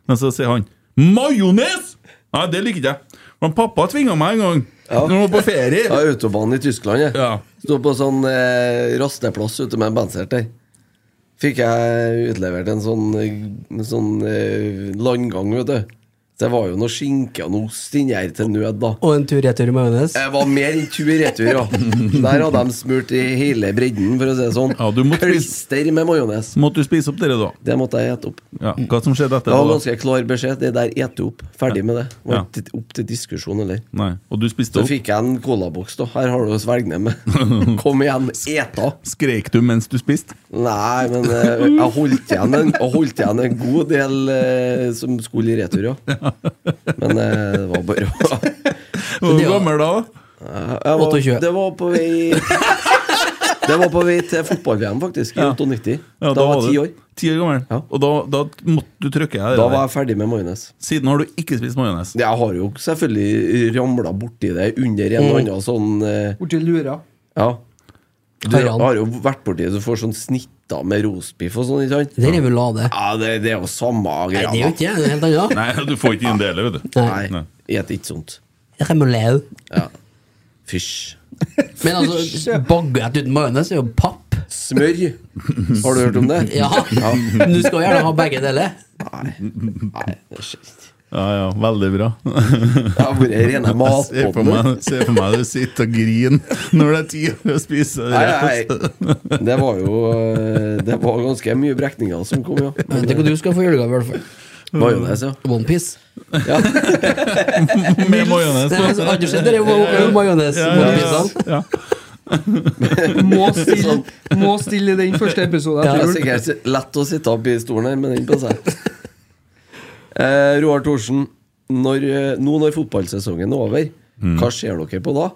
Men så sier han 'majones'! Nei, det liker ikke jeg. Men pappa tvinga meg en gang.
Ja.
Når han var på ferie.
Jeg har autobahn i Tyskland, jeg.
Ja.
Sto på sånn eh, rasteplass ute med en bensert der. Fikk jeg utlevert en sånn, eh, sånn eh, landgang, vet du. Så det var jo noe skinke og noe ost inni her til nød, da.
Og en tur retur i majones.
Jeg var mer enn tur-retur, ja. Der hadde de smurt i hele bredden, for å si det sånn.
Ja, du måtte spise-
Klister med majones.
Så måtte du spise opp dere da.
Det måtte jeg ete opp.
Ja, hva som skjedde
Det
etter
var
det? da?
ganske klar beskjed. Det der ete opp. Ferdig med det. Det
Ja.
Var ikke opp til diskusjon, eller.
Nei, Og du spiste
Så
opp?
fikk jeg en colaboks, da. Her har du å svelge ned med. Kom igjen, eta.
Skrek du mens du spiste?
Nei, men eh, jeg holdt igjen en, jeg holdt igjen en god del eh, som skulle i retur, ja. Men eh, det var bare å
Hvor
det var-
gammel da?
Jeg- jeg var-
28.
Det var på vei Det var på vei til fotball-VM, faktisk, i
Ja.
98.
Ja,
da, var jeg
du
ti år.
Ti år gammel.
Ja.
Og da, da måtte du trykke deg. i
Da
det.
var jeg ferdig med majones.
Siden har du ikke spist majones.
Jeg har jo selvfølgelig ramla borti det under en eller annen sånn eh,
Borti lura.
Ja. Du
Harald.
har jo vært borti det, du får sånn snitter med roastbiff og sånn, ikke sant?
Det er revelade.
Ja, det, det er jo samme
Nei,
greia.
det er jo
da.
ikke det. Det er helt annet.
Nei, du får ikke inn det heller, vet du.
Nei.
Nei, et ikke sånt.
Remoulade.
Ja. Fysj.
Men altså, baguett uten majones er jo papp.
Smør. Har du hørt om det?
Ja. Men du skal jo gjerne ha begge deler.
Nei. Nei, det skjer ikke.
Ja, ja, veldig bra.
Jeg har vært rene
Se for
matbåten.
meg, se for meg du sitter og griner når det er ti år å spise
Nei, nei. Det var jo eh, Det var ganske mye brekninger som kom, ja. Mm.
Tenk hva du Mm. skal få i julegave, i hvert fall.
Majones, ja.
Onepiece.
ja.
med majones.
Det er altså- har du sett det? Majones.
Ja, ja, ja. Ja.
Må stille, må stille i den første episoden.
Det
etter
er
jul.
Sånn. sikkert lett å sitte opp i stolen her med den på seg. Eh, Roar Thorsen, når, eh, nå når fotballsesongen er over,
Mm.
hva ser dere på da?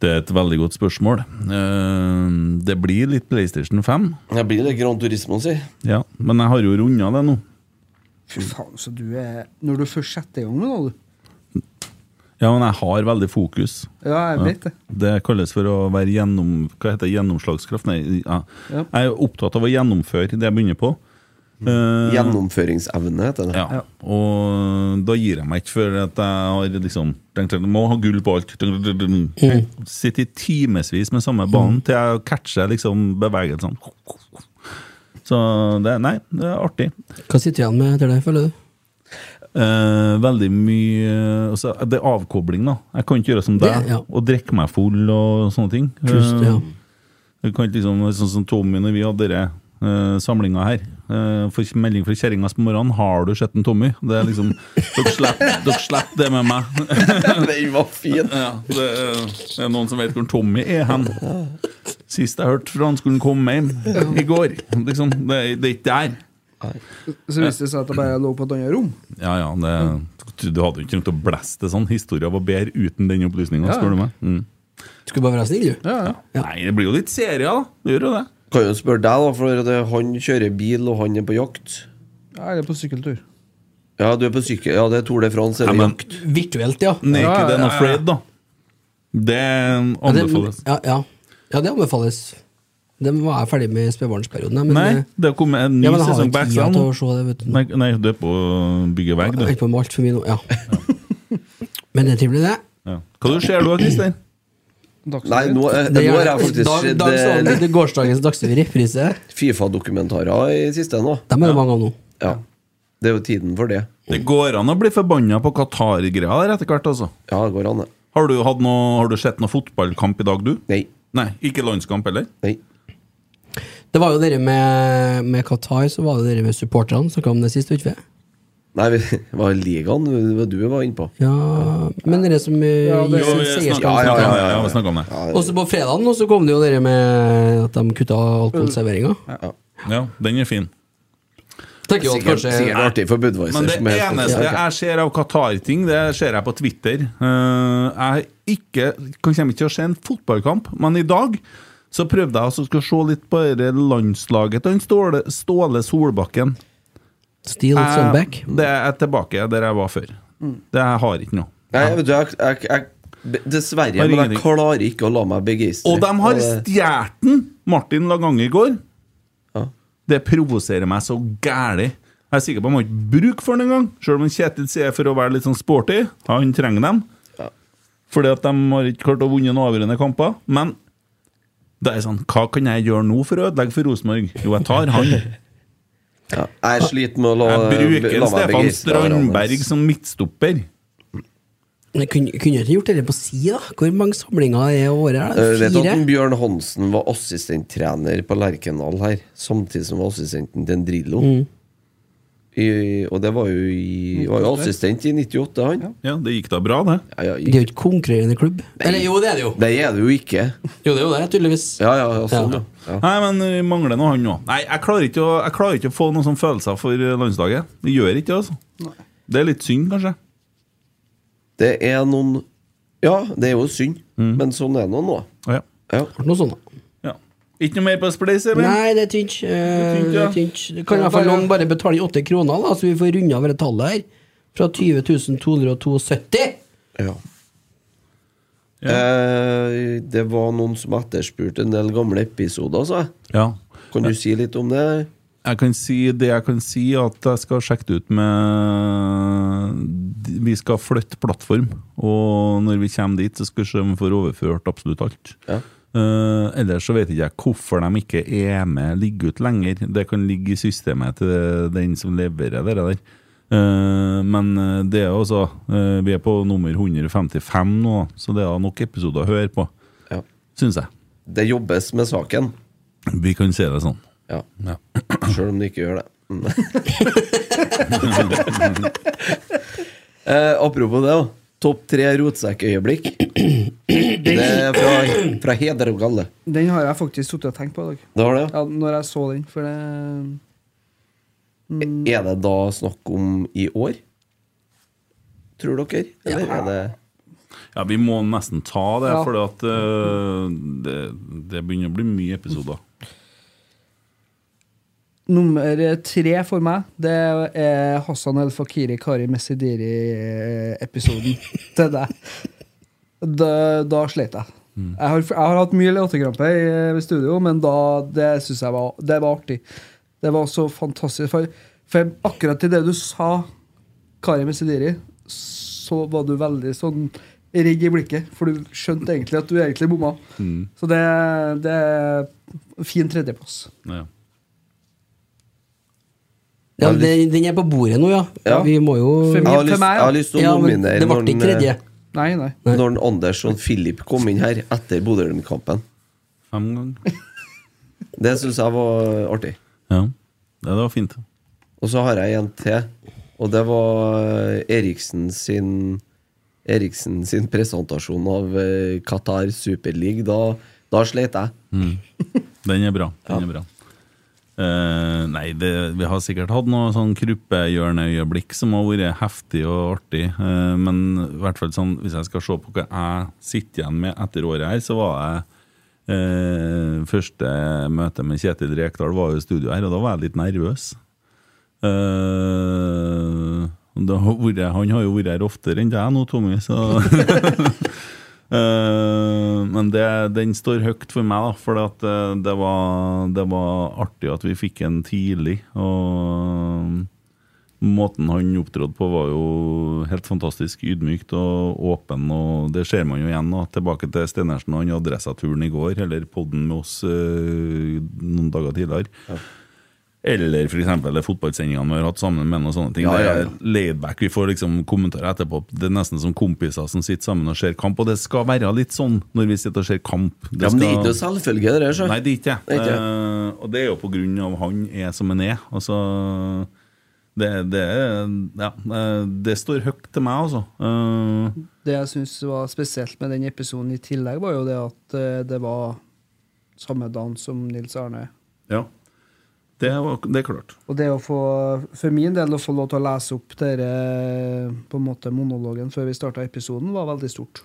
Det er et veldig godt spørsmål. Eh, Det blir litt PlayStation 5,
Det blir det Grand Turismo, si.
ja. men jeg har jo runda det nå.
Fy faen, så du er Når du først setter i gang med noe, du.
Ja, men jeg har veldig fokus.
Ja, jeg vet det.
Det kalles for å være gjennom, hva heter det, gjennomslagskraft. Nei, ja.
Ja.
Jeg er opptatt av å gjennomføre det jeg begynner på. Eh,
Gjennomføringsevne heter det.
ja. Og da gir jeg meg ikke før at jeg har liksom tenkt at jeg må ha gull på alt.
Mm.
Sitter i timevis med samme banen til jeg catcher liksom bevegelsene. Så det, nei, det er artig.
Hva sitter du igjen med etter det, føler du?
Eh, veldig mye altså, Det er avkobling, da. Jeg kan ikke gjøre som deg
Det, ja.
og drikke meg full og sånne ting.
Pust,
Eh,
ja.
du kan ikke liksom, sånn som Tommy når vi hadde dere eh, samlinga her. eh, får melding fra kjerringa på morgenen 'Har du sett en Tommy?' Det er liksom Dere slipper dere slipper det med meg.
Den var fin!
Ja, det er- det er noen som vet hvor Tommy er hen. Sist jeg hørte fra han skulle han komme hjem i går. Liksom, det, er- det er ikke der.
Så viste det seg at jeg bare lå på et annet rom.
Ja, ja, det, Du hadde jo ikke trengt å blæste det sånn. Historia var bedre uten den opplysninga,
Ja.
spør du meg. Mm.
Skulle bare være snill, du.
Ja, ja.
Nei, det blir jo litt serier, da. Det gjør jo det.
Kan jo spørre deg, da, for det, han kjører bil, og han er på jakt.
Ja, Eller på sykkeltur.
Ja, du er på sykkel... Ja, det er Tour de France
Ja,
eller
men-
jakt.
Virtuelt, ja.
Naked
Ja, ja,
and
ja, ja.
afraid, da. Det
Ja, det-
anbefales.
Ja, ja. ja, det anbefales. Den var jeg ferdig med i spedbarnsperioden. jeg, Men, eh,
Nei, det har kommet en ny
ja, men jeg har
sesong
ikke
på
tida
Extra
til å
nå.
se det, vet du.
Nei, nei, du er på å bygge vegg,
Jeg holder
du.
på med alt for mye nå. Ja. Men det er trivelig, det.
Ja. Hva du ser du, Christer?
Nei,
Dagsnytt.
nå, eh,
Det
nå
gjør
har jeg
jeg.
faktisk
Dag,
sett
dag, så,
eh,
det gårsdagens Dagsrevy reprise.
Fifa-dokumentarer i siste nå.
Dem er det mange av nå.
Ja. Det er jo tiden for det.
Det går an å bli forbanna på Qatar-greia der etter hvert, altså.
Ja, det går an, det.
Har du, hatt noe, har du sett noe fotballkamp i dag, du?
Nei.
Nei, ikke landskamp heller?
Nei.
Det var jo dere med, med Qatar, så var det dere med supporterne. Snakka om det sist, ikke sant?
Nei, vi- det var ligaen det var du var inne på.
Ja, men dere som eh,
Ja, det-
gir
Jo,
sin
vi snakket
seierskap.
Ja,
om
ja,
det,
ja, ja,
ja, vi snakket om det.
Og så på fredagen nå så kom det jo dere med at de kutta alkoholserveringa.
Ja, den er fin.
Tenker jo at
Sikkert,
kanskje
sikkert artig for Budwiser.
Men det
som er sponsor.
eneste
Ja.
jeg ser av Qatar-ting, det ser jeg på Twitter. Eh, Jeg ikke, kan- kommer ikke til å se en fotballkamp, men i dag så prøvde jeg altså å se litt på det landslaget til han Ståle, Ståle Solbakken.
Steal
Eh,
Sunback.
Jeg, det er tilbake der jeg var før. Det jeg har ikke noe.
Nei, vet du, jeg, jeg, jeg, dessverre,
Har
men jeg
ingenting.
klarer ikke å la meg begeistre.
Og de har
Og det-
stjålet den! Martin Laganger i går.
Ja.
Det provoserer meg så gæli. Jeg er sikker på at man ikke bruker for den engang, sjøl om Kjetil sier for å være litt sånn sporty. Han trenger dem. Fordi at de har ikke klart å vinne noen avgjørende kamper. Men det er sånn, hva kan jeg gjøre nå for å ødelegge for Rosenborg? Jo, jeg tar han.
Ja, jeg sliter med å la,
Jeg bruker
eh, la meg
en Stefan
begeistre. av
Strandberg
hverandres.
som midtstopper.
Men Kunne kunne dere ikke gjort dette på si, da? Hvor mange samlinger er året? her,
Eh,
da?
Vet du at
Fire?
den Bjørn Hansen var assistenttrener på Lerkendal her, samtidig som var assistenten til en Drillo?
Mm.
I, og det var jo, i, var jo assistent i 98, han.
Ja, det gikk da bra, det.
Ja, ja,
Det er
i,
jo ikke konkurrerende klubb. Eller jo, det er det jo.
det er det jo ikke.
Jo, det er jo det, tydeligvis.
Ja, ja, ja, sånn, ja. ja.
Nei, men vi mangler nå han nå. Nei, jeg klarer, ikke å, jeg klarer ikke å få noen sånne følelser for landslaget. Det gjør ikke det, altså. Det er litt synd, kanskje.
Det er noen Ja, det er jo synd, men sånn er det nå.
Ja.
Ja.
Ble Noe sånt, da.
ja. Ikke noe mer på Spleis, Emil?
Nei, det er tynt. Eh,
tynt,
det
ja.
er tynt. Det kan i hvert fall noen bare betale inn åtte kroner, da, så vi får runda over det tallet her. Fra 20 272.
Ja. Eh, det var noen som etterspurte en del gamle episoder, sa jeg.
Ja.
Kan du si litt om det?
Jeg kan si det jeg kan si, at jeg skal sjekke det ut med Vi skal flytte plattform, og når vi kommer dit, så skal vi se om vi får overført absolutt alt.
Ja.
Eh, ellers så vet ikke jeg hvorfor de ikke er med ligger ut lenger. Det kan ligge i systemet til den som leverer det der. Eh, men eh, det er jo også eh, Vi er på nummer 155 nå, så det er nok episoder å høre på,
Ja.
syns jeg.
Det jobbes med saken.
Vi kan se det sånn.
Ja.
Ja.
Sjøl om det ikke gjør det. Mm. eh, apropos det, da. Topp tre rotsekkøyeblikk. Det er fra, fra Heder og Galle.
Den har jeg faktisk sittet og tenkt på i dag.
Det var det?
Ja, når jeg så den, for det
Mm. Er det da snakk om i år? Tror dere? Eller er det
Ja, vi må nesten ta det,
Ja.
for at, eh, det, det begynner å bli mye episoder.
Nummer tre for meg Det er Hassan El Fakiri Kari Messidiri-episoden til deg. Da, da slet jeg. Jeg, har, jeg har hatt mye latterkrampe i, i studio, men da, det syns jeg var, det var artig. Det var så fantastisk. For, for akkurat i det du sa, Kari Messidiri, så var du veldig sånn rigg i blikket, for du skjønte egentlig at du egentlig bomma. Så det, det er fin tredjeplass.
Ja.
Ja, den, den er på bordet nå, ja.
Ja.
Vi må jo
For
Jeg
min-
har lyst,
meg,
jeg har lyst til å
Ja, men
nominere eh,
det ble ikke
når,
tredje.
en,
Nei, nei.
eh, når en Anders og en Philip kom inn her etter Bodø-Glimt-kampen.
Fem ganger.
Det syns jeg var artig.
Ja. ja, det var fint.
Og så har jeg en til, og det var eh, Eriksen sin Eriksen sin presentasjon av eh, Qatar Super League. Da, da sleit jeg.
Den er bra. Den er bra. Eh, nei, det, vi har sikkert hatt noe sånn kruppehjørneøyeblikk som har vært heftig og artig, eh, men i hvert fall sånn, hvis jeg skal se på hva jeg sitter igjen med etter året her, så var jeg eh, Første møte med Kjetil Rekdal var jo i studio her, og da var jeg litt nervøs. Eh, da har vært, han har jo vært her oftere enn deg nå, Tommy, så Eh, men det, den står høyt for meg, da, for at, eh, det, var, det var artig at vi fikk en tidlig. Og måten han opptrådte på, var jo helt fantastisk ydmykt og åpen. Og det ser man jo igjen. Da. Tilbake til Stenersen og han Adressa-turen i går, eller podden med oss eh, noen dager tidligere. Eller for eksempel de fotballsendingene vi har hatt sammen med noen sånne ting.
Ja, ja, ja.
Det er laidback. Vi får liksom kommentarer etterpå. Det er nesten som kompiser som sitter sammen og ser kamp. Og det skal være litt sånn når vi sitter og ser kamp.
Ja, men det er
skal-
ikke noe selvfølge, det der. så.
Nei, det er ikke
Det er
det.
ikke det.
Eh, og det er jo på grunn av han er som han er. Altså, det, det, er- ja, eh, det står høyt til meg, altså. Eh,
Det jeg syns var spesielt med den episoden i tillegg, var jo det at eh, det var samme dagen som Nils Arne.
ja. Det, var, det er klart.
Og det å få, for min del, å få lov til å lese opp dere, eh, på en måte monologen før vi starta episoden, var veldig stort.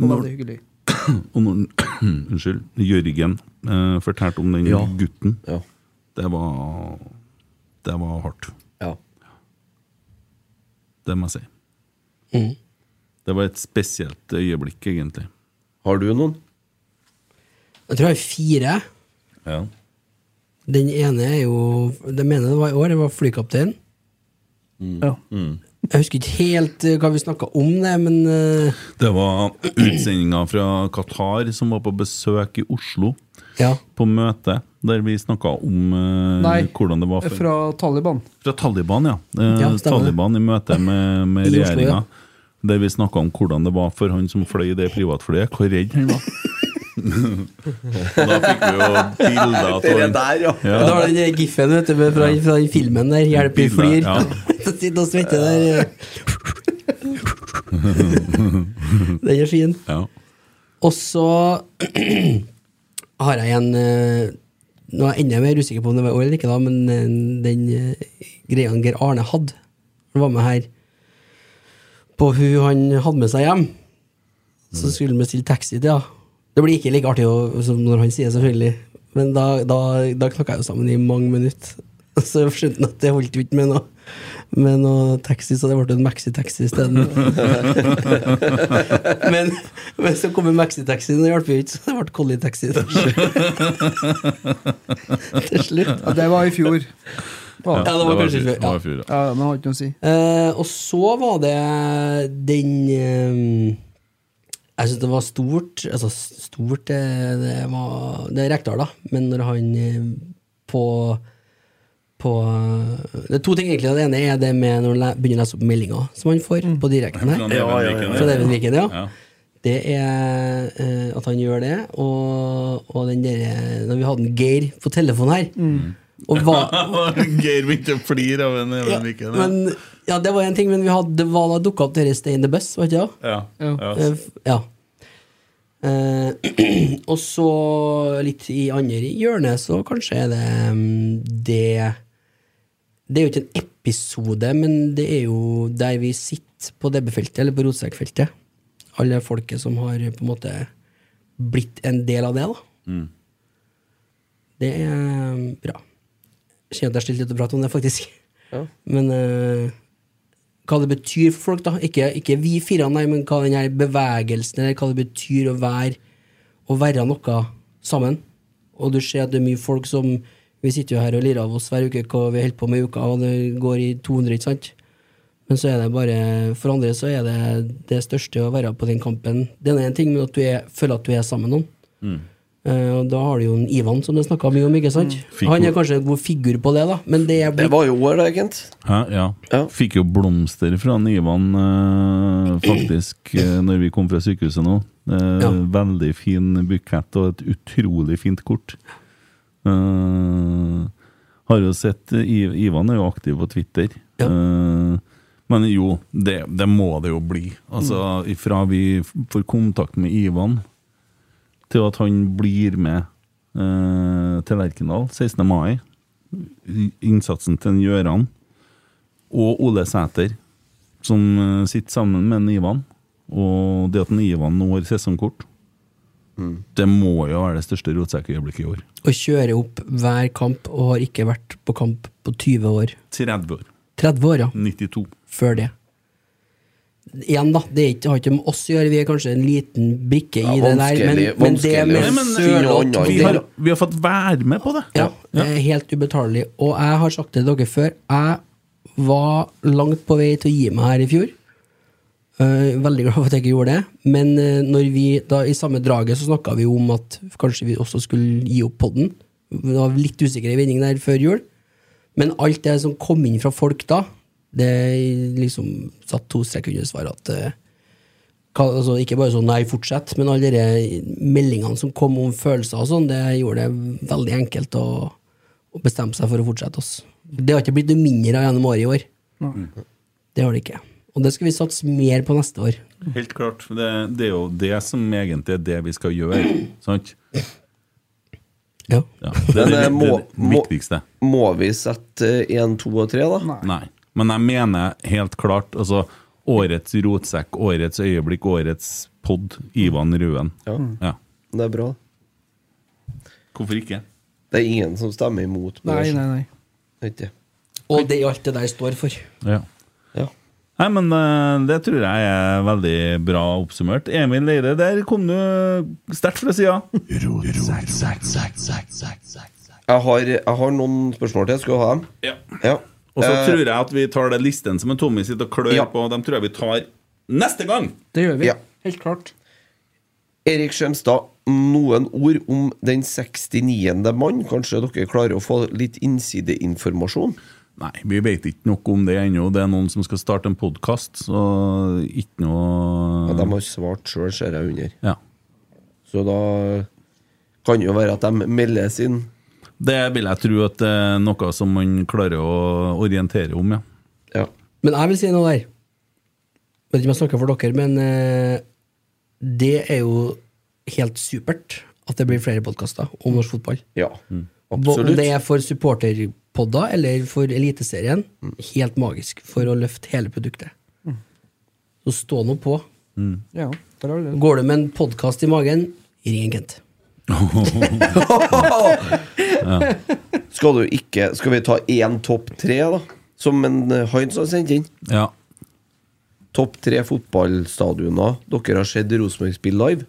Og
Når-
veldig hyggelig.
Og når Unnskyld. Jørgen eh, fortalte om den
Ja.
gutten.
Ja.
Det var Det var hardt.
Ja.
Det må jeg si.
Mm.
Mhm.
Det var et spesielt øyeblikk, egentlig.
Har du noen?
Jeg tror jeg har fire.
Ja.
Den ene er jo Den ene det var i år, det var flykaptein.
Ja.
Jeg husker ikke helt eh, hva vi snakka om, det, men eh,
Det var utsendinga fra Qatar som var på besøk i Oslo.
ja.
på møte der vi snakka om eh,
Nei,
hvordan det var for, fra,
Fra Taliban.
Taliban, ja. Eh,
Ja, stemmer.
Taliban i møte med, med
I Oslo,
regjeringa. Der vi snakka om hvordan det var for han som fløy det privatflyet, hvor redd han var. Og da fikk vi jo bilder av
Det
han.
der, ja.
Ja,
Da var den eh, giffen vet du, med- fra, fra den filmen der 'Hjelper
Bildet,
flyr'.
ja.
Så Sitter og svetter der. eh. Den er fin.
ja.
Og så har jeg en eh, Nå er jeg enda mer usikker på om det var i år eller ikke, da, men eh, den eh, greia han Geir Arne hadde Han var med her på hun han hadde med seg hjem. Så skulle han bestille taxi til henne. Det blir ikke like artig å, som når han sier, selvfølgelig, men da, da, da knakka jeg jo sammen i mange minutter. Og Så skjønte han at det holdt jo ikke med noe, med noe taxi, så det ble en maxitaxi isteden. Men, men så kom jo maxitaxien, og det hjalp jo ikke, så det ble kollitaxi til slutt. til slutt.
Ja, det var i fjor.
Ja,
det var kanskje
i fjor-
før,
det
ja.
var i fjor, ja.
Ja, men jeg har ikke noe å si.
Eh, og så var det den eh, Jeg syns det var stort Altså, stort det, det var Det er Rekdal, da, men når han eh, på på Det er to ting, egentlig. Det ene er det med når han le- begynner å lese opp meldinger som han får på direkten her.
Ja, ja, ja.
Fra David Viken, ja.
Ja.
Det er eh, at han gjør det, og, og den derre Når vi hadde en Geir på telefonen her og hva,
Geir begynte å flire av en
ja,
Even Viken. ja.
men, ja, det var en ting, men vi hadde, det var da dukka opp dere Stay in the Bus, var ikke det?
Ja. Ja.
Eh, f- ja. Eh, og så litt i andre hjørnet, så kanskje er det mm, det Det er jo ikke en episode, men det er jo der vi sitter på DB-feltet, eller på rotsekkfeltet. Alle folket som har på en måte blitt en del av det, da. Det er mm, bra. kjenner at jeg har stilt litt og pratet om det, faktisk.
Ja.
Men eh, hva det betyr for folk, da. Ikke, ikke vi fire, nei, men hva den her bevegelsen eller hva det betyr å være, å være noe sammen. Og du ser at det er mye folk som Vi sitter jo her og lirer av oss hver uke hva vi holder på med i uka, og det går i 200, ikke sant? Men så er det bare For andre så er det det største å være på den kampen. Det er en ting, men at du er, føler at du er sammen med noen. Eh, og da har du jo en Ivan, som det snakka mye om. ikke sant?
Figur.
Han er kanskje en god figur på det, da, men det er
Det
blitt
var jo år, det, Kent.
Hæ? Ja.
Ja.
Fikk jo blomster fra Ivan eh, faktisk eh, når vi kom fra sykehuset nå. Eh,
Ja.
Veldig fin bukett og et utrolig fint kort. Eh, har jo sett eh, I- Ivan er jo aktiv på Twitter.
Ja.
Eh, men jo, det, det må det jo bli. Altså, Fra vi f- får kontakt med Ivan, til at han blir med eh, til Lerkendal 16. mai. I- Innsatsen til en Gjøran og Ole Sæter, som eh, sitter sammen med en Ivan. Og det at en Ivan nå har sesongkort, det må jo være det største rotsekkøyeblikket i år.
å kjøre opp hver kamp og har ikke vært på kamp på 20 år.
30 år.
30 år, ja.
92.
Før det. Igjen, da. Det er ikke, har ikke med oss å gjøre. Vi er kanskje en liten brikke i
Ja,
det der.
vanskelig-
Men, men det
vanskelig å
med
finne
søl og
noe annet.
Vi
det-
har, vi har fått være med på det!
Ja, det er helt ubetalelig. Og jeg har sagt det til dere før, jeg var langt på vei til å gi meg her i fjor. Eh, veldig glad for at jeg ikke gjorde det. Men eh, når vi, da, i samme draget så snakka vi jo om at kanskje vi også skulle gi opp podden. Det var litt usikker i vending der før jul. Men alt det som kom inn fra folk da, det liksom satt to strek under svaret at eh, hva- altså, ikke bare sånn 'nei, fortsett', men alle de meldingene som kom om følelser og sånn, det gjorde det veldig enkelt å, å bestemme seg for å fortsette. Oss. Det har ikke blitt noe mindre av gjennom året i år. Det har det ikke. Og det skal vi satse mer på neste år.
Helt klart. Det, det er jo det som egentlig er det vi skal gjøre. Sant?
Ja.
Ja, det er
Men, eh,
det, vi- det,
må-
er det viktigste.
Må vi sette eh, én, to og tre, da?
Nei. Men jeg mener helt klart altså, Årets rotsekk, årets øyeblikk, årets pod, Ivan Ruen.
Ja.
Ja.
Det er bra.
Hvorfor ikke?
Det er ingen som stemmer imot. men
Nei,
jeg
nei, nei.
skjønner ikke.
Og det er alt det der står for.
Ja.
Ja.
Nei, men eh, det tror jeg er veldig bra oppsummert. Emil Leire, der kom du sterkt fra sida.
Jeg har, jeg har noen spørsmål til. Skal du ha dem?
Ja.
Ja.
Og så
Eh,
tror jeg at vi tar den listen som en Tommy sitter og klør
Ja.
på, dem tror jeg vi tar neste gang.
Det gjør vi.
Ja.
Helt klart.
Erik Skjemstad, noen ord om den 69. mann? Kanskje dere klarer å få litt innsideinformasjon?
Nei, vi vet ikke noe om det ennå. Det er noen som skal starte en podkast, så ikke
Ja, de
noe
har svart sjøl, ser jeg under.
ja.
Så da kan jo være at de meldes inn.
Det vil jeg tro at det er noe som man klarer å orientere om, ja.
Ja.
Men jeg vil si noe der. Vet ikke om jeg snakker for dere, men eh, det er jo helt supert at det blir flere podkaster om norsk fotball.
ja.
Absolutt. Om
Absolutt.
det er for supporterpodder eller for Eliteserien, helt magisk for å løfte hele produktet. Så stå nå på.
Ja, der har du det.
Går du med en podkast i magen, ring en Kent.
Skal du ikke Skal vi ta én topp tre, da? Som en eh, Heinz har sendt inn.
ja.
Topp tre fotballstadioner dere har sett Rosenborg spille live?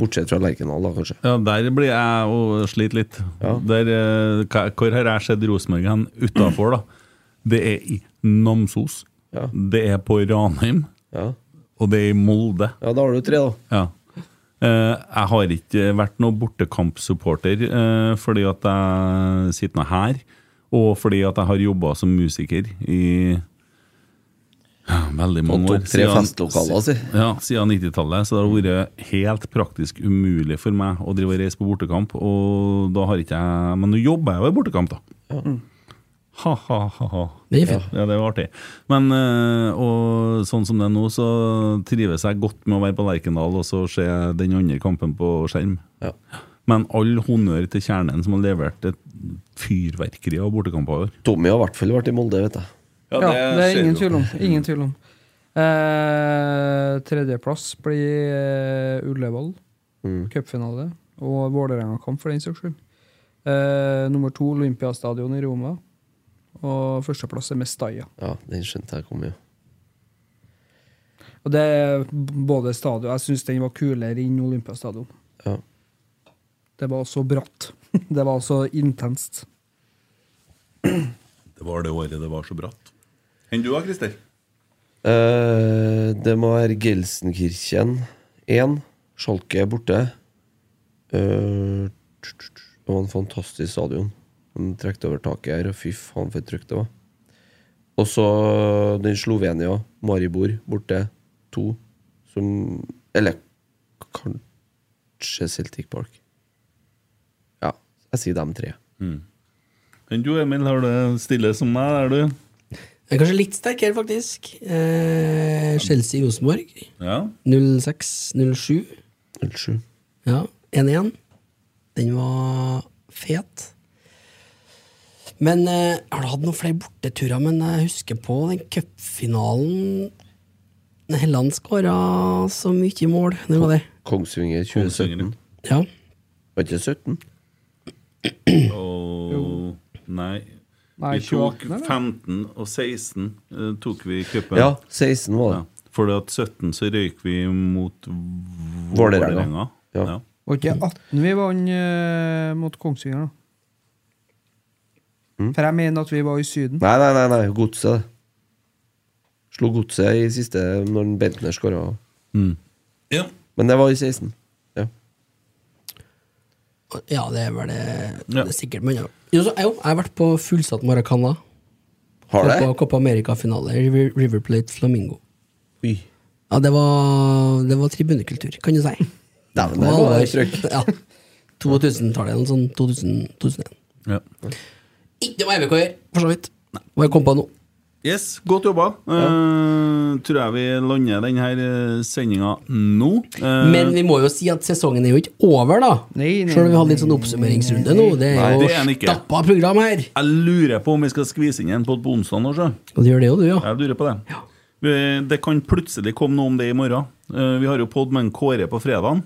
Bortsett fra Lerkendal, da, kanskje.
Ja, der blir jeg og sliter litt. Der, eh, hva- hvor har jeg sett Rosenborg hen? Utafor, da. Det er i Namsos.
Ja.
Det er på Ranheim.
Ja.
Og det er i Molde.
ja, da har du tre, da.
Ja. Eh, jeg har ikke vært noen bortekampsupporter eh, fordi at jeg sitter nå her, og fordi at jeg har jobba som musiker i ja, veldig
Og
mange år.
topp tre festlokaler, altså. si.
Ja, siden 90-tallet. Så det har vært helt praktisk umulig for meg å drive og reise på bortekamp. Og da har ikke jeg Men nå jobber jeg jo i bortekamp, da. Ha, ha, ha, ha.
Det er fint.
Ja, det var artig. Men øh, og sånn som det er nå, så trives jeg godt med å være på Lerkendal og så se den andre kampen på skjerm.
Ja.
Men all honnør til kjernen som har levert et fyrverkeri av bortekamper i år.
Tommy har i hvert fall vært i Molde, vet jeg.
Ja, det er ingen tvil om. Ingen tvil om. Eh, tredjeplass Mm. blir eh, Ullevål. Cupfinale. Og Vålerenga-kamp, for den saks skyld. Eh, nummer to Olympiastadion i Roma. Og førsteplass er Mestalla.
Ja, den skjønte jeg kom, jo.
Og det er b- både stadion Jeg syns den var kulere enn Olympiastadion.
Ja.
Det var så bratt. Det var så intenst.
Det var det året det var så bratt. Enn du da, Christer?
Eh, det må være Gelsenkirchen 1. Schalke er borte. Eh, tsk, tsk, tsk. det var en fantastisk stadion. De trekte over taket her, og fy faen for et trykk det var. Og så den Slovenia, Maribor, borte. To. Som Eller kanskje Celtic Park. Ja, jeg sier dem tre.
Enn du, Emil, har det stille som meg, er du?
Jeg er kanskje litt sterkere, faktisk. Eh, Chelsea-Rosenborg.
Ja.
06-07.
07.
Ja, 1-1. Den var fet. Men eh, jeg har hatt noen flere borteturer, men jeg husker på den cupfinalen. Helland skåra så mye mål. Det var det.
Kongsvinger 2017.
Kongsvinger.
Ja.
Var ikke 17?
Og Nei.
Nei,
Vi tok
28, eller?
15 og 16 eh, tok vi i cupen.
Ja, 16 var det.
Ja. Fordi at 17 så røyk vi mot
Vålerenga.
Vålerenga.
Ja.
Ja.
Var ikke 18 vi vant eh, mot Kongsvinger, da? For jeg mener at vi var i Syden.
Nei, nei, nei, nei. Godset. det. Slo Godset i siste når den Bentner skåra.
Mm,
Ja.
Men det var i 16. Ja.
ja, det er vel det,
Ja.
det er sikkert. Men ja. Jo, så, jo, jeg har vært på fullsatt Maracana.
Har det?
På Copa America-finale. River, River Plate Flamingo.
Oi.
Ja, det var, det var tribunekultur, kan du si.
Dæven, der var det trykk.
Ja. 2000-tallet, eller sånn 2000, 2001.
Ja.
Ikke noe RBK å gjøre, for så vidt. Hva jeg kom på nå.
Yes, godt jobba. Eh, tror jeg vi lander denne sendinga nå. Eh,
Men vi må jo si at sesongen er jo ikke over, da.
Nei, nei,
Selv om vi hadde litt sånn oppsummeringsrunde nå. Det
Nei,
er jo
det er den ikke.
stappa program her.
Jeg lurer på om vi skal skvise inn en podd på onsdag. nå, sjø.
Og det gjør det jo, du, ja.
Jeg lurer på det. Vi- Det kan plutselig komme noe om det i morgen. Eh, Vi har jo pod med en Kåre på fredagen.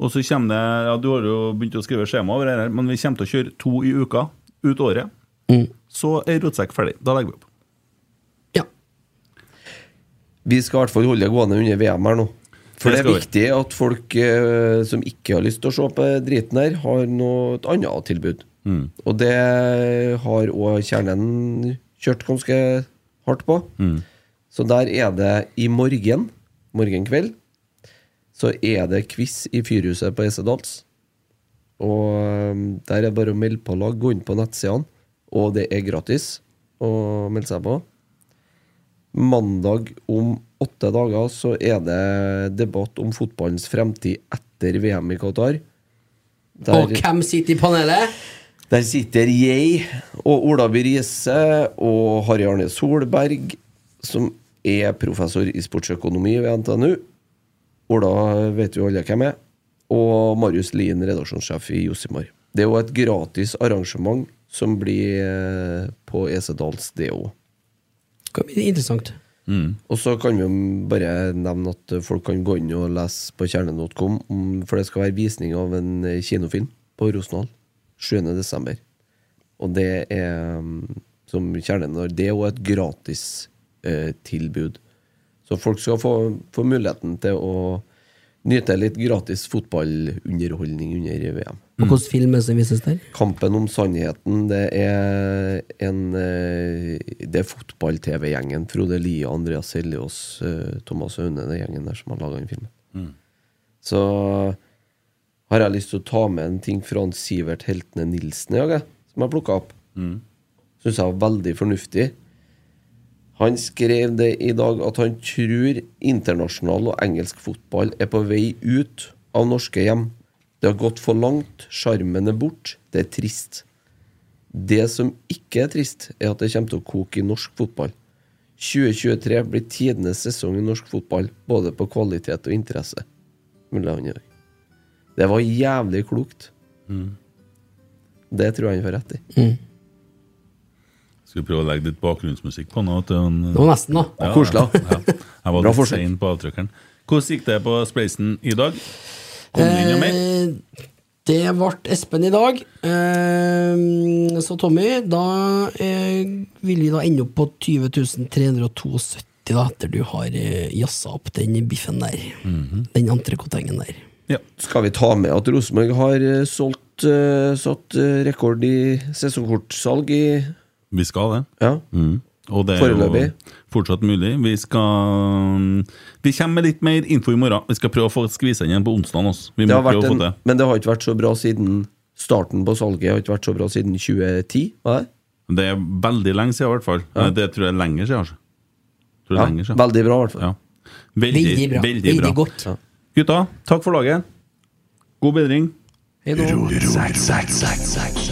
Og så kommer det ja, Du har jo begynt å skrive skjema over det her, men vi kommer til å kjøre to i uka ut året. Så er Rotsekk ferdig. Da legger vi opp.
Mm. ja.
Vi skal i hvert fall holde det gående under VM her nå. For det,
Det skal
er viktig at folk eh, som ikke har lyst til å se på driten her, har noe, et annet tilbud.
Mm.
Og det har òg kjernen kjørt ganske hardt på.
Mm.
Så der er det i morgen, morgen kveld, så er det quiz i Fyrhuset på Esedals. Og eh, der er det bare å melde på lag, gå inn på nettsidene, og det er gratis å melde seg på. Mandag om åtte dager så er det debatt om fotballens fremtid etter VM i Qatar.
Og hvem sitter i panelet?
Der sitter jeg og Ola By Riise og Harry Arne Solberg, som er professor i sportsøkonomi ved NTNU. Ola vet jo alle hvem er. Og Marius Lien, redaksjonssjef i Josimar. Det er jo et gratis arrangement som blir eh, på Esedals, det òg.
Det kan bli interessant.
Og så kan vi jo bare nevne at folk kan gå inn og lese på kjernen.com, om- for det skal være visning av en eh, kinofilm på Rosendal 7.12. Og det er, mm, som kjernen har, det er jo et gratis eh, tilbud. Så folk skal få, få muligheten til å nyte litt gratis fotballunderholdning under VM.
Og hvilken film er det som vises der?
Kampen om sannheten, det er en eh, Det er fotball-TV-gjengen. Frode Lie, Andreas Seljås, eh, Thomas Aune, den gjengen der som har laga den filmen. Så har jeg lyst til å ta med en ting fra han Sivert Heltene Nilsen i dag, jeg, som jeg plukka opp. Syns jeg var veldig fornuftig. Han skrev det i dag at han tror internasjonal og engelsk fotball er på vei ut av norske hjem. Det har gått for langt, sjarmen er bort, det er trist. Det som ikke er trist, er at det kommer til å koke i norsk fotball. 2023 blir tidenes sesong i norsk fotball, både på kvalitet og interesse. Mulig han gjør. Det var jævlig klokt. Det tror jeg han får rett i.
Skal vi prøve å legge litt bakgrunnsmusikk på nå? Til en,
Det var nesten, da.
Koselig.
Ja. Jeg var
Bra
litt
forsøk.
sein på avtrykkeren. Hvordan gikk det på spleisen i dag? Kom det inn noe mer?
Eh, Det ble Espen i dag. Ehm, så Tommy, da eh, vil vi da ende opp på 20.372 da, etter du har eh, jazza opp den biffen der. Den entrecôtengen der.
Ja.
Skal vi ta med at Rosenborg har eh, solgt eh, satt eh, rekord i sesongkortsalg i
Vi skal det.
Ja.
Mm. Og det er
Foreløpig.
jo fortsatt mulig. Vi skal Vi kommer med litt mer info i morgen. Vi skal prøve å få skvise den igjen på onsdag. Også. Vi
Det
må
har vært
prøve å få
en,
til.
men det har ikke vært så bra siden starten på salget. Har ikke vært så bra siden 2010. Var det?
Det er veldig lenge siden, i hvert fall. Det tror jeg er lenger siden. Altså. Tror jeg
Ja,
er lenger siden.
veldig bra, i hvert fall.
Ja. Veldig,
Veldig bra. Veldig, godt.
Ja.
Gutta, takk for laget. God bedring.
Hei da.
Zack, zack, zack, zack.